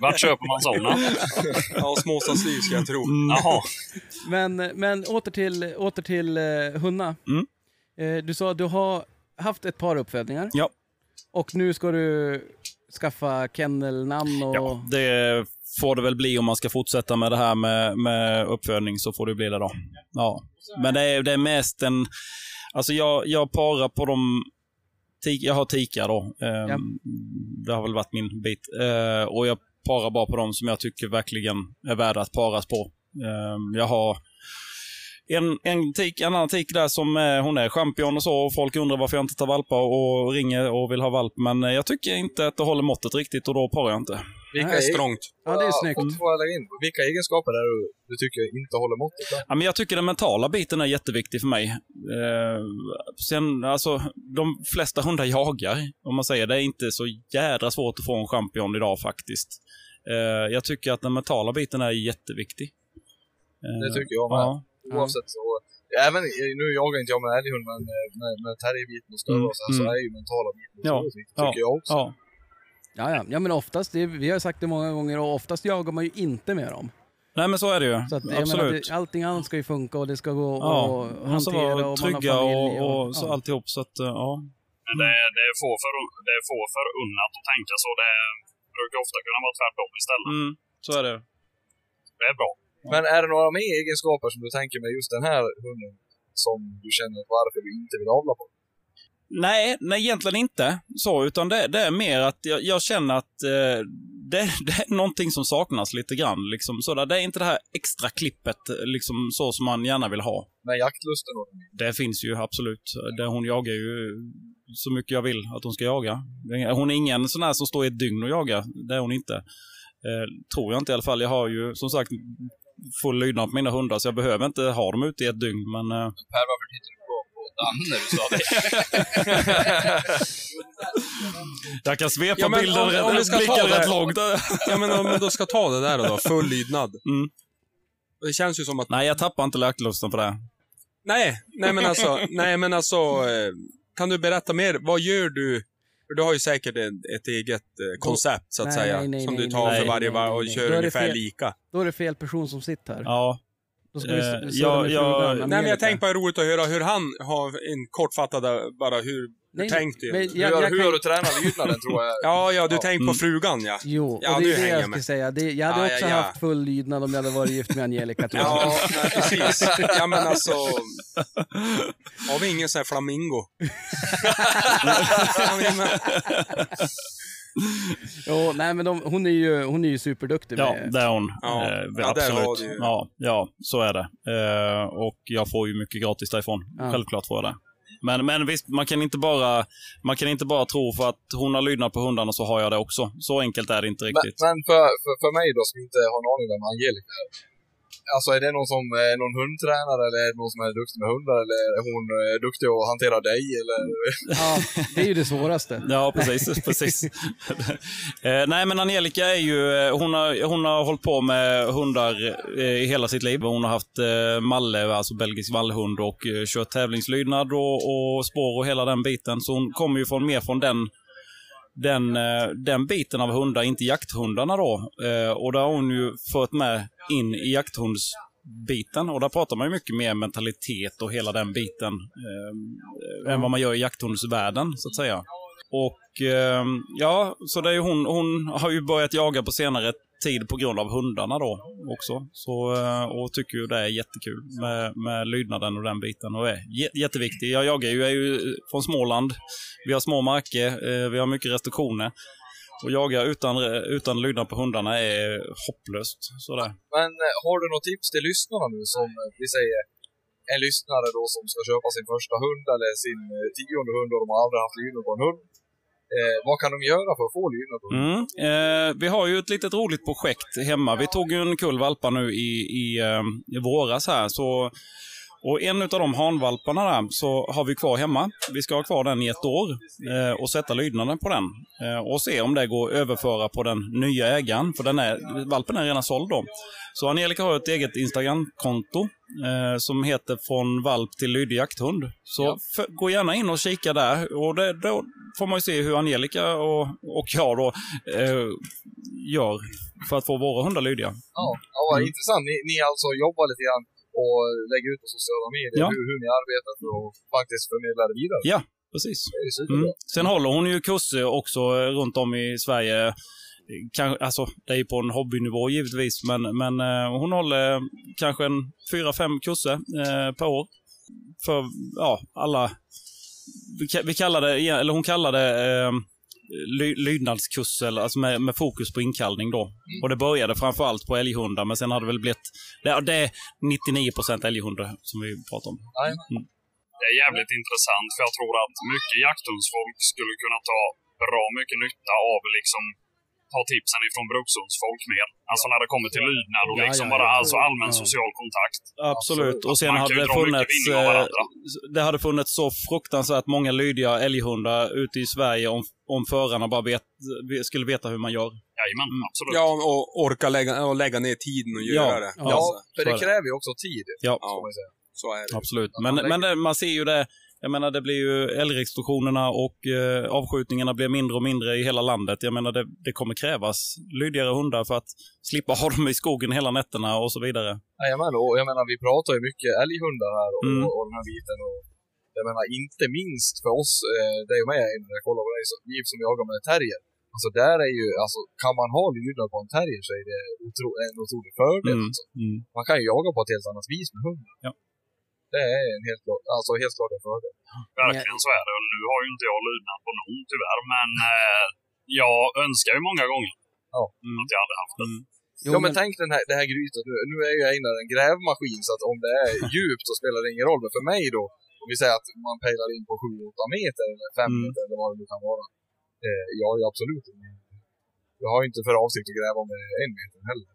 [SPEAKER 9] Vart köper man sådana?
[SPEAKER 6] ja, småstadsliv ska jag tro.
[SPEAKER 9] Jaha.
[SPEAKER 11] Men, men åter till, åter till eh, Hunna. Eh, du sa att du har haft ett par uppfödningar.
[SPEAKER 7] Ja.
[SPEAKER 11] Och nu ska du skaffa kennelnamn och...
[SPEAKER 7] ja, det får det väl bli om man ska fortsätta med det här med, med uppfödning så får det bli det då. Ja. Men det är, det är mest en... Alltså jag, jag parar på de... Tik, jag har tikar då. Ehm,
[SPEAKER 11] Ja.
[SPEAKER 7] Det har väl varit min bit. Eh, och jag parar bara på dem som jag tycker verkligen är värda att paras på. Ehm, jag har en, en, tik, en annan tik där som eh, hon är champion och så. Och folk undrar varför jag inte tar valpar och ringer och vill ha valp. Men eh, jag tycker inte att det håller måttet riktigt och då parar jag inte.
[SPEAKER 8] Vilka egen-
[SPEAKER 7] Mm.
[SPEAKER 8] Får jag lägga in? Vilka egenskaper är det du tycker inte håller måttet? då?
[SPEAKER 7] Ja, men jag tycker den mentala biten är jätteviktig för mig. Eh, sen, alltså, de flesta hundar jagar, om man säger. Det är inte så jädra svårt att få en champion idag faktiskt. Eh, jag tycker att den mentala biten är jätteviktig. Eh,
[SPEAKER 8] Det tycker jag med.
[SPEAKER 7] ja.
[SPEAKER 8] Oavsett så. Även, nu jagar inte jag med älghund, men eh, med, med terrierbiten och större
[SPEAKER 11] Mm,
[SPEAKER 8] och så, här, så
[SPEAKER 11] mm.
[SPEAKER 8] är ju mentala biten
[SPEAKER 11] Ja,
[SPEAKER 8] otroligt viktig, tycker
[SPEAKER 11] ja,
[SPEAKER 8] jag också.
[SPEAKER 7] Ja.
[SPEAKER 11] Ja, ja. ja, men oftast, det, vi har sagt det många gånger, och oftast jagar man ju inte med dem.
[SPEAKER 7] Nej, men så är det ju.
[SPEAKER 11] Så att, jag
[SPEAKER 7] Absolut.
[SPEAKER 11] menar, det, allting annat ska ju funka och det ska gå
[SPEAKER 7] ja,
[SPEAKER 11] att
[SPEAKER 7] man ska
[SPEAKER 11] hantera.
[SPEAKER 7] vara
[SPEAKER 11] och man har
[SPEAKER 7] trygga
[SPEAKER 11] familj
[SPEAKER 7] och, och, så
[SPEAKER 11] ja.
[SPEAKER 7] alltihop. Så att, eh, ja.
[SPEAKER 9] Men det, är- det, är få för, det är få förunnat att tänka så. Det är, brukar ofta kunna vara tvärtom istället.
[SPEAKER 7] Mm, så är det.
[SPEAKER 9] Det är bra.
[SPEAKER 8] Men är det några mer egenskaper som du tänker med just den här hunden som du känner varför du inte vill avla på?
[SPEAKER 7] Nej, nej egentligen inte. Så, utan det, det är mer att jag, jag känner att eh, det, <laughs> det är någonting som saknas lite grann. Liksom, sådär. Det är inte det här extra klippet eh, liksom, så som man gärna vill ha.
[SPEAKER 8] Med jaktlusten och
[SPEAKER 7] Det finns ju absolut. Det, hon jagar ju så mycket jag vill att hon ska jaga. Hon är ingen sån här som står i ett dygn och jagar. Det är hon inte. Eh, tror jag inte i alla fall. Jag har ju som sagt full lydnad på mina hundar så jag behöver inte ha dem ute i ett dygn. Men, eh,
[SPEAKER 10] Per, varför tittar du på, på Dan när du sa det?
[SPEAKER 7] jag kan svepa
[SPEAKER 6] Ja, men
[SPEAKER 7] bilden
[SPEAKER 6] om-
[SPEAKER 7] rätt-
[SPEAKER 6] om vi ska ta
[SPEAKER 7] blicken
[SPEAKER 6] det-
[SPEAKER 7] rätt långt.
[SPEAKER 6] Ja, men om vi då ska ta det där då, full lydnad.
[SPEAKER 7] Mm.
[SPEAKER 6] Det känns ju som att...
[SPEAKER 7] Nej, jag tappar inte löklusten på det.
[SPEAKER 6] Nej, nej men alltså, nej men alltså, eh, kan du berätta mer? Vad gör du? För Du har ju säkert en- ett eget eh, koncept så att
[SPEAKER 11] Nej,
[SPEAKER 6] säga,
[SPEAKER 11] nej, nej,
[SPEAKER 6] som
[SPEAKER 11] nej,
[SPEAKER 6] du tar
[SPEAKER 11] nej,
[SPEAKER 6] för varje
[SPEAKER 11] nej, nej,
[SPEAKER 6] varv och
[SPEAKER 11] nej.
[SPEAKER 6] kör
[SPEAKER 11] Då är det
[SPEAKER 6] ungefär
[SPEAKER 11] fel.
[SPEAKER 6] lika.
[SPEAKER 11] Då är det fel person som sitter här.
[SPEAKER 7] Ja.
[SPEAKER 11] Då ska vi s-
[SPEAKER 6] Eh,
[SPEAKER 11] surra
[SPEAKER 6] ja,
[SPEAKER 11] med
[SPEAKER 6] ja,
[SPEAKER 11] frugan,
[SPEAKER 6] nej,
[SPEAKER 11] Amerika.
[SPEAKER 6] men jag tänkte bara roligt att höra hur han har en kortfattad, eh, bara hur
[SPEAKER 11] Nej,
[SPEAKER 6] du tänkte.
[SPEAKER 11] men jag- Hur har- jag hur kan- har du
[SPEAKER 8] tränat lydnaden, tror jag?
[SPEAKER 6] <laughs> Ja, ja, du
[SPEAKER 8] Ja.
[SPEAKER 6] tänkte
[SPEAKER 8] Mm.
[SPEAKER 6] på frugan ja.
[SPEAKER 11] Jo,
[SPEAKER 6] ja,
[SPEAKER 11] och det
[SPEAKER 6] nu
[SPEAKER 11] är det
[SPEAKER 6] hänger
[SPEAKER 11] jag
[SPEAKER 6] med.
[SPEAKER 11] skulle säga. Det, jag hade
[SPEAKER 6] Ja, ja,
[SPEAKER 11] också
[SPEAKER 6] ja.
[SPEAKER 11] haft full lydnad om jag hade varit gift med Angelica. Tror jag.
[SPEAKER 1] <laughs>
[SPEAKER 6] Ja, nej, precis. Ja, men alltså. Har vi ingen sån här flamingo? Ja, men-
[SPEAKER 11] <laughs> Jo, nej, men de, hon, är ju, hon är ju superduktig.
[SPEAKER 7] Ja,
[SPEAKER 11] med,
[SPEAKER 7] det är hon.
[SPEAKER 11] Ja. Ja,
[SPEAKER 7] Eh,
[SPEAKER 11] där har
[SPEAKER 7] absolut.
[SPEAKER 11] du ju-
[SPEAKER 7] Ja, ja, så är det. Eh, och jag får ju mycket gratis därifrån.
[SPEAKER 11] Ja.
[SPEAKER 7] Självklart får jag det. Men, men visst, man kan, inte bara, man kan inte bara tro för att hon har lydnad på hundarna så har jag det också. Så enkelt är det inte
[SPEAKER 8] Men,
[SPEAKER 7] riktigt.
[SPEAKER 8] men för, för, för mig då, som inte har en aning om vem Angelica är. Alltså är det någon som är någon hundtränare eller är det någon som är duktig med hundar eller är hon eh, duktig att hantera dig eller?
[SPEAKER 11] Ja, det är ju det svåraste.
[SPEAKER 7] Ja, precis. <laughs> precis. eh, nej, men Angelica är ju, eh, hon har, hon har hållit på med hundar eh, i hela sitt liv. Hon har haft eh, malle, alltså belgisk vallhund, och eh, kört tävlingslydnad och, och spår och hela den biten. Så hon kommer ju från, mer från den den, eh, den biten av hundar, inte jakthundarna då. Eh, Och där har hon ju fört med in i jakthundsbiten och där pratar man ju mycket mer mentalitet och hela den biten eh, än vad man gör i jakthundsvärlden så att säga. Och eh, ja, så det är ju hon, hon har ju börjat jaga på senare tid på grund av hundarna då också. Så, eh, och tycker ju det är jättekul med, med lydnaden och den biten och är jä- jätteviktig. Jag jagar ju, jag är ju från Småland. Vi har små marker, eh, vi har mycket restriktioner. Och jaga utan, eh, utan lydnad på hundarna är hopplöst. Sådär.
[SPEAKER 8] Men eh, har du något tips till lyssnarna nu som eh, vi säger en lyssnare då som ska köpa sin första hund eller sin eh, tionde hund och de har aldrig haft lydnad på en hund? Eh, vad kan de göra för att få lynor? då?
[SPEAKER 7] Mm. Eh, vi har ju ett litet roligt projekt hemma. Vi tog ju en kull valpar nu i, i, eh, i våras här. Så, och en av de hanvalparna där så har vi kvar hemma. Vi ska ha kvar den i ett år eh, och sätta lydnaden på den. Eh, och se om det går att överföra på den nya ägaren. För den är, valpen är redan såld då. Så Angelica har ett eget Instagramkonto eh, som heter Från valp till lydig jakthund. Så för, gå gärna in och kika där. Och det, då får man ju se hur Angelica och, och jag då eh, gör för att få våra hundar lydiga.
[SPEAKER 8] Ja, ja vad
[SPEAKER 7] Mm.
[SPEAKER 8] intressant. Ni, ni alltså jobbar lite grann och lägger ut på sociala medier
[SPEAKER 7] Ja.
[SPEAKER 8] hur, hur ni arbetar för att faktiskt förmedla det vidare.
[SPEAKER 7] Ja, precis.
[SPEAKER 8] Det är superbra.
[SPEAKER 7] Mm. Sen håller hon ju kurser också eh, runt om i Sverige. Kanske, alltså, det är ju på en hobbynivå givetvis, men, men eh, hon håller kanske en fyra, fem kurser eh, per år. För ja, alla... Vi, ka- vi kallar det, eller hon kallar det eh, ly, lydnadskurser, alltså med, med fokus på inkallning då. Och det började framförallt på älghundar, men sen har det väl blivit... Det, det är 99% älghundar som vi pratar om. Mm.
[SPEAKER 9] Det är jävligt intressant för jag tror att mycket jakthundsfolk skulle kunna ta bra mycket nytta av liksom ta tipsen ifrån brukshundsfolk mer. Alltså när det kommer till lydnad och
[SPEAKER 7] Ja,
[SPEAKER 9] liksom
[SPEAKER 7] ja, ja.
[SPEAKER 9] bara alltså allmän
[SPEAKER 7] Ja.
[SPEAKER 9] social kontakt.
[SPEAKER 7] Absolut. Och sen
[SPEAKER 9] Man kan
[SPEAKER 7] hade
[SPEAKER 9] ju
[SPEAKER 7] det
[SPEAKER 9] dra mycket
[SPEAKER 7] funnits...
[SPEAKER 9] vinning av
[SPEAKER 7] eh,
[SPEAKER 9] varandra.
[SPEAKER 7] Det hade funnits så fruktansvärt många lydiga älghundar ute i Sverige om, om förarna bara vet, skulle veta hur man gör. Mm.
[SPEAKER 9] Jajamän, absolut.
[SPEAKER 6] Ja, och orka lägga, och lägga ner tiden och
[SPEAKER 7] Ja,
[SPEAKER 6] göra det.
[SPEAKER 7] ja,
[SPEAKER 8] för
[SPEAKER 7] så
[SPEAKER 8] det
[SPEAKER 7] är det.
[SPEAKER 8] kräver ju också tid.
[SPEAKER 7] Ja.
[SPEAKER 8] får man ju säga. Så är det.
[SPEAKER 7] Absolut. Men, men det, man ser ju det. Jag menar, det blir ju älgrestriktionerna och eh, avskjutningarna blir mindre och mindre i hela landet. Jag menar, det, det kommer krävas lydigare hundar för att slippa ha dem i skogen hela nätterna och så vidare.
[SPEAKER 8] Jajamän, och jag menar vi pratar ju mycket älghundar här och,
[SPEAKER 7] Mm.
[SPEAKER 8] och den här biten. Och, jag menar inte minst för oss, eh, det är ju med när jag kollar på dig, som- Liv som jagar med terrier. Alltså där är ju, alltså kan man ha lydnad på en terrier så är det otro, en otrolig fördel.
[SPEAKER 7] Mm,
[SPEAKER 8] Alltså.
[SPEAKER 7] mm.
[SPEAKER 8] Man kan ju jaga på ett helt annat vis med hunden.
[SPEAKER 7] Ja.
[SPEAKER 8] Det är en helt klart, alltså helt klart en fördel.
[SPEAKER 9] Verkligen så är det. Och nu har ju inte jag lydnad på någon tyvärr, men eh, jag önskar ju många gånger att jag hade haft det.
[SPEAKER 8] ja men, tänk den här, det här grytet nu. Nu är jag inne i en grävmaskin så att om det
[SPEAKER 9] <laughs>
[SPEAKER 8] är djupt så spelar det ingen roll. Men för mig då, om vi säger att man pejlar in på 7-8 meter eller 5
[SPEAKER 7] Mm.
[SPEAKER 8] meter eller vad det nu kan vara. Eh, jag är ju absolut ingen... Jag har ju inte för avsikt att gräva med en meter heller.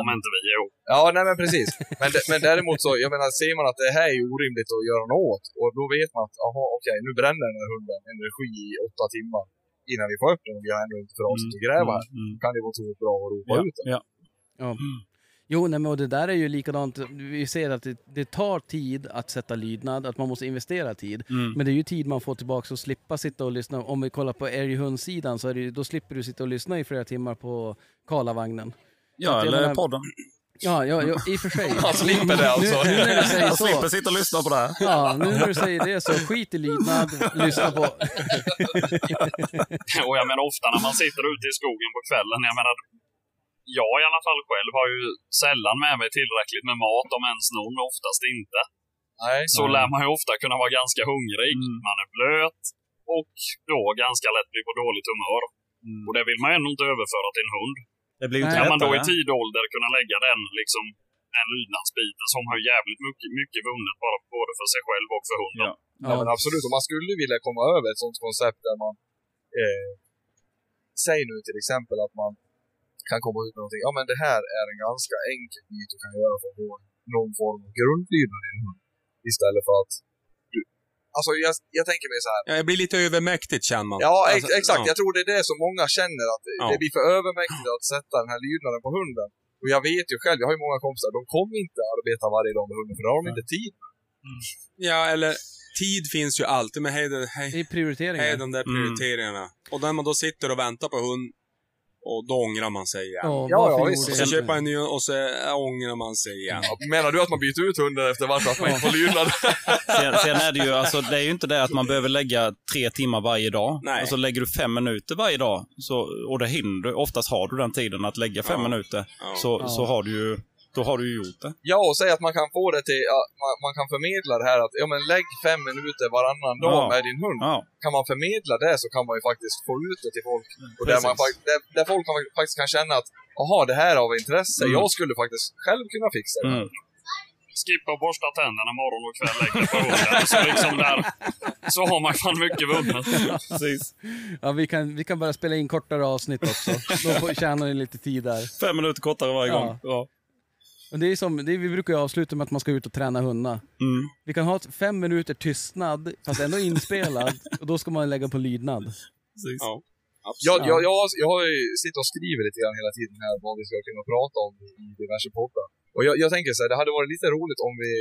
[SPEAKER 9] Om inte vi är ihop.
[SPEAKER 8] Ja, nej men precis. Men, d- men däremot så, jag menar, ser man att det här är ju orimligt att göra något åt och då vet man att, jaha okej, nu bränner den här hunden energi i åtta timmar innan vi får upp den och vi har ändå inte för avsikt att gräva här.
[SPEAKER 7] mm.
[SPEAKER 8] Då kan det vara otroligt bra att ropa ut den.
[SPEAKER 7] ja. Mm.
[SPEAKER 11] Ja. Jo, nej, men och det där är ju likadant. Vi ser att det, det tar tid att sätta lydnad, att man måste investera tid.
[SPEAKER 7] Mm.
[SPEAKER 11] Men det är ju tid man får tillbaka och slippa sitta och lyssna. Om vi kollar på älghundsidan så är det, ju- då slipper du sitta och lyssna i flera timmar på Karlavagnen. Så
[SPEAKER 7] Ja,
[SPEAKER 11] att jag
[SPEAKER 7] eller
[SPEAKER 11] menar-
[SPEAKER 7] podden.
[SPEAKER 11] Ja, ja, ja, i och för sig.
[SPEAKER 7] <laughs> Han slipper det alltså.
[SPEAKER 11] Nu, nu när du säger
[SPEAKER 7] Han
[SPEAKER 11] så.
[SPEAKER 7] slipper sitta och lyssna på det här.
[SPEAKER 11] Ja, nu när du säger det så skit i lydnad, lyssna på...
[SPEAKER 9] <laughs> och jag menar ofta när man sitter ute i skogen på kvällen, jag menar, jag i alla fall själv har ju sällan med mig tillräckligt med mat, om ens någon, oftast inte.
[SPEAKER 8] Nej.
[SPEAKER 9] Så lär man ju ofta kunna vara ganska hungrig,
[SPEAKER 7] Mm.
[SPEAKER 9] man är blöt och då ganska lätt bli på dåligt humör. Och det vill man ju ändå inte överföra till en hund.
[SPEAKER 7] Mm. Det blir ju inte
[SPEAKER 9] Kan man då i
[SPEAKER 7] lättare.
[SPEAKER 9] tid ålder kunna lägga den, liksom, den lydnadsbiten som har jävligt mycket, mycket vunnet bara både för sig själv och för hunden.
[SPEAKER 8] Ja, men absolut. Om man skulle vilja komma över ett sånt koncept där man... Eh, säg nu till exempel att man kan komma ut med någonting. Ja, men det här är en ganska enkel bit du kan göra för att få någon form av grundlydnad i en hund. Istället för att... Du, alltså, jag, jag tänker mig så här.
[SPEAKER 6] Ja, det blir lite övermäktigt känner man.
[SPEAKER 8] Ja, ex
[SPEAKER 6] Alltså,
[SPEAKER 8] exakt.
[SPEAKER 6] ja.
[SPEAKER 8] Jag tror det är det som många känner, att
[SPEAKER 6] Ja.
[SPEAKER 8] det blir för övermäktigt att sätta den här lydnaden på hunden. Och jag vet ju själv, jag har ju många kompisar, de kommer inte arbeta varje dag med hunden, för det har de inte tid med.
[SPEAKER 6] Ja, eller tid finns ju alltid, men hej, det- hej,
[SPEAKER 11] det är prioriteringar.
[SPEAKER 6] hej de där prioriteringarna. Och när man då sitter och väntar på hund, och då ångrar man sig igen.
[SPEAKER 11] Ja, Ja, varför ja, gjorde visst. du
[SPEAKER 6] Och så
[SPEAKER 11] det?
[SPEAKER 6] köper man en ny och så äh, ångrar man sig igen.
[SPEAKER 8] Menar du att man byter ut hunden efter varför att man inte får lydnad?
[SPEAKER 11] <laughs>
[SPEAKER 7] Sen, sen är det ju, alltså, det är ju inte det att man behöver lägga tre timmar varje dag.
[SPEAKER 6] Nej.
[SPEAKER 7] Alltså lägger du fem minuter varje dag, så, och det hinner du, oftast har du den tiden att lägga fem minuter, Så,
[SPEAKER 8] Ja.
[SPEAKER 7] så har du ju, då har du ju gjort det.
[SPEAKER 8] Ja, och säg att man kan få det till, ja, man, man kan förmedla det här att, ja men lägg fem minuter varannan dag
[SPEAKER 7] Ja.
[SPEAKER 8] med din hund.
[SPEAKER 7] Ja.
[SPEAKER 8] Kan man förmedla det så kan man ju faktiskt få ut det till folk. Och där,
[SPEAKER 7] precis.
[SPEAKER 8] man, fakt- där, där folk kan, faktiskt kan känna att, jaha, det här är av intresse.
[SPEAKER 7] Mm.
[SPEAKER 8] Jag skulle faktiskt själv kunna fixa det. här.
[SPEAKER 7] Mm.
[SPEAKER 9] skippa och borsta tänderna morgon och kväll, lägga på hunden. Så liksom där, så har man fan mycket
[SPEAKER 6] <laughs>
[SPEAKER 9] vunnet.
[SPEAKER 11] Precis. Ja, vi, kan, vi kan börja spela in kortare avsnitt också. Då får- tjänar ni lite tid där.
[SPEAKER 7] Fem minuter kortare varje gång. Ja.
[SPEAKER 11] Och det är som, det är, vi brukar ju avsluta med att man ska ut och träna hundar.
[SPEAKER 6] Mm.
[SPEAKER 11] Vi kan ha ett fem minuter tystnad, fast ändå
[SPEAKER 6] <laughs>
[SPEAKER 11] inspelad, och då ska man lägga på lydnad.
[SPEAKER 8] Ja. Jag, jag, jag, har- jag har ju sitter och skriver lite grann hela tiden här vad vi ska kunna prata om i i diverse poddar. Och jag, jag tänker så här, det hade varit lite roligt om vi,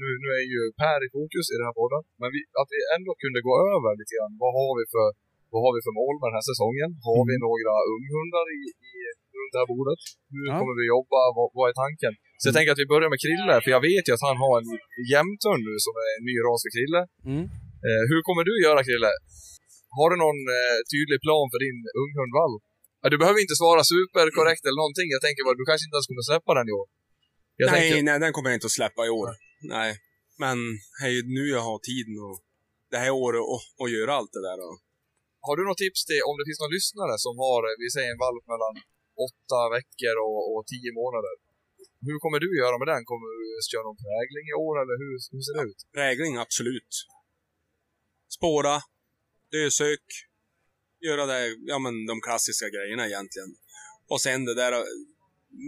[SPEAKER 8] nu, nu är ju Per i fokus i den här podden, men vi, att vi ändå kunde gå över lite grann, vad har vi för, vad har vi för mål med den här säsongen? Har vi några unghundar i, i, runt det här bordet? Hur kommer vi jobba? Vad, vad är tanken? Så jag tänker att vi börjar med Krille, för jag vet ju att han har en jämthund nu som är en ny ras för Krille. Eh, hur kommer du göra Krille? Har du någon eh, tydlig plan för din unghund Valp? Ja, du behöver inte svara superkorrekt eller någonting. Jag tänker bara, du kanske inte ens kommer släppa den i år. Jag
[SPEAKER 6] nej,
[SPEAKER 8] tänker-
[SPEAKER 6] nej, den kommer jag inte att släppa i år. Nej. Men det är ju nu jag har tiden och det här året och, och göra allt det där. Och.
[SPEAKER 8] Har du något tips till, om det finns någon lyssnare som har, eh, vi säger en valp mellan åtta veckor och, och tio månader. Hur kommer du göra med den? Kommer du köra någon prägling i år eller hur, hur ser det ut?
[SPEAKER 6] Prägling, absolut. Spåra, dösök, göra det, ja men de klassiska grejerna egentligen. Och sen det där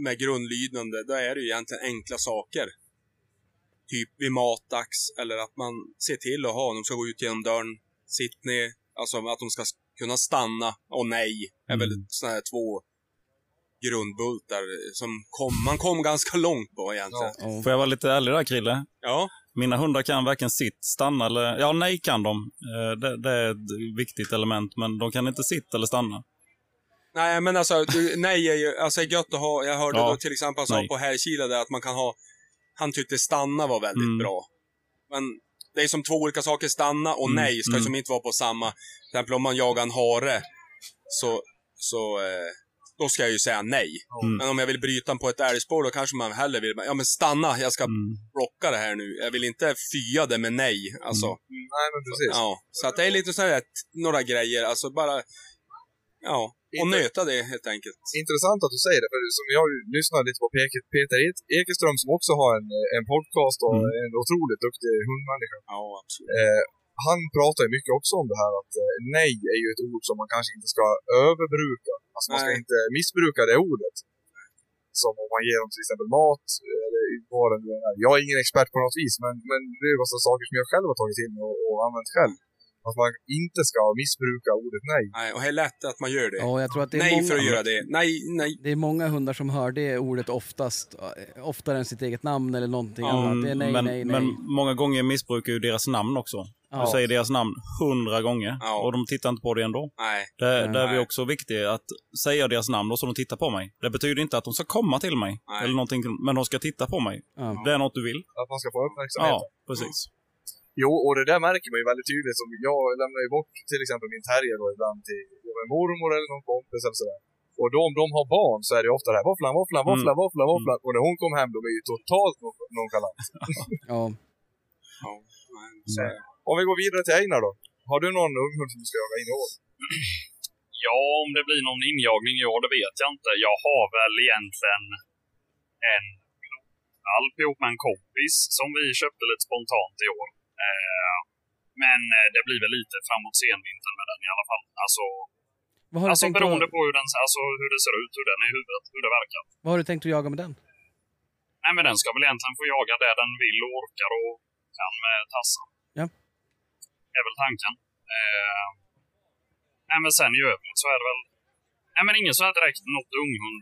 [SPEAKER 6] med grundlydande, då är det ju egentligen enkla saker. Typ vid matdags, eller att man ser till att ha, de ska gå ut genom dörren, sitt ner, alltså att de ska kunna stanna och nej, är väl sådana här två grundbultar som kom, man kom ganska långt på egentligen.
[SPEAKER 7] Får jag vara lite ärlig där Krille?
[SPEAKER 6] Ja.
[SPEAKER 7] Mina hundar kan varken sitt, stanna eller... Ja, nej kan de. Eh, Det, det är ett viktigt element, men de kan inte sitta eller stanna.
[SPEAKER 6] Nej, men alltså, du, nej är ju, alltså är gött att ha, jag hörde
[SPEAKER 7] Ja,
[SPEAKER 6] då till exempel han sa
[SPEAKER 7] nej.
[SPEAKER 6] på Herrkila där att man kan ha, han tyckte stanna var väldigt
[SPEAKER 7] Mm.
[SPEAKER 6] bra. Men det är som två olika saker, stanna och
[SPEAKER 7] Mm,
[SPEAKER 6] nej ska ju
[SPEAKER 7] mm.
[SPEAKER 6] som inte vara på samma. Till exempel om man jagar en hare, så, så eh, då ska jag ju säga nej.
[SPEAKER 7] Mm.
[SPEAKER 6] Men om jag vill bryta den på ett älgspår då kanske man hellre vill, ja men stanna, jag ska
[SPEAKER 7] Mm.
[SPEAKER 6] blocka det här nu. Jag vill inte fya det med nej, alltså.
[SPEAKER 7] Mm.
[SPEAKER 8] Nej, men precis.
[SPEAKER 6] Ja, så att det är lite sådär, några grejer, alltså bara, ja, och
[SPEAKER 8] Inte-
[SPEAKER 6] nöta det helt enkelt.
[SPEAKER 8] Intressant att du säger det, för som jag ju lyssnade lite på Pek- Peter Ek- Ekeström som också har en, eh, en podcast och en otroligt duktig hundmänniska.
[SPEAKER 6] Mm. Ja, absolut.
[SPEAKER 8] Eh, han pratar ju mycket också om det här att eh, nej är ju ett ord som man kanske inte ska överbruka. Alltså man ska
[SPEAKER 6] Nej.
[SPEAKER 8] inte missbruka det ordet. Som om man ger dem till exempel mat eh, eller vad det nu är. Jag är ingen expert på något vis, men, men det är ju massa saker som jag själv har tagit in och, och använt själv. Att man inte ska missbruka ordet nej.
[SPEAKER 6] Nej, och det är lätt att man gör det.
[SPEAKER 11] Ja, jag tror att det är
[SPEAKER 6] nej
[SPEAKER 11] många-
[SPEAKER 6] för att göra det. Nej, nej.
[SPEAKER 11] Det är många hundar som hör det ordet oftast, eh, oftare än sitt eget namn eller någonting annat. Det är nej,
[SPEAKER 7] men,
[SPEAKER 11] nej, nej.
[SPEAKER 7] men många gånger missbrukar ju deras namn också.
[SPEAKER 11] Ja.
[SPEAKER 7] Du säger deras namn hundra gånger och de tittar inte på det ändå.
[SPEAKER 6] Nej.
[SPEAKER 7] Det,
[SPEAKER 6] Nej.
[SPEAKER 7] det är vi också viktigt att säga deras namn och så de tittar på mig. Det betyder inte att de ska komma till mig,
[SPEAKER 6] Nej.
[SPEAKER 7] eller någonting, men de ska titta på mig.
[SPEAKER 11] Ja.
[SPEAKER 7] Det är något du vill.
[SPEAKER 8] Att man ska få uppmärksamhet.
[SPEAKER 7] Ja, precis.
[SPEAKER 8] Jo, och det där märker man ju väldigt tydligt. Som jag lämnar ju bort till exempel min terrier då ibland till en mormor eller någon kompis eller sådär. Och då om de har barn så är det ofta det här våfflan, våfflan,
[SPEAKER 9] Mm.
[SPEAKER 8] våfflan, våfflan, våfflan. Och när hon kom hem då blev ju totalt non-
[SPEAKER 9] <laughs>
[SPEAKER 8] nonchalant.
[SPEAKER 11] Ja.
[SPEAKER 8] Så, Om vi går vidare till Einar då. Har du någon unghund som du ska jaga in i år?
[SPEAKER 9] Ja, om det blir någon injagning i år, det vet jag inte. Jag har väl egentligen en valp ihop med en kompis som vi köpte lite spontant i år. Eh, Men eh, det blir väl lite framåt senvintern med den i alla fall. Alltså,
[SPEAKER 11] Vad har du
[SPEAKER 9] alltså
[SPEAKER 11] tänkt att-
[SPEAKER 9] beroende på hur, den, alltså, hur det ser ut, hur den är i huvudet, hur det verkar.
[SPEAKER 11] Vad har du tänkt att jaga med den?
[SPEAKER 9] Nej, men den ska väl egentligen få jaga där den vill och orkar och kan med tassen.
[SPEAKER 11] Ja.
[SPEAKER 9] är väl tanken. Eh, nej, men sen i övrigt så är det väl... Nej, men ingen så här direkt något unghund,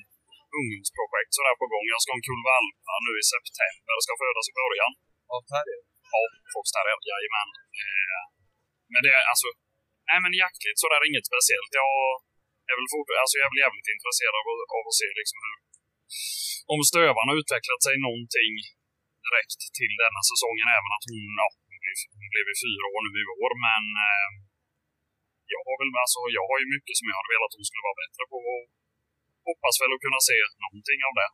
[SPEAKER 9] unghundsprojekt sådär på gång. Jag ska ha en kull valpar nu i september. ska födas i början.
[SPEAKER 8] Av terrier?
[SPEAKER 9] Ja, foxterrier. Jajamän. Eh, men det är alltså... Nej, men jaktligt sådär inget speciellt. Jag är väl fort, alltså, jag är väl jävligt intresserad av, att- av att se liksom hur om stövarna har utvecklat sig någonting direkt till denna säsongen, även att hon, ja, hon, blev, hon blev ju fyra år nu i år, men eh, jag har väl, alltså, jag har ju mycket som jag hade velat att hon skulle vara bättre på och hoppas väl att kunna se någonting av det.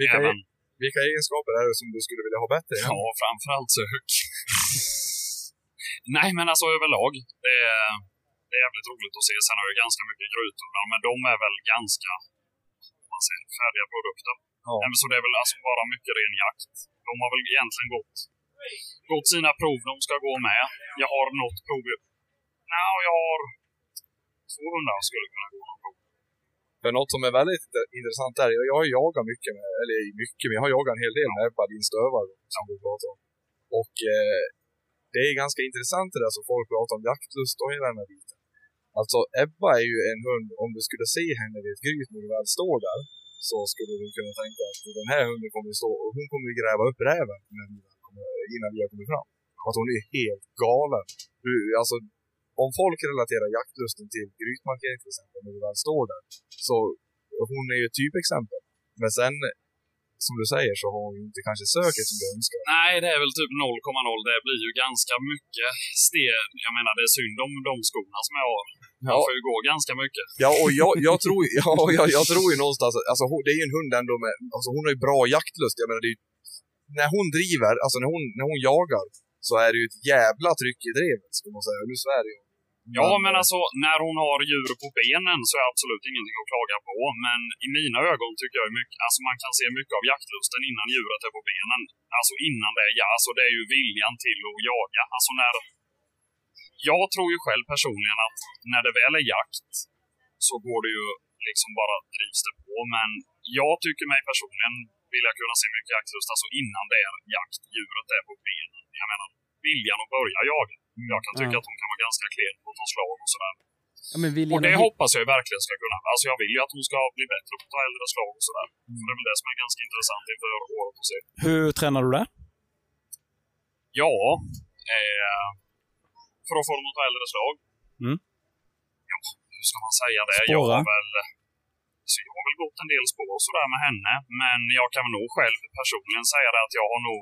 [SPEAKER 8] Vilka, e-
[SPEAKER 9] Även,
[SPEAKER 8] vilka egenskaper är det som du skulle vilja ha bättre?
[SPEAKER 9] ja, framförallt sök. <laughs> Nej, men alltså överlag, det är, det är jävligt roligt att se. Sen har jag ju ganska mycket grytor, men de är väl ganska, om man säger, färdiga produkter.
[SPEAKER 8] Ja.
[SPEAKER 9] Nej, men Så det är väl alltså bara mycket ren jakt. De har väl egentligen gått, gått sina prov de ska gå med. Jag har något prov. Nej, jag har två hundar som skulle kunna gå något prov.
[SPEAKER 8] För något som är väldigt inter- intressant där, jag jag har jagat mycket med, eller mycket, men jag har jagat en hel del med bardinstövare som vi pratar om. Och eh, det är ganska intressant det där som folk pratar om, jaktlust och hela den här biten. Alltså Ebba är ju en hund, om du skulle se henne vid ett gryt när du väl står där, så skulle du kunna tänka att den här hunden kommer ju stå, och hon kommer ju gräva upp räven när vi väl kommer, innan vi har kommit fram. Alltså hon är ju helt galen. Du, alltså, om folk relaterar jaktlusten till grytmarkering till exempel, när du väl står där, så hon är ju ett typexempel. Men sen, som du säger, så har hon ju inte kanske söker som du önskar.
[SPEAKER 9] Nej, det är väl typ 0,0. Det blir ju ganska mycket sten. Jag menar, det är synd om de skorna som jag har. De
[SPEAKER 8] Ja.
[SPEAKER 9] får ju gå ganska mycket.
[SPEAKER 8] Ja, och jag, jag, tror, <laughs> ja, och jag, jag tror ju någonstans, att- alltså hon, det är ju en hund ändå med, alltså hon har ju bra jaktlust. Jag menar, det är ju, när hon driver, alltså när hon, när hon jagar, så är det ju ett jävla tryck i drevet, skulle man säga. Nu svär jag.
[SPEAKER 9] Ja, men alltså när hon har djur på benen så är absolut ingenting att klaga på. Men i mina ögon tycker jag är mycket, alltså man kan se mycket av jaktlusten innan djuret är på benen. Alltså innan det, ja, alltså det är ju viljan till att jaga. Alltså när... Jag tror ju själv personligen att när det väl är jakt så går det ju liksom bara drivs det på. Men jag tycker mig personligen vilja kunna se mycket jaktlust, alltså innan det är jakt, djuret är på benen. Jag menar, viljan att börja jaga. Jag kan tycka
[SPEAKER 11] Ja.
[SPEAKER 9] att hon kan vara ganska klen på att ta slag och sådär.
[SPEAKER 11] Ja, men viljan
[SPEAKER 9] Och det
[SPEAKER 11] att hit-
[SPEAKER 9] hoppas jag ju verkligen ska kunna. Alltså jag vill ju att hon ska bli bättre på att ta äldre slag och sådär.
[SPEAKER 7] Mm.
[SPEAKER 9] Så det är väl det som är ganska intressant inför året att se.
[SPEAKER 7] Hur tränar du det?
[SPEAKER 9] Ja, eh, för att få dem att ta äldre slag.
[SPEAKER 7] Mm.
[SPEAKER 9] Ja, hur ska man säga det?
[SPEAKER 7] Spåra.
[SPEAKER 9] Jag har väl... Så jag har väl gått en del spår och sådär med henne. Men jag kan nog själv personligen säga det att jag har nog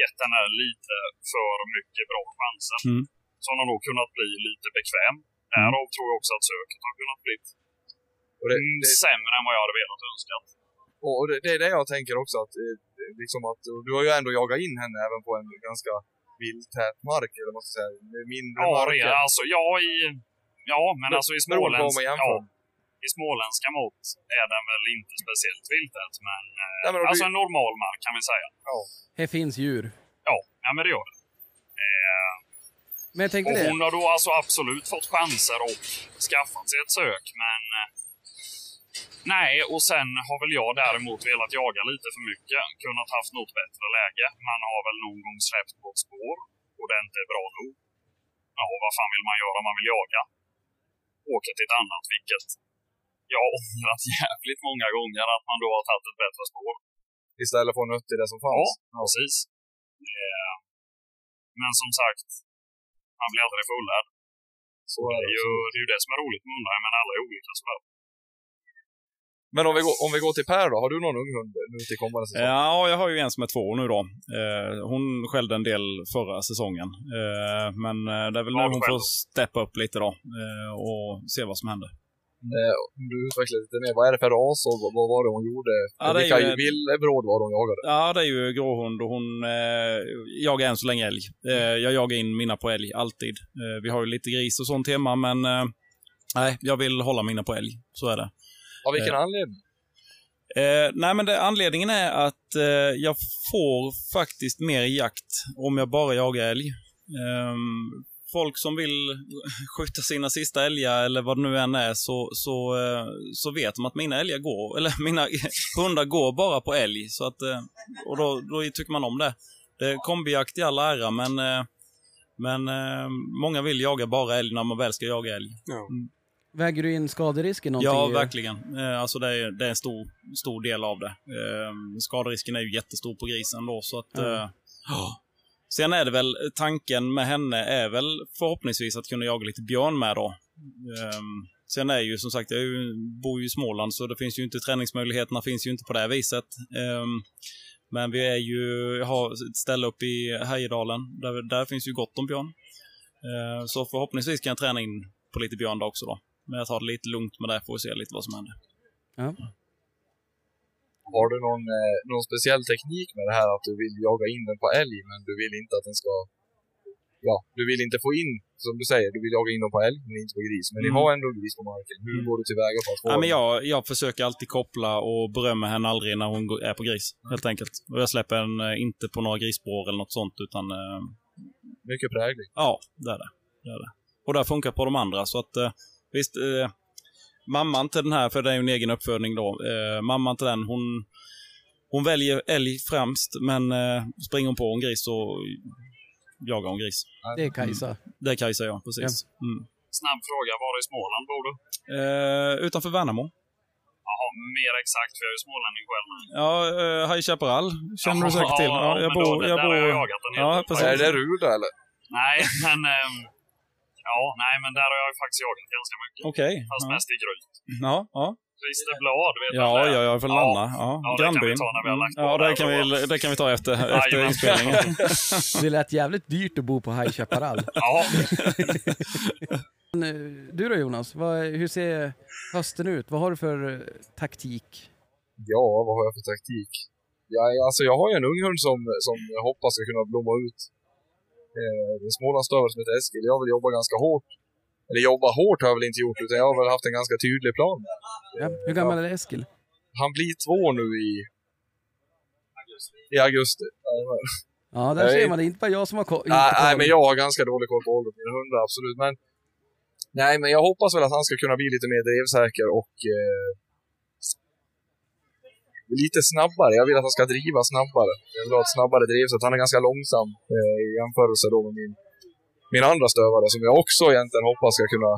[SPEAKER 9] gett henne lite för mycket bra chanser.
[SPEAKER 7] Mm.
[SPEAKER 9] Så hon har nog kunnat bli lite bekväm.
[SPEAKER 8] Mm.
[SPEAKER 9] Därav tror jag också att söket har kunnat bli mm, sämre än vad jag hade velat och önskat.
[SPEAKER 8] Och och det, det är det jag tänker också att, eh, liksom att, och du har ju ändå jagat in henne även på en ganska vildtät mark, eller vad ska jag säga, med mindre
[SPEAKER 9] Ja,
[SPEAKER 8] marker.
[SPEAKER 9] det- alltså ja, i, ja men
[SPEAKER 8] Men-
[SPEAKER 9] alltså i
[SPEAKER 8] beroende på vad man
[SPEAKER 9] småländsk, ja,
[SPEAKER 8] jämför.
[SPEAKER 9] i småländska mått är den väl inte speciellt viltet, men, eh,
[SPEAKER 8] Nej, men om
[SPEAKER 9] alltså
[SPEAKER 8] du-
[SPEAKER 9] en normal mark kan vi säga.
[SPEAKER 11] Här finns djur.
[SPEAKER 9] Ja, ja men det gör det. Eh,
[SPEAKER 11] Men jag tänkte
[SPEAKER 9] och
[SPEAKER 11] det.
[SPEAKER 9] hon har då alltså absolut fått chanser och skaffat sig ett sök, men eh, Nej, och sen har väl jag däremot velat jaga lite för mycket. Kunnat haft något bättre läge. Man har väl någon gång släppt på ett spår och det inte är bra nog. Ja, och vad fan vill man göra? Man vill jaga. Åka till ett annat, vilket jag har ångrat <laughs> jävligt många gånger att man då har tagit ett bättre spår.
[SPEAKER 8] Istället för en nöt i det som fanns.
[SPEAKER 9] Ja, precis. Eh, Men som sagt, man blir aldrig fullärd.
[SPEAKER 8] Så
[SPEAKER 9] det, är ju, det är ju det som är roligt med hundar, men alla är olika sådär.
[SPEAKER 8] Men om vi, går, om vi går till Per då, har du någon ung hund nu till kommande säsong?
[SPEAKER 7] Ja, jag har ju en som är två år nu då. Eh, hon skällde en del förra säsongen. Eh, men eh, det är väl nu
[SPEAKER 8] Vad
[SPEAKER 7] hon
[SPEAKER 8] skäll?
[SPEAKER 7] får steppa upp lite då eh, och se vad som händer.
[SPEAKER 8] Eh, om du utvecklar lite mer, vad är det för ras och vad, vad var det hon gjorde?
[SPEAKER 7] Ja, det är
[SPEAKER 8] Vilka
[SPEAKER 7] ju en-
[SPEAKER 8] villebråd var det hon jagade?
[SPEAKER 7] Ja, det är ju gråhund och hon eh, jagar än så länge älg. Eh, jag jagar in mina på älg, alltid. Eh, vi har ju lite gris och sånt hemma, men eh, nej, jag vill hålla mina på älg. Så är det.
[SPEAKER 8] Av vilken
[SPEAKER 7] Eh.
[SPEAKER 8] anledning?
[SPEAKER 7] Eh, nej, men det, anledningen är att eh, jag får faktiskt mer jakt om jag bara jagar älg. Ehm, folk som vill <laughs> skjuta sina sista älgar eller vad det nu än är så, så, eh, så vet de att mina älgar går, <laughs> eller mina hundar går bara på älg. Så att, eh, och då, då tycker man om det. det är kombijakt i all ära, men, eh, men eh, många vill jaga bara älg när man väl ska jaga älg.
[SPEAKER 11] Väger du in skaderisken någonting?
[SPEAKER 7] Mm. Ja,
[SPEAKER 11] i-
[SPEAKER 7] verkligen. Eh, Alltså det är, det är en stor, stor del av det. Eh, skaderisken är ju jättestor på grisen då, så att...
[SPEAKER 11] Mm.
[SPEAKER 7] Eh, ja. Sen är det väl, tanken med henne är väl förhoppningsvis att kunna jaga lite björn med då. Eh, sen är ju som sagt, jag är ju, bor ju i Småland, så det finns ju inte, träningsmöjligheterna finns ju inte på det här viset. Eh, men vi är ju, jag har ett ställe uppe i Härjedalen, där, där finns ju gott om björn. Eh, så förhoppningsvis kan jag träna in på lite björn då också då. Men jag tar det lite lugnt med det, får vi se lite vad som händer.
[SPEAKER 8] Har du någon, eh, någon speciell teknik med det här att du vill jaga in den på älg men du vill inte att den ska... Ja, du vill inte få in som du säger, du vill jaga in dem på älg men inte på gris. Men ni
[SPEAKER 7] Mm.
[SPEAKER 8] har ändå gris på marken. Hur går du tillväga för att få
[SPEAKER 7] Ja, men
[SPEAKER 8] dem?
[SPEAKER 7] jag, jag försöker alltid koppla och berömmer henne aldrig när hon går- är på gris, helt enkelt. Och jag släpper henne eh, inte på några grisspår eller något sånt, utan... eh,
[SPEAKER 8] Mycket prägligt.
[SPEAKER 7] Ja, det är det. det, är det. Och det har funkat på de andra, så att eh, visst... Eh, mamman till den här, för det är ju en egen uppfödning då, eh, mamman till den, hon... Hon väljer älg främst, men eh, springer hon på en gris så jagar hon gris.
[SPEAKER 1] Det är Kajsa.
[SPEAKER 7] Mm. Det är Kajsa, ja. Precis. Mm.
[SPEAKER 9] Snabb fråga, var i Småland bor du?
[SPEAKER 7] Eh, utanför Värnamo.
[SPEAKER 9] Jaha, mer exakt, för jag är ju smålänning själv.
[SPEAKER 7] Ja, uh, High Chaparral känner du säkert till. Ja, jag
[SPEAKER 9] men då-
[SPEAKER 7] bor... Jag
[SPEAKER 9] där
[SPEAKER 7] bor
[SPEAKER 9] har jag jagat en hel
[SPEAKER 7] ja,
[SPEAKER 9] del
[SPEAKER 7] precis.
[SPEAKER 9] faktiskt.
[SPEAKER 8] Ruda eller?
[SPEAKER 9] Nej, men... ehm, ja, nej, men där har jag faktiskt jagat ganska mycket.
[SPEAKER 7] Okej,
[SPEAKER 9] Fast
[SPEAKER 7] ja.
[SPEAKER 9] mest i gryt.
[SPEAKER 7] Ja, ja.
[SPEAKER 9] Kristerblad, vet jag
[SPEAKER 7] Ja,
[SPEAKER 9] det är.
[SPEAKER 7] ja, ja, för Lanna. Ja,
[SPEAKER 9] ja, det kan
[SPEAKER 7] grannbyn.
[SPEAKER 9] vi ta när vi har lagt
[SPEAKER 7] ja, det kan, vi, det kan vi ta efter, efter
[SPEAKER 9] Jajamän. <laughs>
[SPEAKER 7] inspelningen.
[SPEAKER 11] Det lät jävligt dyrt att bo på High
[SPEAKER 8] <laughs>
[SPEAKER 11] Chaparral. eh,
[SPEAKER 9] Ja.
[SPEAKER 11] du då Jonas, vad, hur ser hösten ut? Vad har du för eh, taktik?
[SPEAKER 8] Ja, vad har jag för taktik? Ja, alltså jag har ju en ung hund som, som jag hoppas ska kunna blomma ut. Eh, det är en smålandsstövare som heter Eskil. Jag har väl jobbat ganska hårt. Eller jobba hårt har jag väl inte gjort, utan jag har väl haft en ganska tydlig plan.
[SPEAKER 11] Ja, hur gammal är Eskil?
[SPEAKER 8] Han blir två nu i... I augusti. Jajamän.
[SPEAKER 11] Ja, där
[SPEAKER 8] Nej.
[SPEAKER 11] ser man det. Inte bara jag som har ko- inte
[SPEAKER 8] Nej, nej,
[SPEAKER 11] koll.
[SPEAKER 8] men jag har ganska dålig koll på ålder på mina hundar, absolut. Men, nej, men jag hoppas väl att han ska kunna bli lite mer drevsäker och eh, lite snabbare. Jag vill att han ska driva snabbare. Jag vill ha ett snabbare drev, så att han är ganska långsam eh, i jämförelse då med min, min andra stövare, som jag också egentligen hoppas ska kunna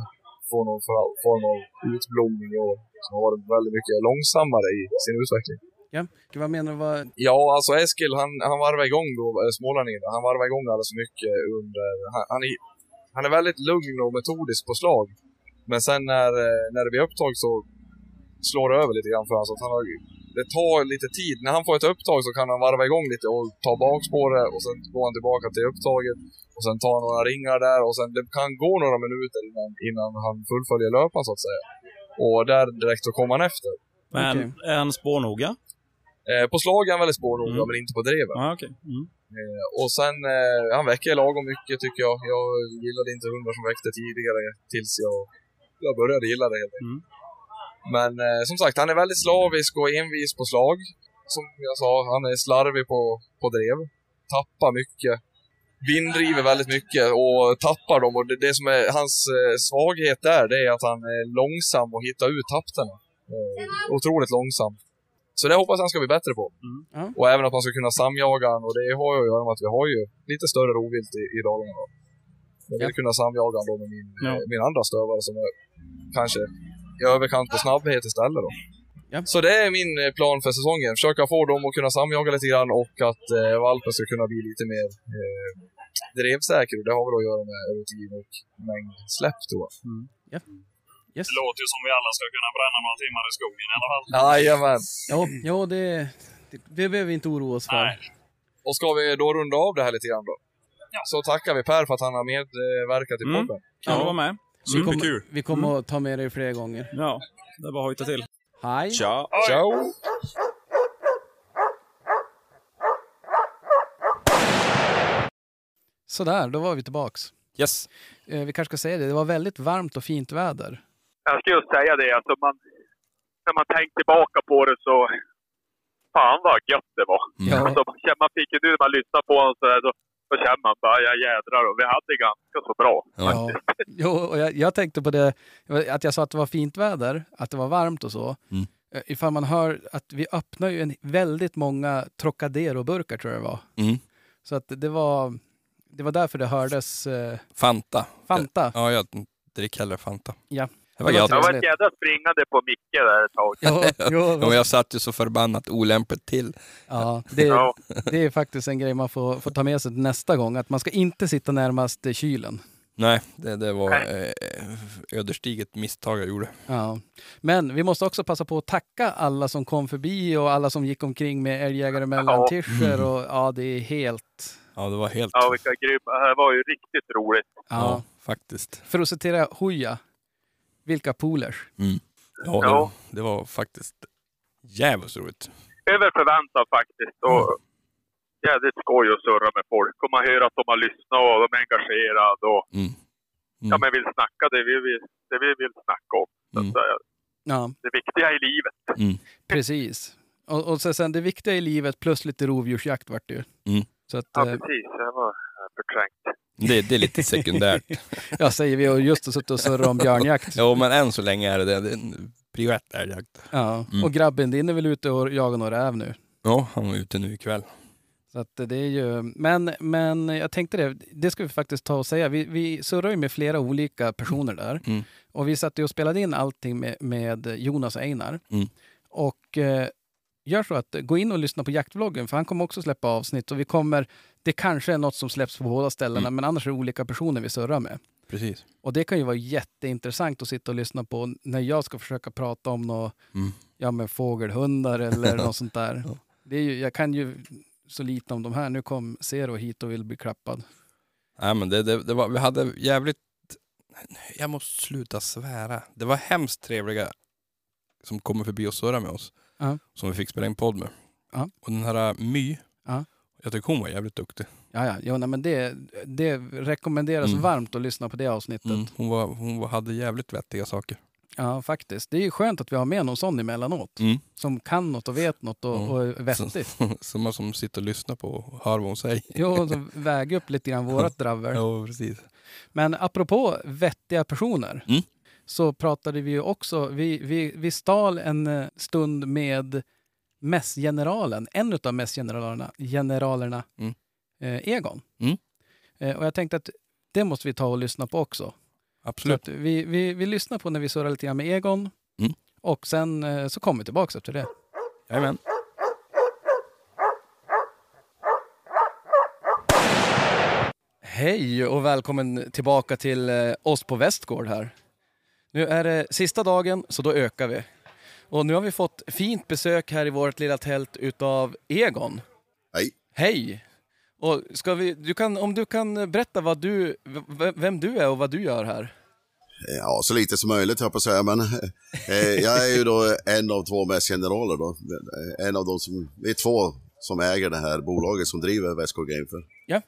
[SPEAKER 8] få någon fra- form av utblomning i år. Som har varit väldigt mycket långsammare i sin utveckling.
[SPEAKER 11] Ja. Vad menar du? Vad...
[SPEAKER 8] Ja, alltså Eskil han, han varvade igång då, eh, smålänningen, han varvade igång alldeles för mycket under... Han, han, är, han är väldigt lugn och metodisk på slag. Men sen när, eh, när det blir upptag så slår det över lite grann för honom. Så att han har, det tar lite tid. När han får ett upptag så kan han varva igång lite och ta bakspåret och sen går han tillbaka till upptaget. Och sen tar han några ringar där och sen det kan gå några minuter innan, innan han fullföljer löpan så att säga. Och där direkt så kommer han efter.
[SPEAKER 7] Men är han spårnoga?
[SPEAKER 8] Eh, på slag är han väldigt spårnoga, men inte på dreven.
[SPEAKER 7] Ah, okay.
[SPEAKER 8] Eh, och sen, eh, han väcker lagom mycket tycker jag. Jag gillade inte hundar som väckte tidigare tills jag, jag började gilla det helt enkelt. Men eh, som sagt, han är väldigt slavisk och envis på slag. Som jag sa, han är slarvig på, på drev. Tappar mycket. Vindriver väldigt mycket och tappar dem. Och det, det som är hans eh, svaghet där, det är att han är långsam och hittar ut tappterna. Eh, otroligt långsam. Så det hoppas jag han ska bli bättre på.
[SPEAKER 9] Mm.
[SPEAKER 8] Och även att man ska kunna samjaga han, och det har ju att göra med att vi har ju lite större rovvilt i, i Dalarna. Då. Jag vill kunna samjaga han då med min,
[SPEAKER 7] Ja.
[SPEAKER 8] eh, min andra stövare som är kanske i överkant på snabbhet istället. Då. Så det är min eh, plan för säsongen. Försöka få dem att kunna samjaga lite grann och att eh, valpen ska kunna bli lite mer eh, drevsäker. Och det har väl att göra med rutin och mängd släpp tror jag.
[SPEAKER 9] Det låter ju som vi alla ska kunna bränna några timmar i skogen i alla fall.
[SPEAKER 8] Jajamän.
[SPEAKER 11] Ja, ja det, det, det behöver vi inte oroa oss för.
[SPEAKER 8] Och ska vi då runda av det här lite grann då? Så tackar vi Per för att han har medverkat i podden.
[SPEAKER 11] Kul att Ja. vara
[SPEAKER 7] med. Mm.
[SPEAKER 11] Vi kommer, vi kommer att ta med dig fler gånger.
[SPEAKER 7] Ja, det är bara att hojta till.
[SPEAKER 11] Hej!
[SPEAKER 7] Tja.
[SPEAKER 8] Ciao!
[SPEAKER 1] Sådär, då var vi tillbaks.
[SPEAKER 2] Yes.
[SPEAKER 1] Eh, vi kanske ska säga det, det var väldigt varmt och fint väder.
[SPEAKER 5] Jag skulle just säga det, att om man, när man tänker tillbaka på det så... Fan vad gött det var!
[SPEAKER 2] Mm.
[SPEAKER 1] Ja.
[SPEAKER 5] Alltså, man känner- man fick ju nu när man lyssnar på honom så, där, så, så känner man bara, ja jädrar, och vi hade det ganska så bra.
[SPEAKER 1] Ja. Jo, och jag, jag tänkte på det, att jag sa att det var fint väder, att det var varmt och så.
[SPEAKER 2] Mm.
[SPEAKER 1] Eh, Ifall man hör att vi öppnar ju en, väldigt många Trocadero-burkar tror jag det var.
[SPEAKER 2] Mm.
[SPEAKER 1] Så att det var, det var därför det hördes. Eh,
[SPEAKER 2] Fanta.
[SPEAKER 1] Fanta.
[SPEAKER 2] Ja, jag dricker hellre Fanta. <laughs>
[SPEAKER 1] ja.
[SPEAKER 2] Det var gött.
[SPEAKER 5] Det var ett jädra springande på Micke där ett tag.
[SPEAKER 2] ja, men jag satt ju så förbannat olämpligt till.
[SPEAKER 1] Ja, det, det är faktiskt en grej man får, får ta med sig till nästa gång, att man ska inte sitta närmast eh, kylen.
[SPEAKER 2] Nej, det, det var eh, ödesdigert misstag jag gjorde.
[SPEAKER 1] Ja. Men vi måste också passa på att tacka alla som kom förbi och alla som gick omkring med älgjägare mellan
[SPEAKER 5] Ja.
[SPEAKER 1] tischer
[SPEAKER 2] Mm.
[SPEAKER 1] och ja, det är helt...
[SPEAKER 2] Ja, det var helt...
[SPEAKER 5] Ja, vilka grymma. Det här var ju riktigt roligt.
[SPEAKER 1] Ja.
[SPEAKER 2] faktiskt.
[SPEAKER 1] För att citera Hooja, vilka polers.
[SPEAKER 2] Mm. Ja, det,
[SPEAKER 5] Ja.
[SPEAKER 2] var, det var faktiskt jävligt roligt.
[SPEAKER 5] Över förväntan faktiskt. Och
[SPEAKER 1] Mm.
[SPEAKER 5] jädrigt skoj att surra med folk. Och man hör att de har lyssnat och de är engagerade. Och... ja, men vill snacka det vi vill, det vi vill snacka om. Så
[SPEAKER 1] Mm.
[SPEAKER 5] att, eh,
[SPEAKER 1] Ja.
[SPEAKER 5] det viktiga i livet.
[SPEAKER 1] Precis. Och, och sen, sen det viktiga i livet plus lite rovdjursjakt vart det ju.
[SPEAKER 2] Mm.
[SPEAKER 1] Så att,
[SPEAKER 5] Ja,
[SPEAKER 1] eh,
[SPEAKER 5] precis. Jag var eh, förträngt.
[SPEAKER 2] Det, det är
[SPEAKER 1] <laughs>
[SPEAKER 2] lite sekundärt.
[SPEAKER 1] ja, säger vi och just har suttit och surrat om björnjakt.
[SPEAKER 2] jo, men än så länge är det det. det är en prio ett älgjakt.
[SPEAKER 1] Ja.
[SPEAKER 2] Mm.
[SPEAKER 1] Och grabben din är väl ute och jagar några räv nu?
[SPEAKER 2] Ja, han var ute nu ikväll.
[SPEAKER 1] Så att det är ju, men, men jag tänkte det, det ska vi faktiskt ta och säga. Vi, vi surrar ju med flera olika personer där.
[SPEAKER 2] Mm.
[SPEAKER 1] Och vi satt ju och spelade in allting med, med Jonas och Einar.
[SPEAKER 2] Mm.
[SPEAKER 1] Och eh, gör så att eh, gå in och lyssna på jaktvloggen för han kommer också släppa avsnitt. Och vi kommer, det kanske är något som släpps på båda ställena
[SPEAKER 2] Mm.
[SPEAKER 1] men annars är det olika personer vi surrar med.
[SPEAKER 2] Precis.
[SPEAKER 1] Och det kan ju vara jätteintressant att sitta och lyssna på när jag ska försöka prata om något,
[SPEAKER 2] Mm.
[SPEAKER 1] ja men fågelhundar
[SPEAKER 2] <laughs>
[SPEAKER 1] eller något sånt där. Det är ju, jag kan ju så lite om de här. Nu kom Zero hit och vill bli klappad.
[SPEAKER 2] Nej, men det, det, det var, vi hade jävligt... Jag måste sluta svära. Det var hemskt trevliga som kommer förbi och surrar med oss.
[SPEAKER 1] Ja.
[SPEAKER 2] Som vi fick spela in podd med.
[SPEAKER 1] Ja.
[SPEAKER 2] Och den här äh, My,
[SPEAKER 1] Ja.
[SPEAKER 2] jag tycker hon var jävligt duktig.
[SPEAKER 1] Ja, ja, jo, nej, men det, det rekommenderas
[SPEAKER 2] Mm.
[SPEAKER 1] varmt att lyssna på det avsnittet.
[SPEAKER 2] Mm. Hon, var, hon var, hade jävligt vettiga saker.
[SPEAKER 1] Ja, faktiskt. Det är ju skönt att vi har med någon sån emellanåt.
[SPEAKER 2] Mm.
[SPEAKER 1] Som kan något och vet något och, och är
[SPEAKER 2] <laughs>
[SPEAKER 1] vettigt.
[SPEAKER 2] Som, som Mm. man som sitter och lyssnar på och hör vad hon säger.
[SPEAKER 1] Jo, och som väger upp lite grann vårat dravel.
[SPEAKER 2] Ja, precis.
[SPEAKER 1] Men apropå vettiga personer
[SPEAKER 2] Mm.
[SPEAKER 1] så pratade vi ju också, vi, vi, vi stal en eh, stund med mässgeneralen, en av mässgeneralerna, generalerna,
[SPEAKER 2] Mm.
[SPEAKER 1] eh, Egon.
[SPEAKER 2] Mm.
[SPEAKER 1] Eh, och jag tänkte att det måste vi ta och lyssna på också.
[SPEAKER 2] Absolut.
[SPEAKER 1] Så att vi, vi, vi lyssnar på när vi surrar lite grann med Egon
[SPEAKER 2] Mm.
[SPEAKER 1] och sen eh, så kommer vi tillbaka efter det.
[SPEAKER 2] Jajamän.
[SPEAKER 11] Hej och välkommen tillbaka till eh, oss på Västgård här. Nu är det sista dagen så då ökar vi. Och nu har vi fått fint besök här i vårt lilla tält utav Egon.
[SPEAKER 13] Hej.
[SPEAKER 11] Hej! Och ska vi, du kan, om du kan berätta vad du, v- vem du är och vad du gör här.
[SPEAKER 13] Ja, så lite som möjligt höll jag på att säga, men eh, jag är ju då en av två mässgeneraler då. Eh, En av de som, vi är två som äger det här bolaget som driver Västgård Gamefair.
[SPEAKER 11] Ja.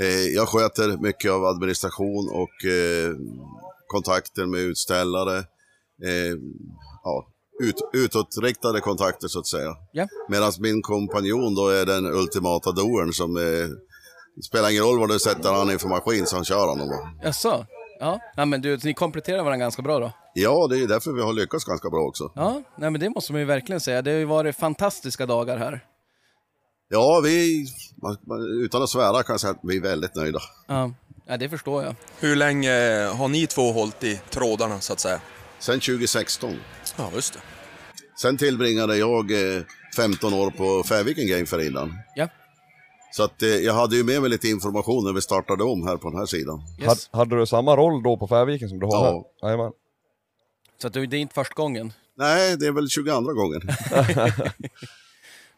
[SPEAKER 13] Eh, jag sköter mycket av administration och eh, kontakter med utställare. Eh, ja, ut, utåtriktade kontakter så att säga.
[SPEAKER 11] Ja.
[SPEAKER 13] Medan min kompanjon då är den ultimata doern som eh, spelar ingen roll vad du sätter han i för maskin så han kör honom. Då.
[SPEAKER 11] Jaså? Ja. ja, men du, ni kompletterar varandra ganska bra då.
[SPEAKER 13] Ja, det är ju därför vi har lyckats ganska bra också.
[SPEAKER 11] Ja, nej, men det måste man ju verkligen säga. Det har ju varit fantastiska dagar här.
[SPEAKER 13] Ja, vi, man- man- utan att svära kan jag säga att vi är väldigt nöjda.
[SPEAKER 11] Ja, ja det förstår jag.
[SPEAKER 6] Hur länge har ni två hållit i trådarna så att säga?
[SPEAKER 13] Sen 2016.
[SPEAKER 6] Ja, just det.
[SPEAKER 13] Sen tillbringade jag eh, 15 år på Färviken Game för innan.
[SPEAKER 11] Ja.
[SPEAKER 13] Så att, eh, jag hade ju med mig lite information när vi startade om här på den här sidan.
[SPEAKER 14] Had, hade du samma roll då på Färviken som du har
[SPEAKER 13] Ja.
[SPEAKER 14] här? Jajamän.
[SPEAKER 11] Så att det det är inte första gången.
[SPEAKER 13] Nej, det är väl 22 gången.
[SPEAKER 11] <laughs>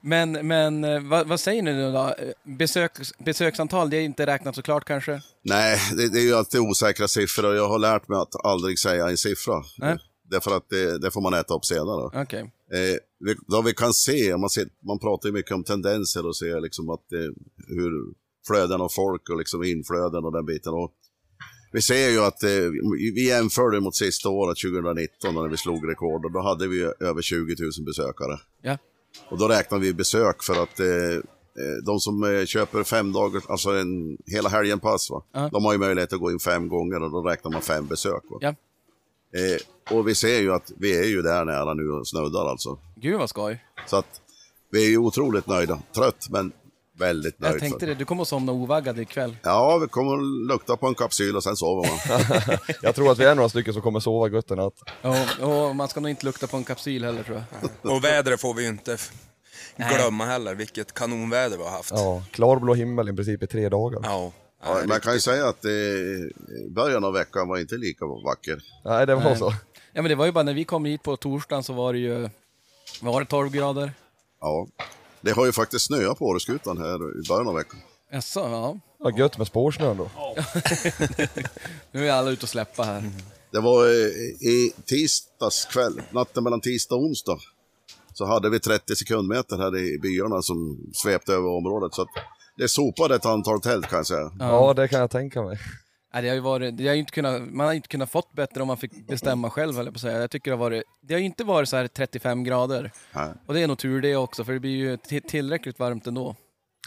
[SPEAKER 11] Men, men eh, vad, vad säger ni nu då? Eh, Besök, besöksantal, det är inte räknat såklart kanske?
[SPEAKER 13] Nej, det, det är ju alltid osäkra siffror och jag har lärt mig att aldrig säga en siffra.
[SPEAKER 11] Nej.
[SPEAKER 13] Därför att eh, det, det får man äta upp senare.
[SPEAKER 11] Okej.
[SPEAKER 13] Eh, vi- vad vi kan se, man, ser, man pratar ju mycket om tendenser och ser liksom att, eh, hur flöden av folk och liksom inflöden och den biten. Och vi ser ju att eh, vi- vi jämför det mot sista året, 2019, när vi slog rekord. Och då hade vi över 20 000 besökare.
[SPEAKER 11] Ja.
[SPEAKER 13] Och då räknar vi besök för att eh, eh, de som eh, köper fem dagar, alltså en, hela helgen pass, va?
[SPEAKER 11] Ja.
[SPEAKER 13] de har ju möjlighet att gå in fem gånger och då räknar man fem besök. Va?
[SPEAKER 11] Ja.
[SPEAKER 13] Eh, och vi ser ju att vi är ju där nära nu och snuddar alltså.
[SPEAKER 11] Gud vad skoj.
[SPEAKER 13] Så att vi är ju otroligt nöjda. Trött men väldigt nöjd.
[SPEAKER 11] Jag tänkte
[SPEAKER 13] för-
[SPEAKER 11] det, du kommer att somna ovaggad ikväll.
[SPEAKER 13] Ja, vi kommer att lukta på en kapsyl och sen sover man.
[SPEAKER 14] <laughs> jag tror att vi är några stycken som kommer sova gött i natt.
[SPEAKER 11] Och, och man ska nog inte lukta på en kapsyl heller tror jag.
[SPEAKER 6] Och vädret får vi ju inte f-
[SPEAKER 11] Nej.
[SPEAKER 6] glömma heller, vilket kanonväder vi har haft.
[SPEAKER 14] Ja, klarblå himmel i princip i tre dagar.
[SPEAKER 6] Ja.
[SPEAKER 13] Ja, man kan ju säga att eh, början av veckan var inte lika vacker.
[SPEAKER 14] Nej, det var
[SPEAKER 11] Nej.
[SPEAKER 14] så.
[SPEAKER 11] Ja men det var ju bara när vi kom hit på torsdagen så var det ju, vad var det, 12 grader?
[SPEAKER 13] Ja. Det har ju faktiskt snöat på Åreskutan här i början av veckan.
[SPEAKER 11] Jaså, ja.
[SPEAKER 14] Vad gött med spårsnön då.
[SPEAKER 11] Nu är alla ute och släppa här.
[SPEAKER 13] Det var eh, i tisdags kväll, natten mellan tisdag och onsdag, så hade vi 30 sekundmeter här i byarna som svepte över området. Så att det sopade ett antal tält kan jag säga.
[SPEAKER 14] Ja, det kan jag tänka mig.
[SPEAKER 1] Nej, det har ju varit, det har ju inte kunnat, man har inte kunnat fått bättre om man fick bestämma själv, höll jag på att säga. Jag tycker det har varit, det har ju inte varit så här 35 grader.
[SPEAKER 13] Nej.
[SPEAKER 1] Och det är nog tur det också, för det blir ju ti- tillräckligt varmt ändå.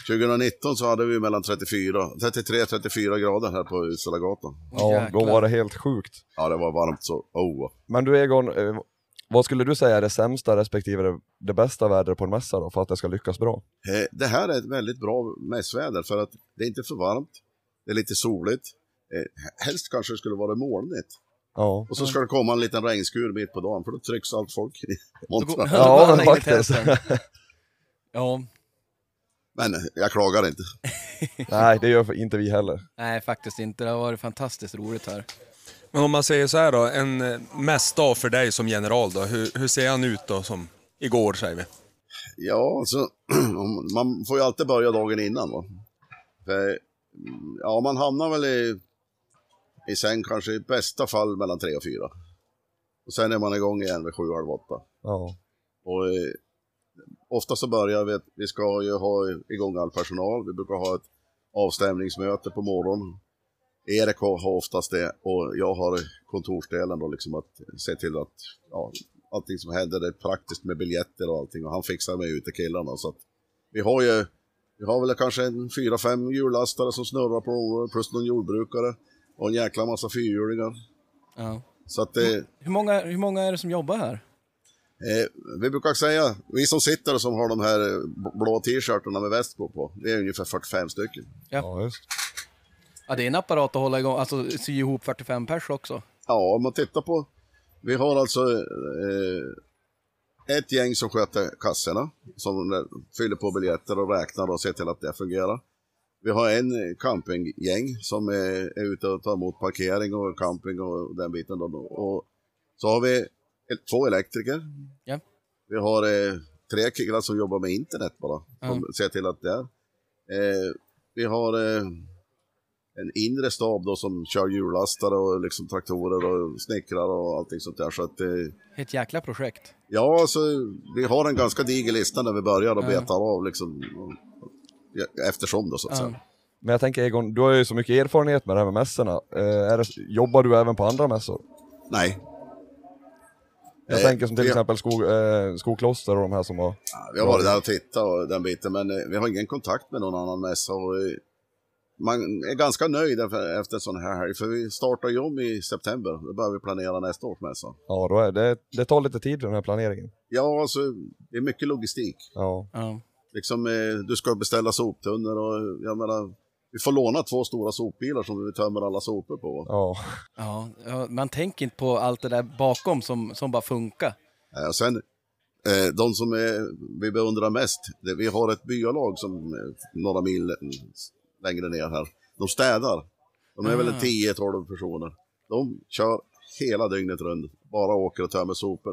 [SPEAKER 13] 2019 så hade vi mellan 34, 33-34 grader här på Utställagatan.
[SPEAKER 14] Ja, då var det helt sjukt.
[SPEAKER 13] Ja, det var varmt så. Oh.
[SPEAKER 14] Men du Egon, eh, vad skulle du säga är det sämsta respektive det, det bästa vädret på en mässa då, för att det ska lyckas bra?
[SPEAKER 13] Eh, Det här är ett väldigt bra mässväder för att det är inte för varmt, det är lite soligt. Eh, Helst kanske det skulle vara molnigt.
[SPEAKER 14] Ja.
[SPEAKER 13] Och så ska det komma en liten regnskur mitt på dagen för då trycks allt folk i montrarna.
[SPEAKER 14] Ja, men faktiskt.
[SPEAKER 1] Ja.
[SPEAKER 13] Men eh, jag klagar inte.
[SPEAKER 14] Nej, det gör inte vi heller.
[SPEAKER 1] Nej, faktiskt inte. Det har varit fantastiskt roligt här.
[SPEAKER 2] Men om man säger så här då, en eh, mässdag för dig som general då, hur, hur ser han ut då som igår säger vi?
[SPEAKER 13] Ja, alltså, <clears throat> om- man får ju alltid börja dagen innan. Va? För, mm, ja, man hamnar väl i, i säng kanske i bästa fall mellan tre och fyra. Och sen är man igång igen vid sju, halv åtta.
[SPEAKER 14] Ja.
[SPEAKER 13] Och, eh, ofta så börjar vi, vi ska ju ha igång all personal, vi brukar ha ett avstämningsmöte på morgonen. Erik har har oftast det och jag har kontorsdelen då liksom att se till att ja, allting som händer är praktiskt med biljetter och allting och han fixar med utekillarna så att vi har ju, vi har väl kanske en fyra, fem hjullastare som snurrar på området plus någon jordbrukare och en jäkla massa fyrhjulingar.
[SPEAKER 1] Ja.
[SPEAKER 13] Så att det,
[SPEAKER 1] Hur många, hur många är det som jobbar här?
[SPEAKER 13] Eh, vi brukar säga, vi som sitter och som har de här eh, b- blå t-shirtarna med väst på, det är ungefär 45 stycken.
[SPEAKER 1] Ja.
[SPEAKER 14] Ja, just.
[SPEAKER 1] Ja, det är en apparat att hålla igång, alltså sy ihop 45 pers också.
[SPEAKER 13] Ja, om man tittar på, vi har alltså eh, ett gäng som sköter kassorna, som eh, fyller på biljetter och räknar och ser till att det fungerar. Vi har en eh, campinggäng som är, är ute och tar emot parkering och camping och den biten. Då, och så har vi el- två elektriker.
[SPEAKER 1] Ja.
[SPEAKER 13] Vi har eh, tre killar som jobbar med internet bara, som ser till att det är. Eh, vi har eh, en inre stab då som kör hjullastare och liksom traktorer och snickrar och allting sånt där. Så att, eh,
[SPEAKER 1] Ett jäkla projekt.
[SPEAKER 13] ja, så vi har en ganska diger lista när vi börjar och
[SPEAKER 1] Ja.
[SPEAKER 13] betar av liksom, ja, eftersom då så att säga.
[SPEAKER 14] Men jag tänker Egon, du har ju så mycket erfarenhet med det här med mässorna. Eh, är det, jobbar du även på andra mässor?
[SPEAKER 13] Nej.
[SPEAKER 14] Jag
[SPEAKER 13] Eh,
[SPEAKER 14] tänker som till
[SPEAKER 13] vi-
[SPEAKER 14] exempel skog, eh, Skokloster och de här som har...
[SPEAKER 13] Vi har varit där och tittat och den biten, men eh, vi har ingen kontakt med någon annan mässa. Och eh, man är ganska nöjd efter efter en sån här helg, för vi startar ju om i september. Då börjar vi planera nästa års mässa.
[SPEAKER 14] Ja, då är det, det tar lite tid den här planeringen.
[SPEAKER 13] Ja, alltså det är mycket logistik.
[SPEAKER 14] Ja.
[SPEAKER 13] Liksom, eh, du ska beställa soptunnor och jag menar, vi får låna två stora sopbilar som vi tömmer alla sopor på.
[SPEAKER 14] Ja.
[SPEAKER 1] Ja, ja, man tänker inte på allt det där bakom som, som bara funkar.
[SPEAKER 13] Eh, Och sen, eh, de som eh, vi beundrar mest, det, vi har ett byalag som eh, några mil eh, längre ner här, de städar. De är väl
[SPEAKER 15] Ah.
[SPEAKER 13] 10-12 personer. De kör hela dygnet runt, bara åker och tömmer sopor.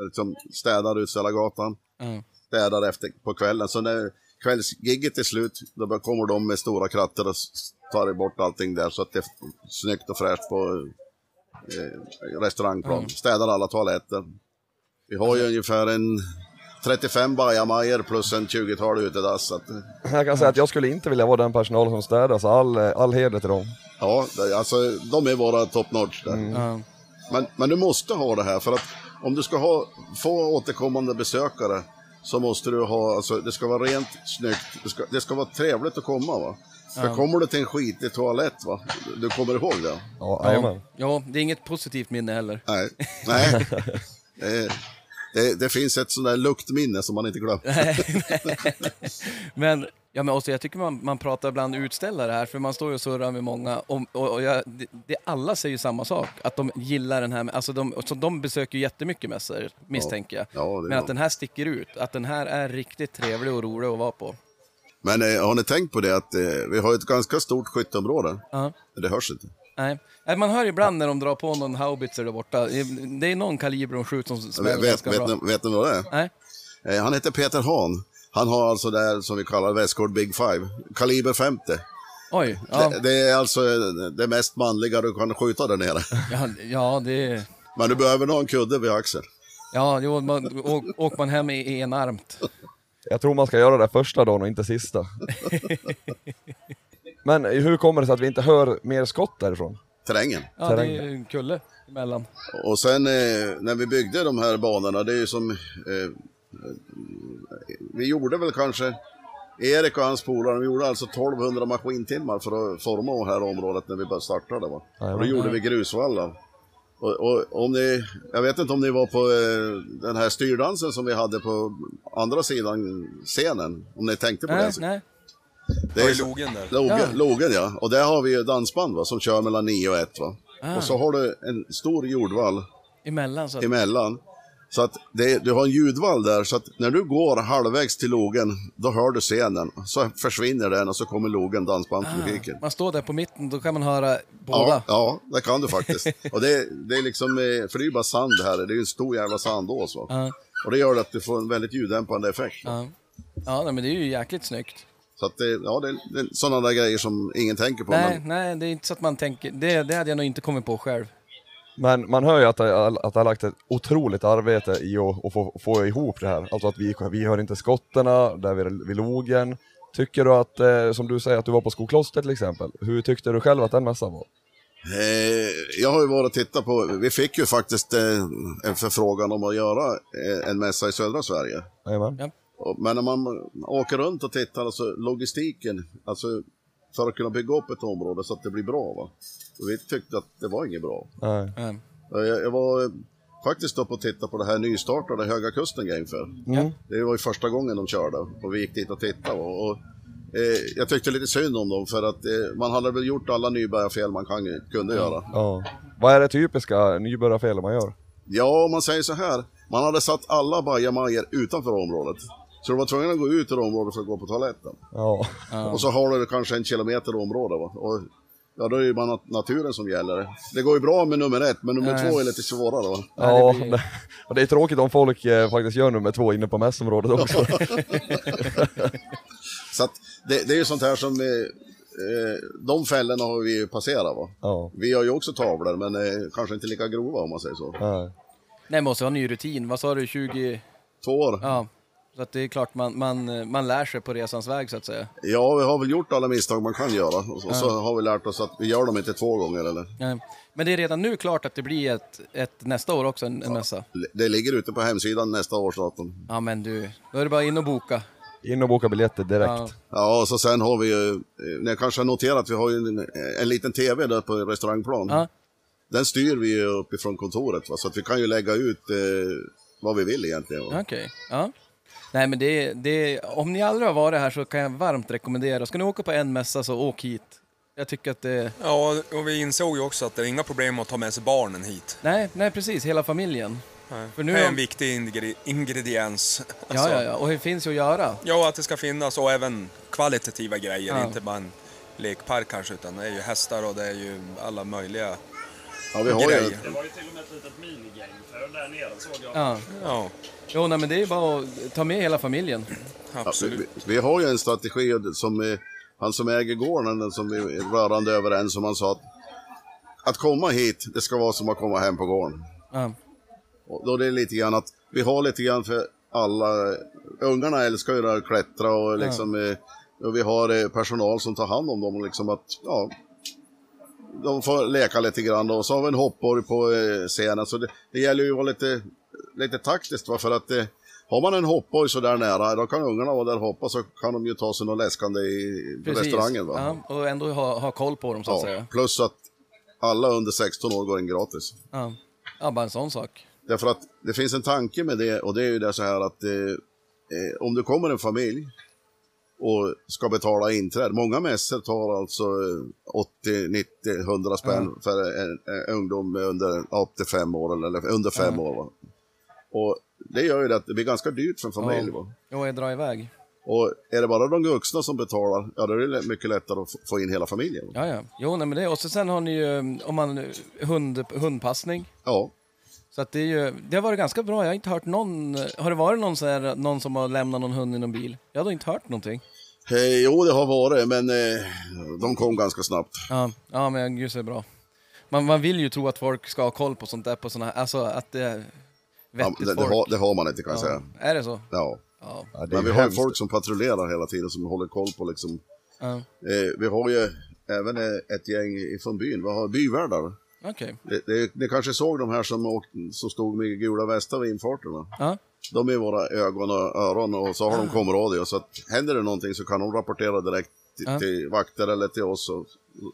[SPEAKER 13] Eh, Liksom städar Utställargatan,
[SPEAKER 1] Ja.
[SPEAKER 13] städar efter på kvällen. Så när kvällsgigget är slut, då bara kommer de med stora krattar och s- tar bort allting där så att det är snyggt och fräscht på eh, restaurangplan.
[SPEAKER 15] Mm.
[SPEAKER 13] Städar alla toaletter. Vi har ju ungefär en 35 bajamajor plus en 20-tal utedass. så att, eh,
[SPEAKER 14] Jag kan säga att jag skulle inte vilja vara den personal som städar, så all, eh, all heder till dem.
[SPEAKER 13] Ja, det- alltså de är våra top notch där.
[SPEAKER 14] Ja.
[SPEAKER 13] Men, men du måste ha det här för att om du ska ha, få återkommande besökare så måste du ha, alltså det ska vara rent, snyggt, det ska, det ska vara trevligt att komma va. För
[SPEAKER 1] Ja.
[SPEAKER 13] kommer du till en skitig toalett va, du kommer ihåg det.
[SPEAKER 1] ja, ja, det är inget positivt minne heller. <laughs>
[SPEAKER 13] Nej, nej. Eh, det, det finns ett sånt där luktminne som man inte glömmer.
[SPEAKER 1] men, ja, men också, jag tycker man, man pratar bland utställare här, för man står ju och surrar med många och, och, och jag, det, det, alla säger ju samma sak, att de gillar den här, alltså de, så de besöker ju jättemycket mässor, misstänker jag.
[SPEAKER 13] Ja, det är
[SPEAKER 1] men att
[SPEAKER 13] bra.
[SPEAKER 1] den här sticker ut, att den här är riktigt trevlig och rolig att vara på.
[SPEAKER 13] <laughs> Men eh, har ni tänkt på det att eh, vi har ett ganska stort skytteområde?
[SPEAKER 1] Ja.
[SPEAKER 13] Men Det hörs inte.
[SPEAKER 1] Nej. Nej, man hör ibland när de drar på någon haubitzer där borta, det är någon kaliber de skjuter som smäller
[SPEAKER 13] Vet, vet,
[SPEAKER 1] ganska bra.
[SPEAKER 13] vet, ni, vet ni vad det är?
[SPEAKER 1] Nej.
[SPEAKER 13] Eh, Han heter Peter Hahn. Han har alltså det här som vi kallar Västgård Big Five, kaliber 50.
[SPEAKER 1] Oj, ja.
[SPEAKER 13] Det, det är alltså det mest manliga du kan skjuta där
[SPEAKER 1] <laughs>
[SPEAKER 13] nere.
[SPEAKER 1] Ja, ja det...
[SPEAKER 13] Men du behöver nog en kudde vid axeln.
[SPEAKER 1] Ja, jo, man, å- åker man hem i enarmt.
[SPEAKER 13] <laughs>
[SPEAKER 14] Jag tror man ska göra det första dagen och inte sista. Men hur kommer det sig att vi inte hör mer skott därifrån?
[SPEAKER 13] Terrängen.
[SPEAKER 1] Ja, det är ju en kulle emellan.
[SPEAKER 13] Och sen eh, när vi byggde de här banorna, det är ju som... Eh, vi gjorde väl kanske... Erik och hans polare, de gjorde alltså 1200 maskintimmar för att forma det här området när vi började starta det. Va?
[SPEAKER 14] Jajamän.
[SPEAKER 13] Och då gjorde vi grusvallar. Och, och om ni, jag vet inte om ni var på eh, den här styrdansen som vi hade på andra sidan scenen, om ni tänkte på
[SPEAKER 1] Nej,
[SPEAKER 13] det.
[SPEAKER 1] nej.
[SPEAKER 13] Det
[SPEAKER 2] Var i
[SPEAKER 13] så-
[SPEAKER 2] logen där?
[SPEAKER 13] Logen
[SPEAKER 2] Ja.
[SPEAKER 13] ja. logen ja. Och där har vi ju dansband va, som kör mellan 9 och 1. Va?
[SPEAKER 1] Ah.
[SPEAKER 13] Och så har du en stor jordvall
[SPEAKER 1] Emellan så. att-
[SPEAKER 13] emellan. Så att det, du har en ljudvall där, så att när du går halvvägs till logen, då hör du scenen. Så försvinner den och så kommer logen, dansbandsmusiken.
[SPEAKER 1] Ah, Man står där på mitten, då kan man höra båda.
[SPEAKER 13] Ja, ja, det kan du faktiskt. Och det, det är liksom, eh, för det är ju bara sand här, det är ju en stor jävla sandås. Va?
[SPEAKER 1] Ja.
[SPEAKER 13] Och det gör att du får en väldigt ljuddämpande effekt.
[SPEAKER 1] Ja, ja nej, men det är ju jäkligt snyggt.
[SPEAKER 13] Så att det, ja, det, det är sådana där grejer som ingen tänker på.
[SPEAKER 1] Nej,
[SPEAKER 13] men-
[SPEAKER 1] nej, det är inte så att man tänker. Det, det hade jag nog inte kommit på själv.
[SPEAKER 14] Men man hör ju att det, att det har lagt ett otroligt arbete i att, att få, få ihop det här. Alltså att vi, vi hör inte skotterna där vid, vid logen. Tycker du att, eh, som du säger, att du var på Skokloster till exempel. Hur tyckte du själv att den mässan var?
[SPEAKER 13] Eh, jag har ju varit och tittat på, vi fick ju faktiskt eh, en förfrågan om att göra eh, en mässa i södra Sverige.
[SPEAKER 14] Jajamän.
[SPEAKER 13] Och- Men när man åker runt och tittar, alltså logistiken, alltså för att kunna bygga upp ett område så att det blir bra. Va? Och vi tyckte att det var inget bra.
[SPEAKER 14] Nej.
[SPEAKER 13] Eh, Jag, jag var eh, faktiskt uppe och tittade på det här nystartade Höga Kusten Game Fair.
[SPEAKER 14] Mm.
[SPEAKER 13] Det var ju första gången de körde och vi gick dit och tittade. Och, och, eh, jag tyckte lite synd om dem för att eh, man hade väl gjort alla nybörjarfel man kan, kunde göra.
[SPEAKER 14] Ja. Vad är det typiska nybörjarfel man gör?
[SPEAKER 13] Ja, om man säger så här. Man hade satt alla bajamajor utanför området. Så du var tvungen att gå ut ur området för att gå på toaletten.
[SPEAKER 14] Ja.
[SPEAKER 13] Och så har du kanske en kilometer område. Va? Och, ja, då är det ju bara nat- naturen som gäller. Det går ju bra med nummer ett, men nummer
[SPEAKER 14] Nej.
[SPEAKER 13] två är lite svårare. Va?
[SPEAKER 14] Ja, det, och det är tråkigt om folk eh, faktiskt gör nummer två inne på mässområdet också.
[SPEAKER 13] så att det, det är ju sånt här som... eh, Eh, de fällorna har vi ju passerat va.
[SPEAKER 14] Ja.
[SPEAKER 13] Vi har ju också tavlor men eh, kanske inte lika grova om man säger så.
[SPEAKER 1] Nej, man måste ha ny rutin. Vad sa du, 20?
[SPEAKER 13] Två år.
[SPEAKER 1] Ja, så att det är klart man, man, man lär sig på resans väg så att säga.
[SPEAKER 13] Ja, vi har väl gjort alla misstag man kan göra och så, och så
[SPEAKER 1] Ja.
[SPEAKER 13] har vi lärt oss att vi gör dem inte två gånger eller?
[SPEAKER 1] Nej. Men det är redan nu klart att det blir ett, ett nästa år också, en, en mässa.
[SPEAKER 13] Det ligger ute på hemsidan nästa års datum.
[SPEAKER 1] Ja, men du, då är det bara in och boka.
[SPEAKER 14] In och boka biljetter direkt.
[SPEAKER 1] Ja.
[SPEAKER 13] Ja, och så sen har vi ju, eh, ni kanske har noterat, att vi har ju en, eh, en liten TV där på restaurangplan. Den styr vi ju uppifrån kontoret, va? så att vi kan ju lägga ut eh, vad vi vill egentligen. Va?
[SPEAKER 1] Okej, ja. Nej, men det, det, om ni aldrig har varit här så kan jag varmt rekommendera. Ska ni åka på en mässa så åk hit. Jag tycker att det...
[SPEAKER 6] Ja, och vi insåg ju också att det är inga problem att ta med sig barnen hit.
[SPEAKER 1] Nej, nej precis, hela familjen. För nu
[SPEAKER 6] det är
[SPEAKER 1] har-
[SPEAKER 6] en viktig ingre- ingrediens.
[SPEAKER 1] Ja, ja, ja, och det finns ju att göra.
[SPEAKER 6] Ja, att det ska finnas och även kvalitativa grejer,
[SPEAKER 1] Ja.
[SPEAKER 6] inte bara en lekpark kanske, utan det är ju hästar och det är ju alla möjliga
[SPEAKER 13] Ja, vi har ju-
[SPEAKER 6] grejer.
[SPEAKER 9] Det var ju till och med ett litet minigameföl där nere såg jag.
[SPEAKER 1] Ja. Jo, nej, men det är bara att ta med hela familjen.
[SPEAKER 13] Ja, vi, vi har ju en strategi som eh, han som äger gården, den som vi är rörande överens som han sa att, att komma hit, det ska vara som att komma hem på gården.
[SPEAKER 1] Ja.
[SPEAKER 13] Och då är det lite grann att vi har lite grann för alla, ungarna älskar ju det här att klättra och liksom, eh, och vi har eh, personal som tar hand om dem och liksom att, ja, de får leka lite grann och så har vi en hoppborg på eh, scenen så det, det gäller ju att vara lite, lite taktiskt va? för att eh, har man en hoppborg så där nära, då kan ungarna vara där och hoppa så kan de ju ta sig något läskande i på restaurangen. Va?
[SPEAKER 1] Ja, och ändå ha, ha koll på dem så att
[SPEAKER 13] Ja,
[SPEAKER 1] säga.
[SPEAKER 13] plus att alla under 16 år går in gratis.
[SPEAKER 1] Ja. ja, bara en sån sak.
[SPEAKER 13] Därför att det finns en tanke med det och det är ju det så här att eh, eh, om det kommer en familj och ska betala inträde. Många mässor tar alltså eh, 80, 90, 100 spänn för en, en ungdom under ja, upp till fem år eller- eller under fem
[SPEAKER 1] Ja.
[SPEAKER 13] år. Va? Och det gör ju det att det blir ganska dyrt för en familj.
[SPEAKER 1] Ja.
[SPEAKER 13] Va?
[SPEAKER 1] Jo, jag drar iväg.
[SPEAKER 13] Och är det bara de vuxna som betalar, ja då är det lä- mycket lättare att f- få in hela familjen. Va?
[SPEAKER 1] Ja, ja. Jo, nej, men det. Och så, sen har ni ju um, om man, uh, hund, hundpassning.
[SPEAKER 13] Ja.
[SPEAKER 1] Så att det, är ju, det har varit ganska bra. Jag har inte hört någon... eh, Har det varit någon, så här, någon som har lämnat någon hund i någon bil? Jag har då inte hört någonting.
[SPEAKER 13] Eh, jo, det har varit, men eh, de kom ganska snabbt.
[SPEAKER 1] Ja, ja men gud så är det bra. Man, man vill ju tro att folk ska ha koll på sånt där, på såna här, alltså att det är
[SPEAKER 13] Ja,
[SPEAKER 1] vettigt
[SPEAKER 13] det, det,
[SPEAKER 1] folk.
[SPEAKER 13] har, det har man inte kan jag
[SPEAKER 1] Ja.
[SPEAKER 13] säga.
[SPEAKER 1] Är det så?
[SPEAKER 13] Ja.
[SPEAKER 1] Ja.
[SPEAKER 13] Men vi har folk som patrullerar hela tiden som håller koll på liksom Eh, vi har ju även eh, ett gäng från byn, vi har byvärdar.
[SPEAKER 1] Okej.
[SPEAKER 13] Det, det, ni kanske såg de här som, åkte, som stod med gula västar vid infarten? va?
[SPEAKER 1] Ja.
[SPEAKER 13] De är våra ögon och öron och så har de komradio. Så att händer det någonting så kan de rapportera direkt till,
[SPEAKER 1] Ja.
[SPEAKER 13] till vakter eller till oss. Och,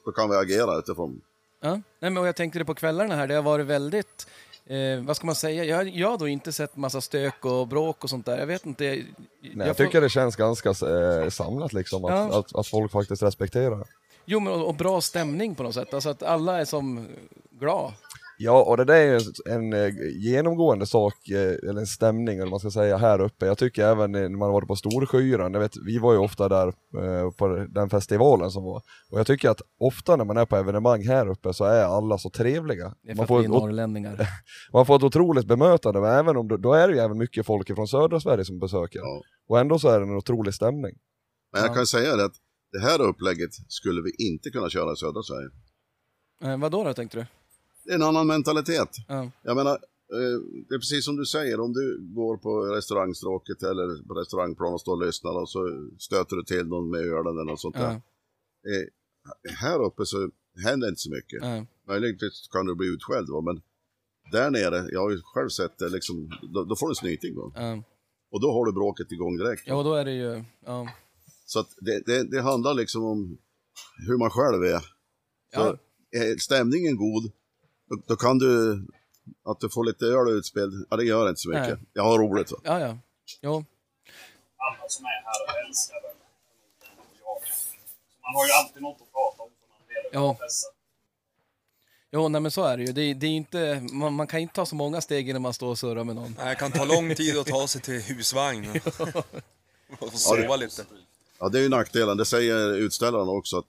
[SPEAKER 13] då kan vi agera utifrån.
[SPEAKER 1] Ja. Nej, men och jag tänkte det på kvällarna här, det har varit väldigt, eh, vad ska man säga, jag, jag har då inte sett massa stök och bråk och sånt där. Jag vet inte. Jag,
[SPEAKER 14] Nej, jag,
[SPEAKER 1] får-
[SPEAKER 14] tycker det känns ganska eh, samlat liksom, att,
[SPEAKER 1] Ja.
[SPEAKER 14] att, att folk faktiskt respekterar.
[SPEAKER 1] Jo, men och, och bra stämning på något sätt. Alltså att alla är som glada.
[SPEAKER 14] Ja, och det där är ju en eh, genomgående sak, eh, eller en stämning eller vad man ska säga, här uppe. Jag tycker även eh, när man varit på Storskyran, jag vet, vi var ju ofta där eh, på den festivalen som var. Och jag tycker att ofta när man är på evenemang här uppe så är alla så trevliga.
[SPEAKER 1] Det är för
[SPEAKER 14] Man
[SPEAKER 1] att
[SPEAKER 14] får
[SPEAKER 1] vi är
[SPEAKER 14] ett o-
[SPEAKER 1] norrlänningar.
[SPEAKER 14] Man får ett otroligt bemötande, men även om, då är det ju även mycket folk från södra Sverige som besöker. Och ändå så är det en otrolig stämning.
[SPEAKER 13] Men jag kan säga det att det här upplägget skulle vi inte kunna köra i södra Sverige.
[SPEAKER 1] Eh, vad då, då tänkte du?
[SPEAKER 13] Det är en annan mentalitet.
[SPEAKER 1] Ja.
[SPEAKER 13] Jag menar, eh, det är precis som du säger, om du går på restaurangstråket eller på restaurangplan och står och lyssnar och så stöter du till någon med ölen eller något sånt där. Eh, här uppe så händer inte så mycket.
[SPEAKER 1] Nej.
[SPEAKER 13] Möjligtvis kan du bli utskälld va, men där nere, jag har ju själv sett det, liksom, då, då får du snyting. Va?
[SPEAKER 1] Ja.
[SPEAKER 13] Och då har du bråket igång direkt.
[SPEAKER 1] Ja, och då är det ju, ja.
[SPEAKER 13] Så att det, det, det handlar liksom om hur man själv är. Så är stämningen god, då, då kan du, att du får lite öl utspelad, ja det gör inte så mycket.
[SPEAKER 1] Nej.
[SPEAKER 13] Jag har roligt. Va?
[SPEAKER 1] Ja, ja. Jo.
[SPEAKER 9] Alla som är här och älskar den. Man har ju alltid något att prata om. när man lever
[SPEAKER 1] Ja.
[SPEAKER 9] på festen.
[SPEAKER 1] Jo, nej men så är det ju. Det, är- det är inte, man, man kan inte ta så många steg innan man står och surrar med någon.
[SPEAKER 6] Nej, det kan ta lång tid att ta sig till
[SPEAKER 1] <laughs>
[SPEAKER 6] husvagn. Och få sova lite.
[SPEAKER 13] Ja, det är ju nackdelen. Det säger utställaren också att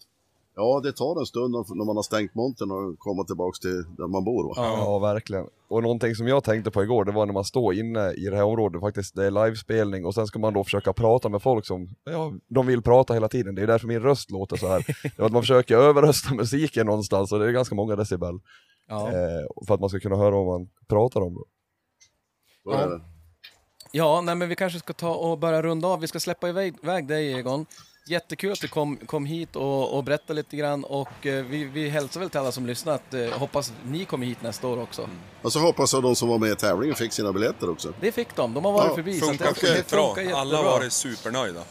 [SPEAKER 13] ja, det tar en stund om- när man har stängt montern och komma tillbaks till där man bor. Va?
[SPEAKER 14] Ja. verkligen. Och någonting som jag tänkte på igår, det var när man står inne i det här området faktiskt, det är livespelning och sen ska man då försöka prata med folk som, ja, de vill prata hela tiden. Det är därför min röst låter så här. Det är att man försöker överrösta musiken någonstans och det är ganska många decibel.
[SPEAKER 1] Ja.
[SPEAKER 14] Eh, för att man ska kunna höra vad man pratar om. Då.
[SPEAKER 13] <laughs> Så är det.
[SPEAKER 1] Ja, nej men vi kanske ska ta och börja runda av. Vi ska släppa iväg, iväg dig Egon. Jättekul att du kom, kom hit och, och berättade lite grann och eh, vi, vi hälsar väl till alla som lyssnat. Eh, hoppas ni kommer hit nästa år också.
[SPEAKER 13] Och så hoppas jag de som var med i tävlingen fick sina biljetter också.
[SPEAKER 1] Det fick de, de har varit
[SPEAKER 13] Ja,
[SPEAKER 1] förbi. så att
[SPEAKER 6] Funkar
[SPEAKER 1] det- det
[SPEAKER 6] skitbra.
[SPEAKER 1] funkar
[SPEAKER 6] Alla har
[SPEAKER 1] jättebra.
[SPEAKER 6] varit supernöjda.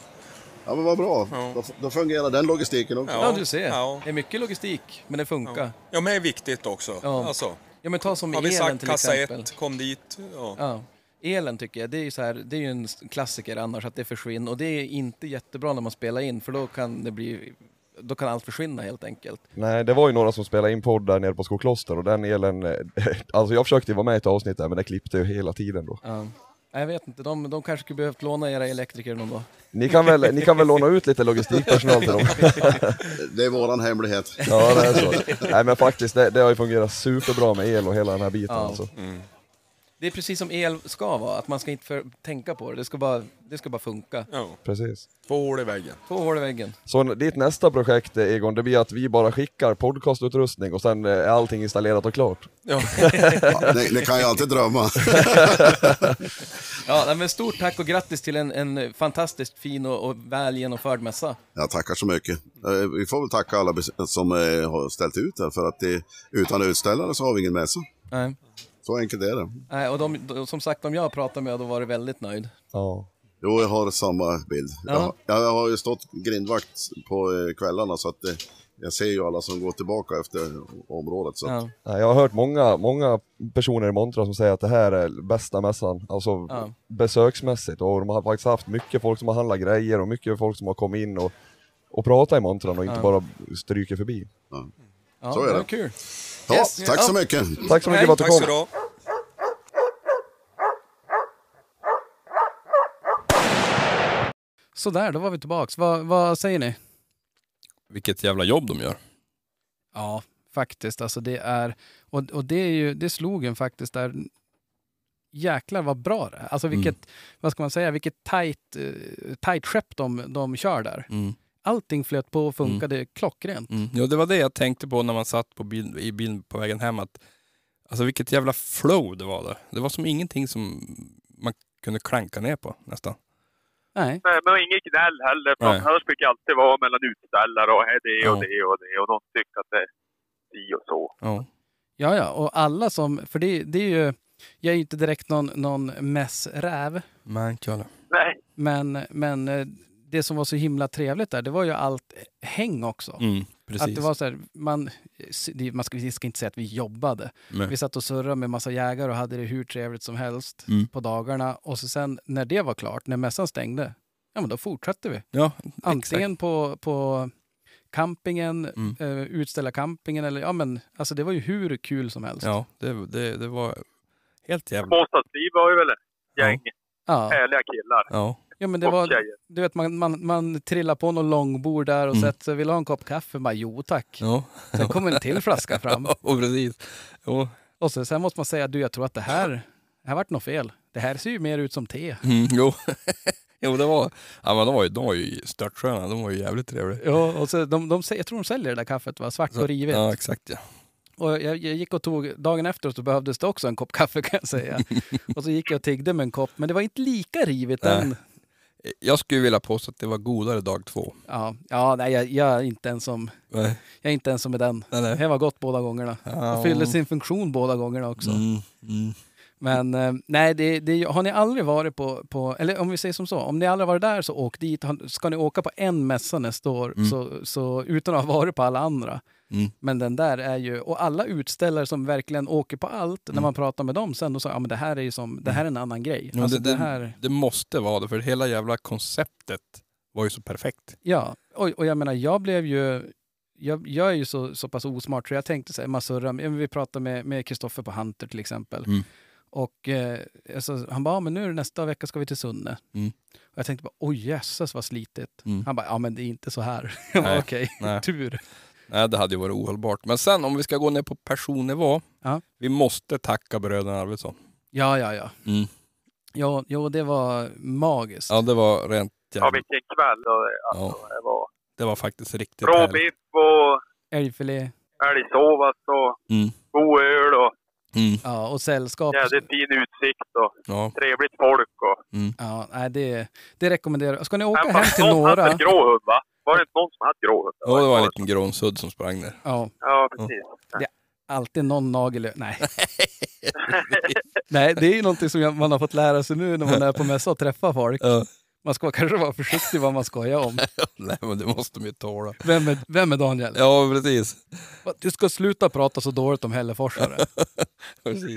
[SPEAKER 13] Ja, men vad bra. Då, då fungerar den logistiken också.
[SPEAKER 1] Ja, du ser. Det är mycket logistik, men det funkar. Ja,
[SPEAKER 6] Ja, men det är viktigt också.
[SPEAKER 1] Ja.
[SPEAKER 6] Alltså,
[SPEAKER 1] men ta som
[SPEAKER 6] har vi
[SPEAKER 1] elen
[SPEAKER 6] sagt
[SPEAKER 1] till
[SPEAKER 6] kassa
[SPEAKER 1] exempel.
[SPEAKER 6] ett, kom dit. Ja.
[SPEAKER 1] Ja. Elen tycker jag, det är ju så här, det är ju en klassiker annars att det försvinner och det är inte jättebra när man spelar in för då kan det bli, då kan allt försvinna helt enkelt.
[SPEAKER 14] Nej, det var ju några som spelade in podd där nere på Skokloster och den elen, eh, <laughs> alltså jag försökte ju vara med i ett avsnitt där men det klippte ju hela tiden då.
[SPEAKER 1] Ja. Jag vet inte, de, de kanske skulle behövt låna era elektriker någon dag.
[SPEAKER 14] Ni kan väl, ni kan väl låna ut lite logistikpersonal till dem?
[SPEAKER 13] <laughs> Det är våran hemlighet.
[SPEAKER 14] Ja, det är så. Nej men faktiskt, det, det har ju fungerat superbra med el och hela den här biten
[SPEAKER 1] Ja.
[SPEAKER 14] alltså.
[SPEAKER 1] Det är precis som el ska vara, att man ska inte för, tänka på det, det ska bara, det ska bara funka.
[SPEAKER 14] Precis.
[SPEAKER 6] Två hål i väggen.
[SPEAKER 1] Två hål i väggen.
[SPEAKER 14] Så n- ditt nästa projekt eh, Egon, det blir att vi bara skickar podcastutrustning och sen eh, är allting installerat och klart.
[SPEAKER 1] Ja.
[SPEAKER 13] <laughs> Ja, ni, ni kan ju alltid
[SPEAKER 14] <laughs>
[SPEAKER 13] drömma.
[SPEAKER 1] <laughs> Ja, nej, men stort tack och grattis till en, en fantastiskt fin och, och väl genomförd mässa.
[SPEAKER 13] Ja, tackar så mycket. Eh, Vi får väl tacka alla bes- som eh, har ställt ut här för att det, utan utställare så har vi ingen mässa.
[SPEAKER 1] Nej.
[SPEAKER 13] Så enkelt är det.
[SPEAKER 1] Nej, Eh, och de, de, som sagt, de jag har pratat med har varit väldigt nöjd.
[SPEAKER 14] Ja.
[SPEAKER 13] Jo, jag har samma bild.
[SPEAKER 1] Ja.
[SPEAKER 13] Jag, har- jag har ju stått grindvakt på eh, kvällarna så att eh, jag ser ju alla som går tillbaka efter området. Så att,
[SPEAKER 14] Ja, Jag har hört många, många personer i Montra som säger att det här är bästa mässan, alltså
[SPEAKER 13] Ja.
[SPEAKER 14] besöksmässigt. Och de har faktiskt haft mycket folk som har handlat grejer och mycket folk som har kommit in och, och pratat i montran och inte
[SPEAKER 1] Ja.
[SPEAKER 14] bara stryker förbi.
[SPEAKER 1] Ja,
[SPEAKER 14] Så är det.
[SPEAKER 1] var Kul.
[SPEAKER 14] Ja, tack så mycket. Tack så mycket för att du Tack kom. så bra.
[SPEAKER 1] Sådär, då var vi tillbaks. Vad, vad säger ni?
[SPEAKER 2] Vilket jävla jobb de gör.
[SPEAKER 1] Ja, faktiskt. Alltså det är, och, och det är ju, det slog en faktiskt där. Jäklar vad bra det är. Alltså
[SPEAKER 2] Mm.
[SPEAKER 1] vilket, vad ska man säga, vilket tajt, eh, tajt skepp de, de kör där.
[SPEAKER 2] Mm.
[SPEAKER 1] Allting flöt på och funkade klockrent.
[SPEAKER 2] Mm. Ja, det var det jag tänkte på när man satt på bil, i bilen på vägen hem. Att, alltså vilket jävla flow det var där. Det var som ingenting som man kunde klanka ner på nästan.
[SPEAKER 1] Nej.
[SPEAKER 5] Nej, men inget gnäll heller. För
[SPEAKER 1] Nej.
[SPEAKER 5] annars brukar det alltid vara mellan utställare och här det och
[SPEAKER 1] Ja.
[SPEAKER 5] det och det. Och de tycker att det är si och så.
[SPEAKER 1] Ja, ja, och alla som... För det, det är ju... Jag är ju inte direkt någon, någon mässräv.
[SPEAKER 2] Men kolla.
[SPEAKER 5] Nej.
[SPEAKER 1] Men, men eh, det som var så himla trevligt där, det var ju allt häng också.
[SPEAKER 2] Mm, precis.
[SPEAKER 1] Att det var så här, man, det- man ska, vi ska inte säga att vi jobbade.
[SPEAKER 2] Nej.
[SPEAKER 1] Vi satt och surrade med massa jägare och hade det hur trevligt som helst
[SPEAKER 2] Mm.
[SPEAKER 1] på dagarna. Och så sen när det var klart, när mässan stängde, ja men då fortsatte vi.
[SPEAKER 2] Ja,
[SPEAKER 1] Antingen på, på campingen,
[SPEAKER 2] Mm.
[SPEAKER 1] eh, utställa campingen eller ja men alltså det var ju hur kul som helst.
[SPEAKER 2] Ja, det, det, det var helt jävla...
[SPEAKER 5] Båstadsliv var ju väl ett gäng
[SPEAKER 1] Ja.
[SPEAKER 5] härliga killar.
[SPEAKER 2] Ja.
[SPEAKER 1] Ja, men det
[SPEAKER 5] Och
[SPEAKER 1] var,
[SPEAKER 5] tjejer.
[SPEAKER 1] du vet, man, man, man trillar på någon långbord där och
[SPEAKER 2] Mm.
[SPEAKER 1] sätter sig. Vill du ha en kopp kaffe? Bara, jo tack.
[SPEAKER 2] Ja.
[SPEAKER 1] Sen kommer en till flaska
[SPEAKER 2] <laughs>
[SPEAKER 1] fram.
[SPEAKER 2] och precis. Jo.
[SPEAKER 1] Och så, sen måste man säga, du jag tror att det här, det här vart något fel. Det här ser ju mer ut som te.
[SPEAKER 2] Mm, jo. <laughs> jo, det var... Ja, men de var ju, de var ju störtsköna. De var ju jävligt trevliga.
[SPEAKER 1] Ja, och så, de, de, sä- jag tror de säljer det där kaffet, va? svart
[SPEAKER 2] Så-
[SPEAKER 1] och rivet.
[SPEAKER 2] Ja, exakt ja.
[SPEAKER 1] Och jag, jag gick och tog, dagen efter så behövdes det också en kopp kaffe kan jag
[SPEAKER 2] <laughs>
[SPEAKER 1] säga. och så gick jag och tiggde med en kopp, men det var inte lika rivet
[SPEAKER 2] Nej.
[SPEAKER 1] än.
[SPEAKER 2] Jag skulle vilja påstå att det var godare dag två.
[SPEAKER 1] Ja, ja nej, jag, jag är inte ens som,
[SPEAKER 2] Nej.
[SPEAKER 1] jag är inte ens som med den.
[SPEAKER 2] Nej, nej.
[SPEAKER 1] Det var gott båda gångerna.
[SPEAKER 2] Ja.
[SPEAKER 1] Det fyllde sin funktion båda gångerna också.
[SPEAKER 2] Mm, mm.
[SPEAKER 1] Men eh, nej, det, det, har ni aldrig varit på, på, eller om vi säger som så, om ni aldrig varit där så åk dit. Han- Ska ni åka på en mässa nästa år
[SPEAKER 2] Mm.
[SPEAKER 1] så, så utan att ha varit på alla andra.
[SPEAKER 2] Mm.
[SPEAKER 1] Men den där är ju, och alla utställare som verkligen åker på allt, när man pratar med dem sen, då säger ja men det här är ju som, det här är en annan grej.
[SPEAKER 2] Mm. Ja,
[SPEAKER 1] alltså,
[SPEAKER 2] det,
[SPEAKER 1] det,
[SPEAKER 2] det,
[SPEAKER 1] här,
[SPEAKER 2] det måste vara det, för hela jävla konceptet var ju
[SPEAKER 1] <laughs>
[SPEAKER 2] så perfekt.
[SPEAKER 1] ja. Och, och jag menar, jag blev ju, jag, jag är ju så, så pass osmart så jag tänkte så här, man surrar, med- vi pratade med- med Kristoffer på Hunter till exempel.
[SPEAKER 2] Mm.
[SPEAKER 1] Och eh, alltså, han bara, ja, men nu är det nästa vecka ska vi till Sunne.
[SPEAKER 2] Mm.
[SPEAKER 1] Och jag tänkte bara, oj jösses vad slitigt.
[SPEAKER 2] Mm.
[SPEAKER 1] Han bara, ja men det är inte så här. <laughs> Jag bara,
[SPEAKER 2] Nej,
[SPEAKER 1] Okej,
[SPEAKER 2] nej.
[SPEAKER 1] tur.
[SPEAKER 2] Nej, det hade ju varit ohållbart. Men sen om vi ska gå ner på personnivå.
[SPEAKER 1] Ja.
[SPEAKER 2] Vi måste tacka bröderna Arvidsson.
[SPEAKER 1] <laughs> Ja, ja, ja.
[SPEAKER 2] Mm.
[SPEAKER 1] Jo, jo, det var magiskt.
[SPEAKER 2] Ja, det var rent
[SPEAKER 5] Ja,
[SPEAKER 2] jävla...
[SPEAKER 5] vilken kväll. Och, det- alltså,
[SPEAKER 2] Ja.
[SPEAKER 5] det var
[SPEAKER 2] Det var faktiskt riktigt
[SPEAKER 5] bra
[SPEAKER 2] härligt.
[SPEAKER 5] biff och
[SPEAKER 1] Älgfilé.
[SPEAKER 5] älgsovas och
[SPEAKER 2] Mm.
[SPEAKER 5] god öl och
[SPEAKER 1] Ja, och sällskap.
[SPEAKER 5] jävligt fin utsikt och
[SPEAKER 2] Ja.
[SPEAKER 5] trevligt folk. Och...
[SPEAKER 1] Mm.
[SPEAKER 2] Mm.
[SPEAKER 1] Ja, nej, det, det rekommenderar jag. Ska ni åka
[SPEAKER 5] Men
[SPEAKER 1] hem
[SPEAKER 5] fast
[SPEAKER 1] till
[SPEAKER 5] någon hade
[SPEAKER 1] några?
[SPEAKER 5] en grå hund, va? Var det inte någon som hade grå hund?
[SPEAKER 2] Ja, det var en liten grånsudd som sprang där.
[SPEAKER 1] Ja.
[SPEAKER 5] Ja, precis.
[SPEAKER 1] Det är alltid någon nagel i- Nej. Nej, det är ju någonting som jag, man har fått lära sig nu när man är på mässa och träffar folk. Man ska kanske vara försiktig vad man skojar om.
[SPEAKER 2] <laughs> Nej, men det måste de ju tåla.
[SPEAKER 1] Vem är, vem är Daniel?
[SPEAKER 2] Ja, precis.
[SPEAKER 1] Va, Du ska sluta prata så dåligt om hälleforsare.
[SPEAKER 2] <laughs> Precis.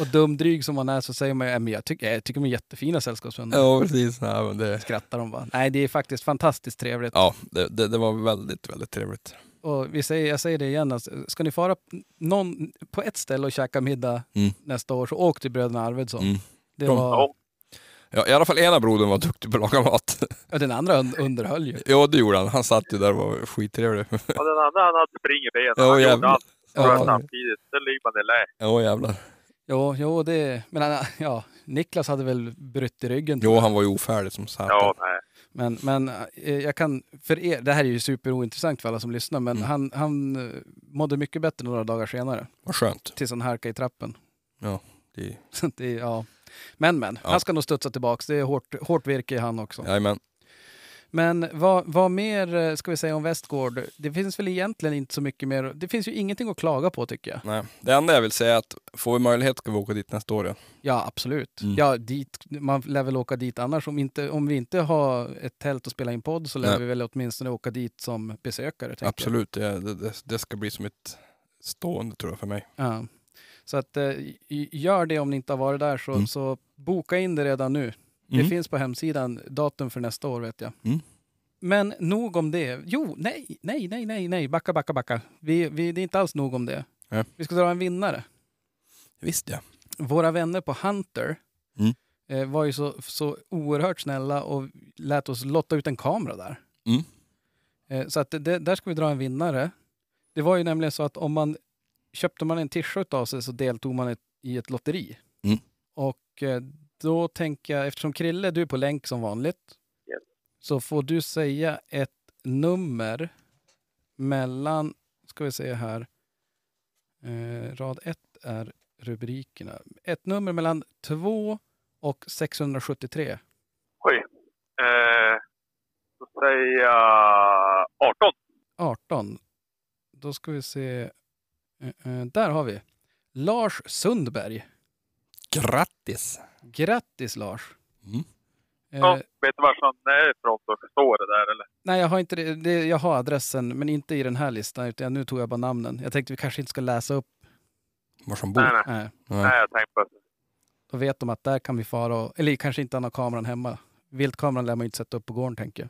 [SPEAKER 1] och dumdryg som man är så säger man ju, "Äh, men jag tycker, jag tycker de är jättefina sällskapsvänner.
[SPEAKER 2] Ja, precis. Nej, men det...
[SPEAKER 1] Mm. Skrattar de bara. Nej, det är faktiskt fantastiskt trevligt.
[SPEAKER 2] Ja, det, det, det var väldigt, väldigt trevligt.
[SPEAKER 1] Och vi säger, jag säger det igen, alltså, ska ni fara p- någon, på ett ställe och käka middag
[SPEAKER 2] Mm.
[SPEAKER 1] nästa år så åk till bröderna Arvidsson.
[SPEAKER 2] Mm.
[SPEAKER 1] Det
[SPEAKER 2] De-
[SPEAKER 1] var,
[SPEAKER 2] Ja. Ja, I alla fall ena brodern var duktig på att laga mat.
[SPEAKER 1] <laughs> ja, den andra un- underhöll ju.
[SPEAKER 2] ja, det gjorde han. Han satt ju där och var skittrevlig.
[SPEAKER 5] Ja, den andra han hade spring i benen.
[SPEAKER 2] Ja,
[SPEAKER 5] han gjorde
[SPEAKER 2] jävlar.
[SPEAKER 5] allt.
[SPEAKER 1] Ja.
[SPEAKER 5] Ja. Samtidigt. Sen ligger man i lä.
[SPEAKER 2] <laughs> Ja, jävlar.
[SPEAKER 1] Jo, jo, det, men han- ja, Niklas hade väl brutit ryggen. tror
[SPEAKER 2] Jo,
[SPEAKER 1] jag.
[SPEAKER 2] han var ju ofärdig som satan.
[SPEAKER 5] Ja, nej.
[SPEAKER 1] Men, men eh, jag kan, för er, det här är ju superointressant för alla som lyssnar, men
[SPEAKER 2] Mm.
[SPEAKER 1] han, han eh, mådde mycket bättre några dagar senare.
[SPEAKER 2] Vad skönt.
[SPEAKER 1] Tills han harkade i trappen.
[SPEAKER 2] Ja, det...
[SPEAKER 1] Så att <laughs> det, ja. Men men,
[SPEAKER 2] Ja.
[SPEAKER 1] han ska nog studsa tillbaka. Det är hårt, hårt virke i han också.
[SPEAKER 2] Jajamän.
[SPEAKER 1] Men vad, vad mer eh, ska vi säga om Västgård? Det finns väl egentligen inte så mycket mer. Det finns ju ingenting att klaga på tycker jag.
[SPEAKER 2] Nej. Det enda jag vill säga är att får vi möjlighet ska vi åka dit nästa år. Ja.
[SPEAKER 1] Ja, absolut.
[SPEAKER 2] Mm.
[SPEAKER 1] Ja, dit, man lär väl åka dit annars. Om, inte, om vi inte har ett tält att spela in podd så lär
[SPEAKER 2] Nej.
[SPEAKER 1] vi väl åtminstone åka dit som besökare. tänker jag.
[SPEAKER 2] Absolut, det, det- det, det ska bli som ett stående tror jag för mig.
[SPEAKER 1] Ja. Så att, eh, i- gör det om ni inte har varit där, så, så boka in det redan nu. Det
[SPEAKER 2] Mm.
[SPEAKER 1] finns på hemsidan datum för nästa år vet jag.
[SPEAKER 2] Mm.
[SPEAKER 1] Men nog om det. Jo, nej, nej, nej, nej, nej. backa, backa, backa. Vi, vi, det är inte alls nog om det.
[SPEAKER 2] Nej.
[SPEAKER 1] Vi ska dra en vinnare.
[SPEAKER 2] Visst ja.
[SPEAKER 1] Våra vänner på Hunter
[SPEAKER 2] Mm.
[SPEAKER 1] eh, var ju så, så oerhört snälla och lät oss lotta ut en kamera där.
[SPEAKER 2] Mm.
[SPEAKER 1] Eh, Så att det- det, där ska vi dra en vinnare. Det var ju nämligen så att om man köpte man en t-shirt av sig så deltog man ett, i ett lotteri.
[SPEAKER 2] Mm.
[SPEAKER 1] Och eh, då tänker jag, eftersom Krille, du är på länk som vanligt,
[SPEAKER 5] Yes.
[SPEAKER 1] så får du säga ett nummer mellan, ska vi se här, eh, rad 1 är rubrikerna. Ett nummer mellan 2 och 673.
[SPEAKER 5] Oj. Eh, säga 18.
[SPEAKER 1] 18. Då ska vi se. Eh, eh, Där har vi. Lars Sundberg.
[SPEAKER 2] Grattis! Mm.
[SPEAKER 1] Grattis Lars.
[SPEAKER 5] Ja,
[SPEAKER 1] Eh,
[SPEAKER 5] vet du var han är ifrån så står det där eller?
[SPEAKER 1] Nej, jag har, inte det, det, jag har adressen, men inte i den här listan. Utan nu tog jag bara namnen. Jag tänkte vi kanske inte ska läsa upp.
[SPEAKER 2] Var som
[SPEAKER 5] Nej, nej.
[SPEAKER 1] Nej.
[SPEAKER 5] Nej, jag tänkte på
[SPEAKER 1] Då vet de att där kan vi fara. Och, eller kanske inte han har kameran hemma. Viltkameran lär man ju inte sätta upp på gården, tänker jag.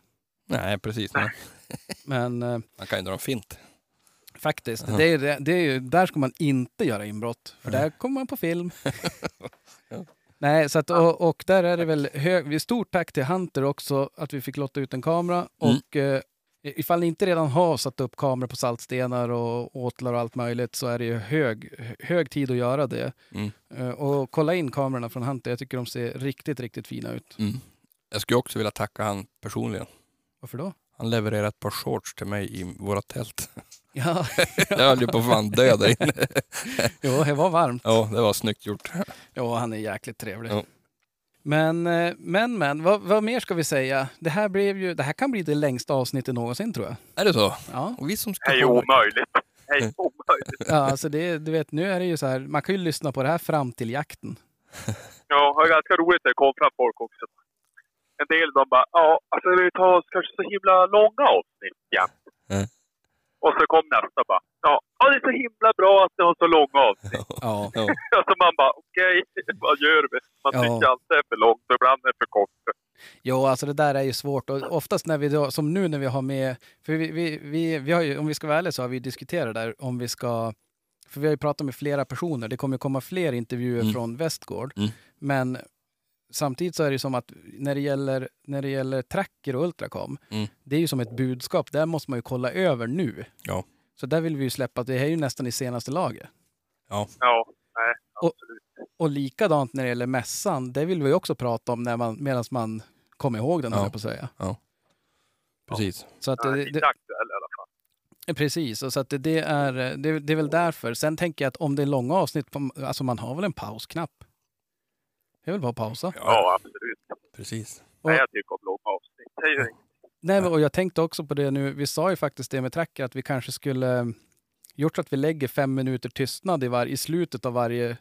[SPEAKER 2] Nej, precis. Nej.
[SPEAKER 1] <laughs> Men eh,
[SPEAKER 2] Man kan ju dra en fint.
[SPEAKER 1] faktiskt,
[SPEAKER 2] Ja.
[SPEAKER 1] det
[SPEAKER 2] <laughs>
[SPEAKER 1] är, det- det är ju, där ska man inte göra inbrott. För där kommer man på
[SPEAKER 2] <laughs>
[SPEAKER 1] film. Nej, så att, och, och där är det väl hög, vi- stort tack till Hunter också att vi fick lotta ut en
[SPEAKER 2] Mm.
[SPEAKER 1] kamera. Och eh, ifall ni inte redan har satt upp kameror på saltstenar och åtlar och allt möjligt så är det ju hög, hög tid att göra det.
[SPEAKER 2] Mm.
[SPEAKER 1] Eh, och kolla in kamerorna från Hunter. Jag tycker de ser riktigt, riktigt fina
[SPEAKER 2] <laughs>
[SPEAKER 1] ut.
[SPEAKER 2] Mm. Jag skulle också vilja tacka han personligen.
[SPEAKER 1] Varför då?
[SPEAKER 2] Han levererade ett par shorts till mig i våra tält.
[SPEAKER 1] <laughs> Ja.
[SPEAKER 2] <laughs> jag höll ju på att fan dö där inne.
[SPEAKER 1] <laughs> Jo, det var varmt.
[SPEAKER 2] Ja, det var snyggt gjort. <laughs>
[SPEAKER 1] Ja, han är jäkligt trevlig.
[SPEAKER 2] Ja.
[SPEAKER 1] Men, eh, men, men, vad, vad mer ska vi säga? Det här, blev ju, det här kan bli det längsta avsnittet någonsin tror jag.
[SPEAKER 2] Är det så?
[SPEAKER 1] Ja.
[SPEAKER 2] Och vi som
[SPEAKER 5] det. Det är ju omöjligt. Det
[SPEAKER 2] <laughs>
[SPEAKER 5] är ju omöjligt.
[SPEAKER 1] Ja, alltså det, du vet, nu är det ju så här, man kan ju lyssna på det här fram till jakten.
[SPEAKER 5] Ja, det är ganska roligt när det kommer fram folk också. En del de bara, ja, alltså vi tar oss kanske så himla långa avsnitt jämt.
[SPEAKER 2] Mm.
[SPEAKER 5] Och så kom nästa bara, ja, ja, det är så himla bra att ni har så långa avsnitt.
[SPEAKER 1] Ja.
[SPEAKER 5] <laughs> alltså man bara, okej, <laughs> vad gör vi? Man
[SPEAKER 1] Ja.
[SPEAKER 5] tycker alltid det är för långt och ibland är det för kort.
[SPEAKER 1] Jo, alltså det där är ju svårt och oftast när vi då, som nu när vi har med, för vi, vi, vi, vi har ju, om vi ska vara ärliga så har vi ju diskuterat där om vi ska, för vi har ju pratat med flera personer, det kommer komma fler intervjuer från Västgård,
[SPEAKER 2] Mm.
[SPEAKER 1] men samtidigt så är det ju som att när det gäller, när det gäller tracker och ultracom,
[SPEAKER 2] Mm.
[SPEAKER 1] det är ju som ett budskap, där måste man ju kolla över nu.
[SPEAKER 2] Ja.
[SPEAKER 1] Så där vill vi ju släppa, att det här är ju nästan i senaste laget.
[SPEAKER 2] Ja.
[SPEAKER 5] Ja, nej,
[SPEAKER 1] Och, och likadant när det gäller mässan, det vill vi ju också prata om när man, medan man kommer ihåg den, höll jag på att säga.
[SPEAKER 2] Ja. Precis. <laughs>
[SPEAKER 1] Så att
[SPEAKER 5] Nej,
[SPEAKER 1] det,
[SPEAKER 5] inte
[SPEAKER 1] det,
[SPEAKER 5] aktuell i alla fall.
[SPEAKER 1] precis, och så att det, det, är, det, det är väl därför. Sen tänker jag att om det är långa avsnitt, på, alltså man har väl en pausknapp? Jag vill bara pausa.
[SPEAKER 5] Ja, absolut.
[SPEAKER 2] Precis.
[SPEAKER 5] Nej, jag tycker om långa avsnitt. Det är ju inget.
[SPEAKER 1] Nej, men, och jag tänkte också på det nu, vi sa ju faktiskt det med tracker, att vi kanske skulle eh, gjort så att vi lägger fem minuter tystnad i, var, i slutet av varje,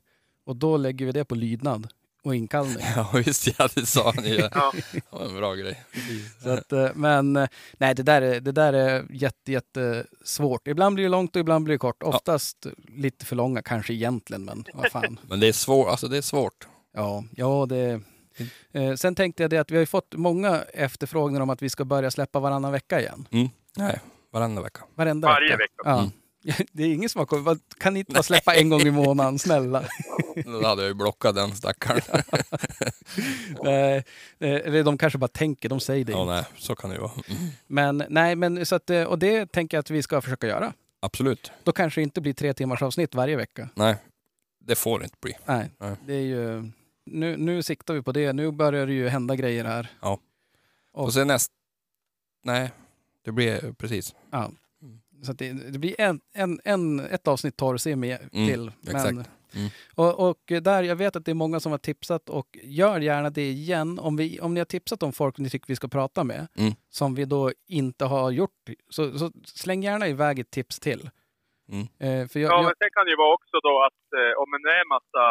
[SPEAKER 1] och då lägger vi det på lydnad och inkallning.
[SPEAKER 2] <laughs> Ja, visst ja, det sa
[SPEAKER 1] <laughs>
[SPEAKER 2] han ju.
[SPEAKER 1] Ja.
[SPEAKER 2] Det var en bra grej.
[SPEAKER 1] Så att, eh, men eh, nej, det där är, det där är jätte, jätte svårt. Ibland blir det långt och ibland blir det kort. Oftast lite för långa kanske egentligen, men
[SPEAKER 2] <laughs>
[SPEAKER 1] vad fan.
[SPEAKER 2] Men det är svårt, alltså det är svårt.
[SPEAKER 1] Ja, ja det... Eh, sen tänkte jag det att vi har ju fått många efterfrågningar om att vi ska börja släppa varannan vecka igen.
[SPEAKER 2] Mm. Nej, varannan vecka.
[SPEAKER 1] Varenda
[SPEAKER 2] Varje vecka.
[SPEAKER 1] Ja.
[SPEAKER 2] Mm.
[SPEAKER 1] <laughs> Det är ingen som har kommit. Vad- Kan ni inte bara släppa en gång i månaden,
[SPEAKER 2] <laughs>
[SPEAKER 1] snälla?
[SPEAKER 2] Då hade jag ju blockat den stackaren.
[SPEAKER 1] <laughs>
[SPEAKER 2] <laughs>
[SPEAKER 1] Nej, eh, eller de kanske bara tänker, de säger det
[SPEAKER 2] ja,
[SPEAKER 1] inte.
[SPEAKER 2] nej, så kan det ju vara. Mm.
[SPEAKER 1] Men nej, men så att, eh, och det tänker jag att vi ska försöka göra.
[SPEAKER 2] Absolut.
[SPEAKER 1] Då kanske det inte blir tre timmars avsnitt varje vecka.
[SPEAKER 2] Nej, det får det inte bli.
[SPEAKER 1] Nej,
[SPEAKER 2] Nej.
[SPEAKER 1] det är ju... Nu, nu siktar vi på det. Nu börjar det ju hända grejer här.
[SPEAKER 2] Ja.
[SPEAKER 1] Och-
[SPEAKER 2] Och, sen näst... Nej, det blir precis.
[SPEAKER 1] Ja.
[SPEAKER 2] Mm.
[SPEAKER 1] Så att det, det blir en, en, en, ett avsnitt torrsemi
[SPEAKER 2] Mm,
[SPEAKER 1] till.
[SPEAKER 2] exakt. Mm.
[SPEAKER 1] och, och där, jag vet att det är många som har tipsat och gör gärna det igen. Om, vi, om ni har tipsat om folk ni tycker vi ska prata med,
[SPEAKER 2] Mm.
[SPEAKER 1] som vi då inte har gjort, så, så släng gärna iväg ett tips till.
[SPEAKER 2] Mm.
[SPEAKER 1] Eh, för jag,
[SPEAKER 5] Ja,
[SPEAKER 1] jag,
[SPEAKER 5] men sen kan det ju vara också då att eh, om det är en massa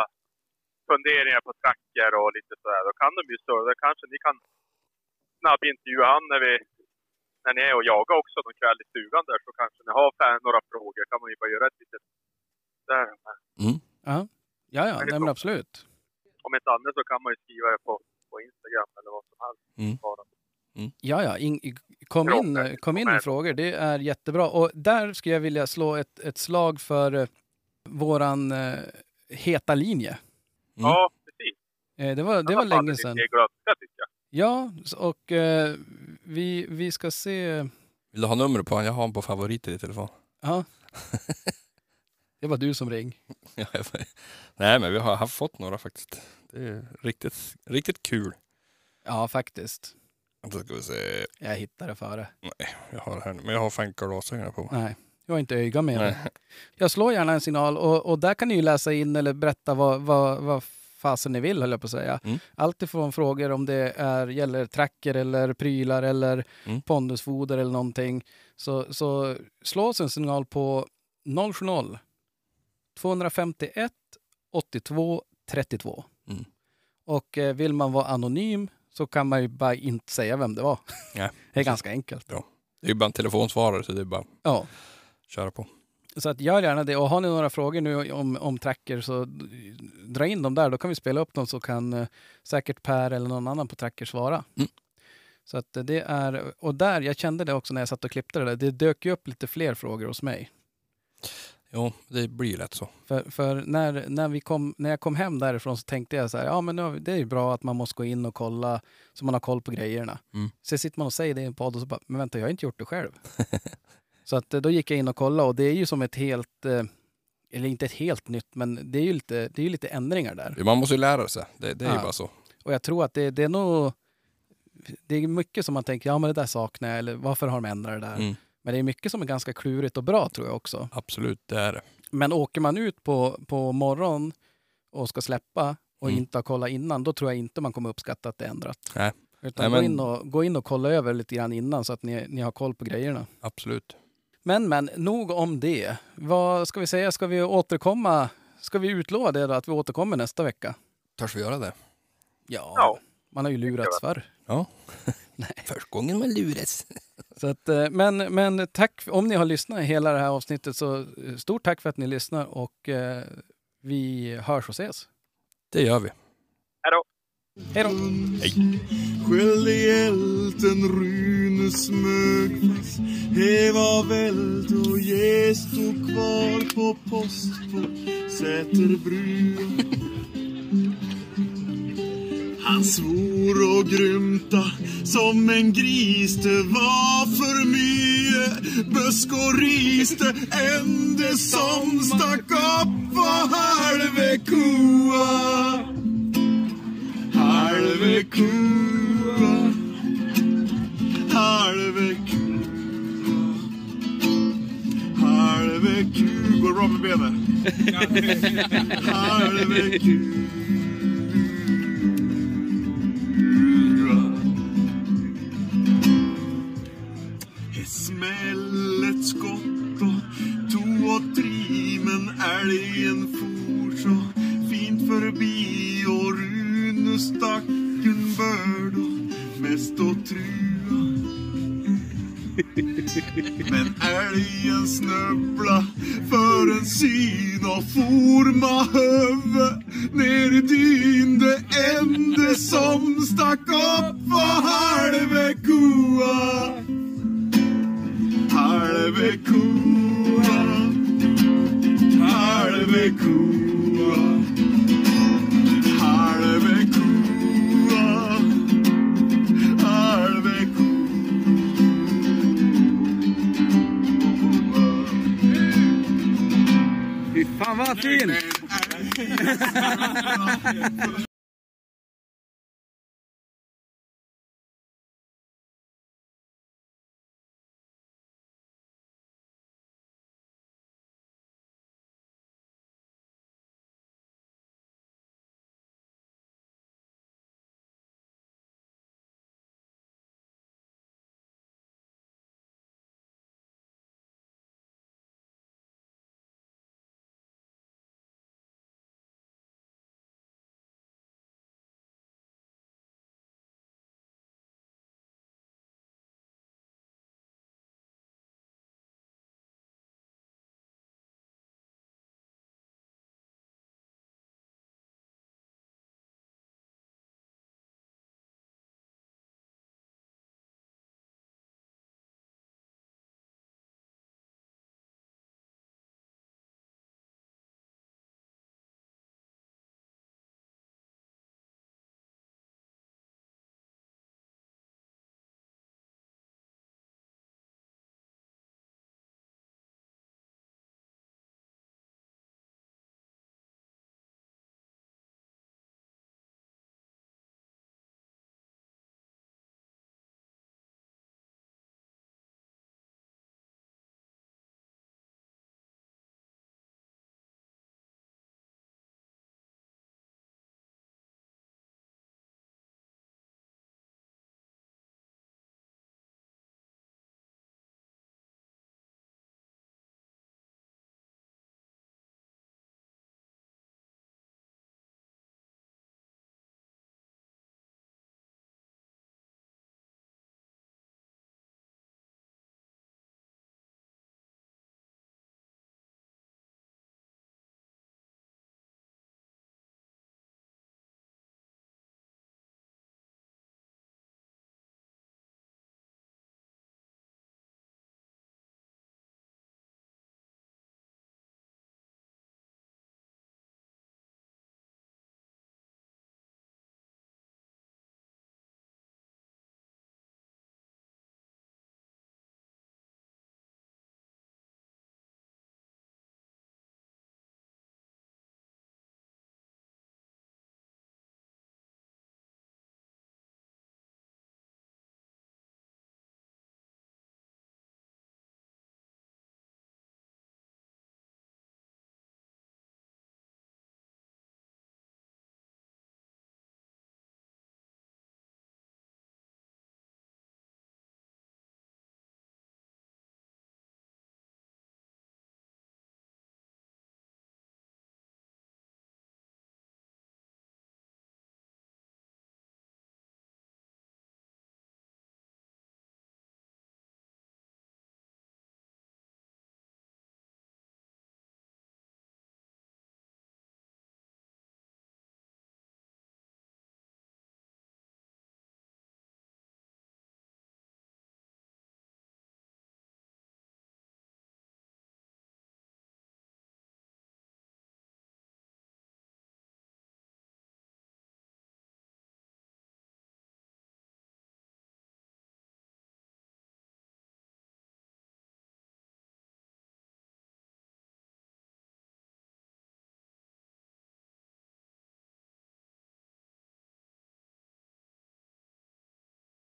[SPEAKER 5] funderingar på tracker och lite sådär, då kan de ju stå. Då kanske ni kan snabbintervjua han när vi när ni är och jagar också någon kväll i stugan där så kanske ni har fan några frågor. kan man ju bara göra ett litet... Där.
[SPEAKER 1] ja, ja, ja nej, men absolut.
[SPEAKER 5] Om inte annat så kan man ju skriva det på, på Instagram eller vad som helst.
[SPEAKER 2] Mm.
[SPEAKER 5] Bara.
[SPEAKER 1] Ja, ja. In, i- kom, in, eh, kom in med frågor. Det är jättebra. Och där skulle jag vilja slå ett, ett slag för eh, våran eh, heta linje.
[SPEAKER 5] Ja, precis.
[SPEAKER 1] Eh, det var, det var länge sedan.
[SPEAKER 5] Det är glömska tycker jag.
[SPEAKER 1] Ja, s- och eh, vi, vi ska se...
[SPEAKER 2] Vill du ha numret på honom? Jag har honom på favoriter i telefon. <laughs>
[SPEAKER 1] Ja. Det var du som ring.
[SPEAKER 2] Ja, jag får- nej, men vi har haft fått några faktiskt. Det är riktigt, riktigt kul.
[SPEAKER 1] Ja, faktiskt.
[SPEAKER 2] Då ska vi se.
[SPEAKER 1] Jag hittade före.
[SPEAKER 2] Nej, jag har det här nu. Men jag har fan glasögonen på mig.
[SPEAKER 1] Nej, jag har inte öga med
[SPEAKER 2] Nej.
[SPEAKER 1] det. Jag slår gärna en signal och, och där kan ni ju läsa in eller berätta vad, vad, vad fasen ni vill, höll jag på att säga.
[SPEAKER 2] Mm.
[SPEAKER 1] Allt ifrån frågor om det är, gäller tracker eller prylar eller
[SPEAKER 2] Mm.
[SPEAKER 1] pondusfoder eller någonting. Så, så slå oss en signal på 070 251 82 32.
[SPEAKER 2] Mm.
[SPEAKER 1] Och eh, vill man vara anonym så kan man ju bara inte säga vem <laughs> det var.
[SPEAKER 2] Nej.
[SPEAKER 1] Det är ganska enkelt.
[SPEAKER 2] Ja. Det är ju bara en telefonsvarare så det är bara
[SPEAKER 1] Ja.
[SPEAKER 2] köra på.
[SPEAKER 1] Så att gör gärna det. Och har ni några frågor nu om, om tracker så dra in dem där. Då kan vi spela upp dem så kan eh, säkert Per eller någon annan på tracker svara. Så att eh, det är, och där, jag kände det också när jag satt och klippte det där. Det dök ju upp lite fler frågor hos mig.
[SPEAKER 2] Jo, det blir lätt så.
[SPEAKER 1] För, för när, när, vi kom, när jag kom hem därifrån så tänkte jag så här, ja men nu har vi, det är ju bra att man måste gå in och kolla så man har koll på grejerna.
[SPEAKER 2] Mm.
[SPEAKER 1] Så sitter man och säger det i en podd och så bara, men vänta jag har inte gjort det själv. <laughs> så att eh, då gick jag in och kollade och det är ju som ett helt, eh, eller inte ett helt nytt, men det är ju lite, det är ju lite ändringar där.
[SPEAKER 2] Man måste ju lära sig. Det, det är ju
[SPEAKER 1] Ja.
[SPEAKER 2] bara så.
[SPEAKER 1] Och jag tror att det, det är nog... Det är mycket som man tänker, ja men det där saknar jag, eller varför har de ändrat det där?
[SPEAKER 2] Mm.
[SPEAKER 1] Men det är mycket som är ganska klurigt och bra tror jag också.
[SPEAKER 2] Absolut, det är det.
[SPEAKER 1] Men åker man ut på, på morgon och ska släppa och inte har kollat innan, då tror jag inte man kommer uppskatta att det är ändrat.
[SPEAKER 2] Mm. Nej.
[SPEAKER 1] Utan
[SPEAKER 2] Nej,
[SPEAKER 1] gå,
[SPEAKER 2] men-
[SPEAKER 1] in och, gå in och kolla över lite grann innan så att ni, ni har koll på grejerna.
[SPEAKER 2] Absolut.
[SPEAKER 1] Men men, nog om det. Vad ska vi säga, ska vi återkomma? Ska vi utlova det då, att vi återkommer nästa vecka?
[SPEAKER 2] Törs vi göra det?
[SPEAKER 1] Ja, man har ju lurats förr. <laughs>
[SPEAKER 2] Ja. Första gången man luras.
[SPEAKER 1] Så att, eh, men, men tack, om ni har lyssnat hela det här avsnittet så eh, stort tack för att ni lyssnar och eh, vi hörs och ses.
[SPEAKER 2] Det gör vi.
[SPEAKER 1] Hej då!
[SPEAKER 4] Sköldhjälten Rune smög fast Eva vält och ge stod kvar på post på Säterbrua Han svor och grymta som en gris Det var för mycket busk och ris Det enda som stack upp var halve koa Halve kua Halve kua Halve kua Går det bra med benet? Halve kua Det smäll ett skott och tog och tri men älgen for så fint förbi och Rune stack en börd och mest och trua. Men älgen snubbla för en syn och for med huvud ner i dyn. Det enda som stack upp var halve koa. Halve koa Halve koa Halve koa Halve koa Fy fan vad fin!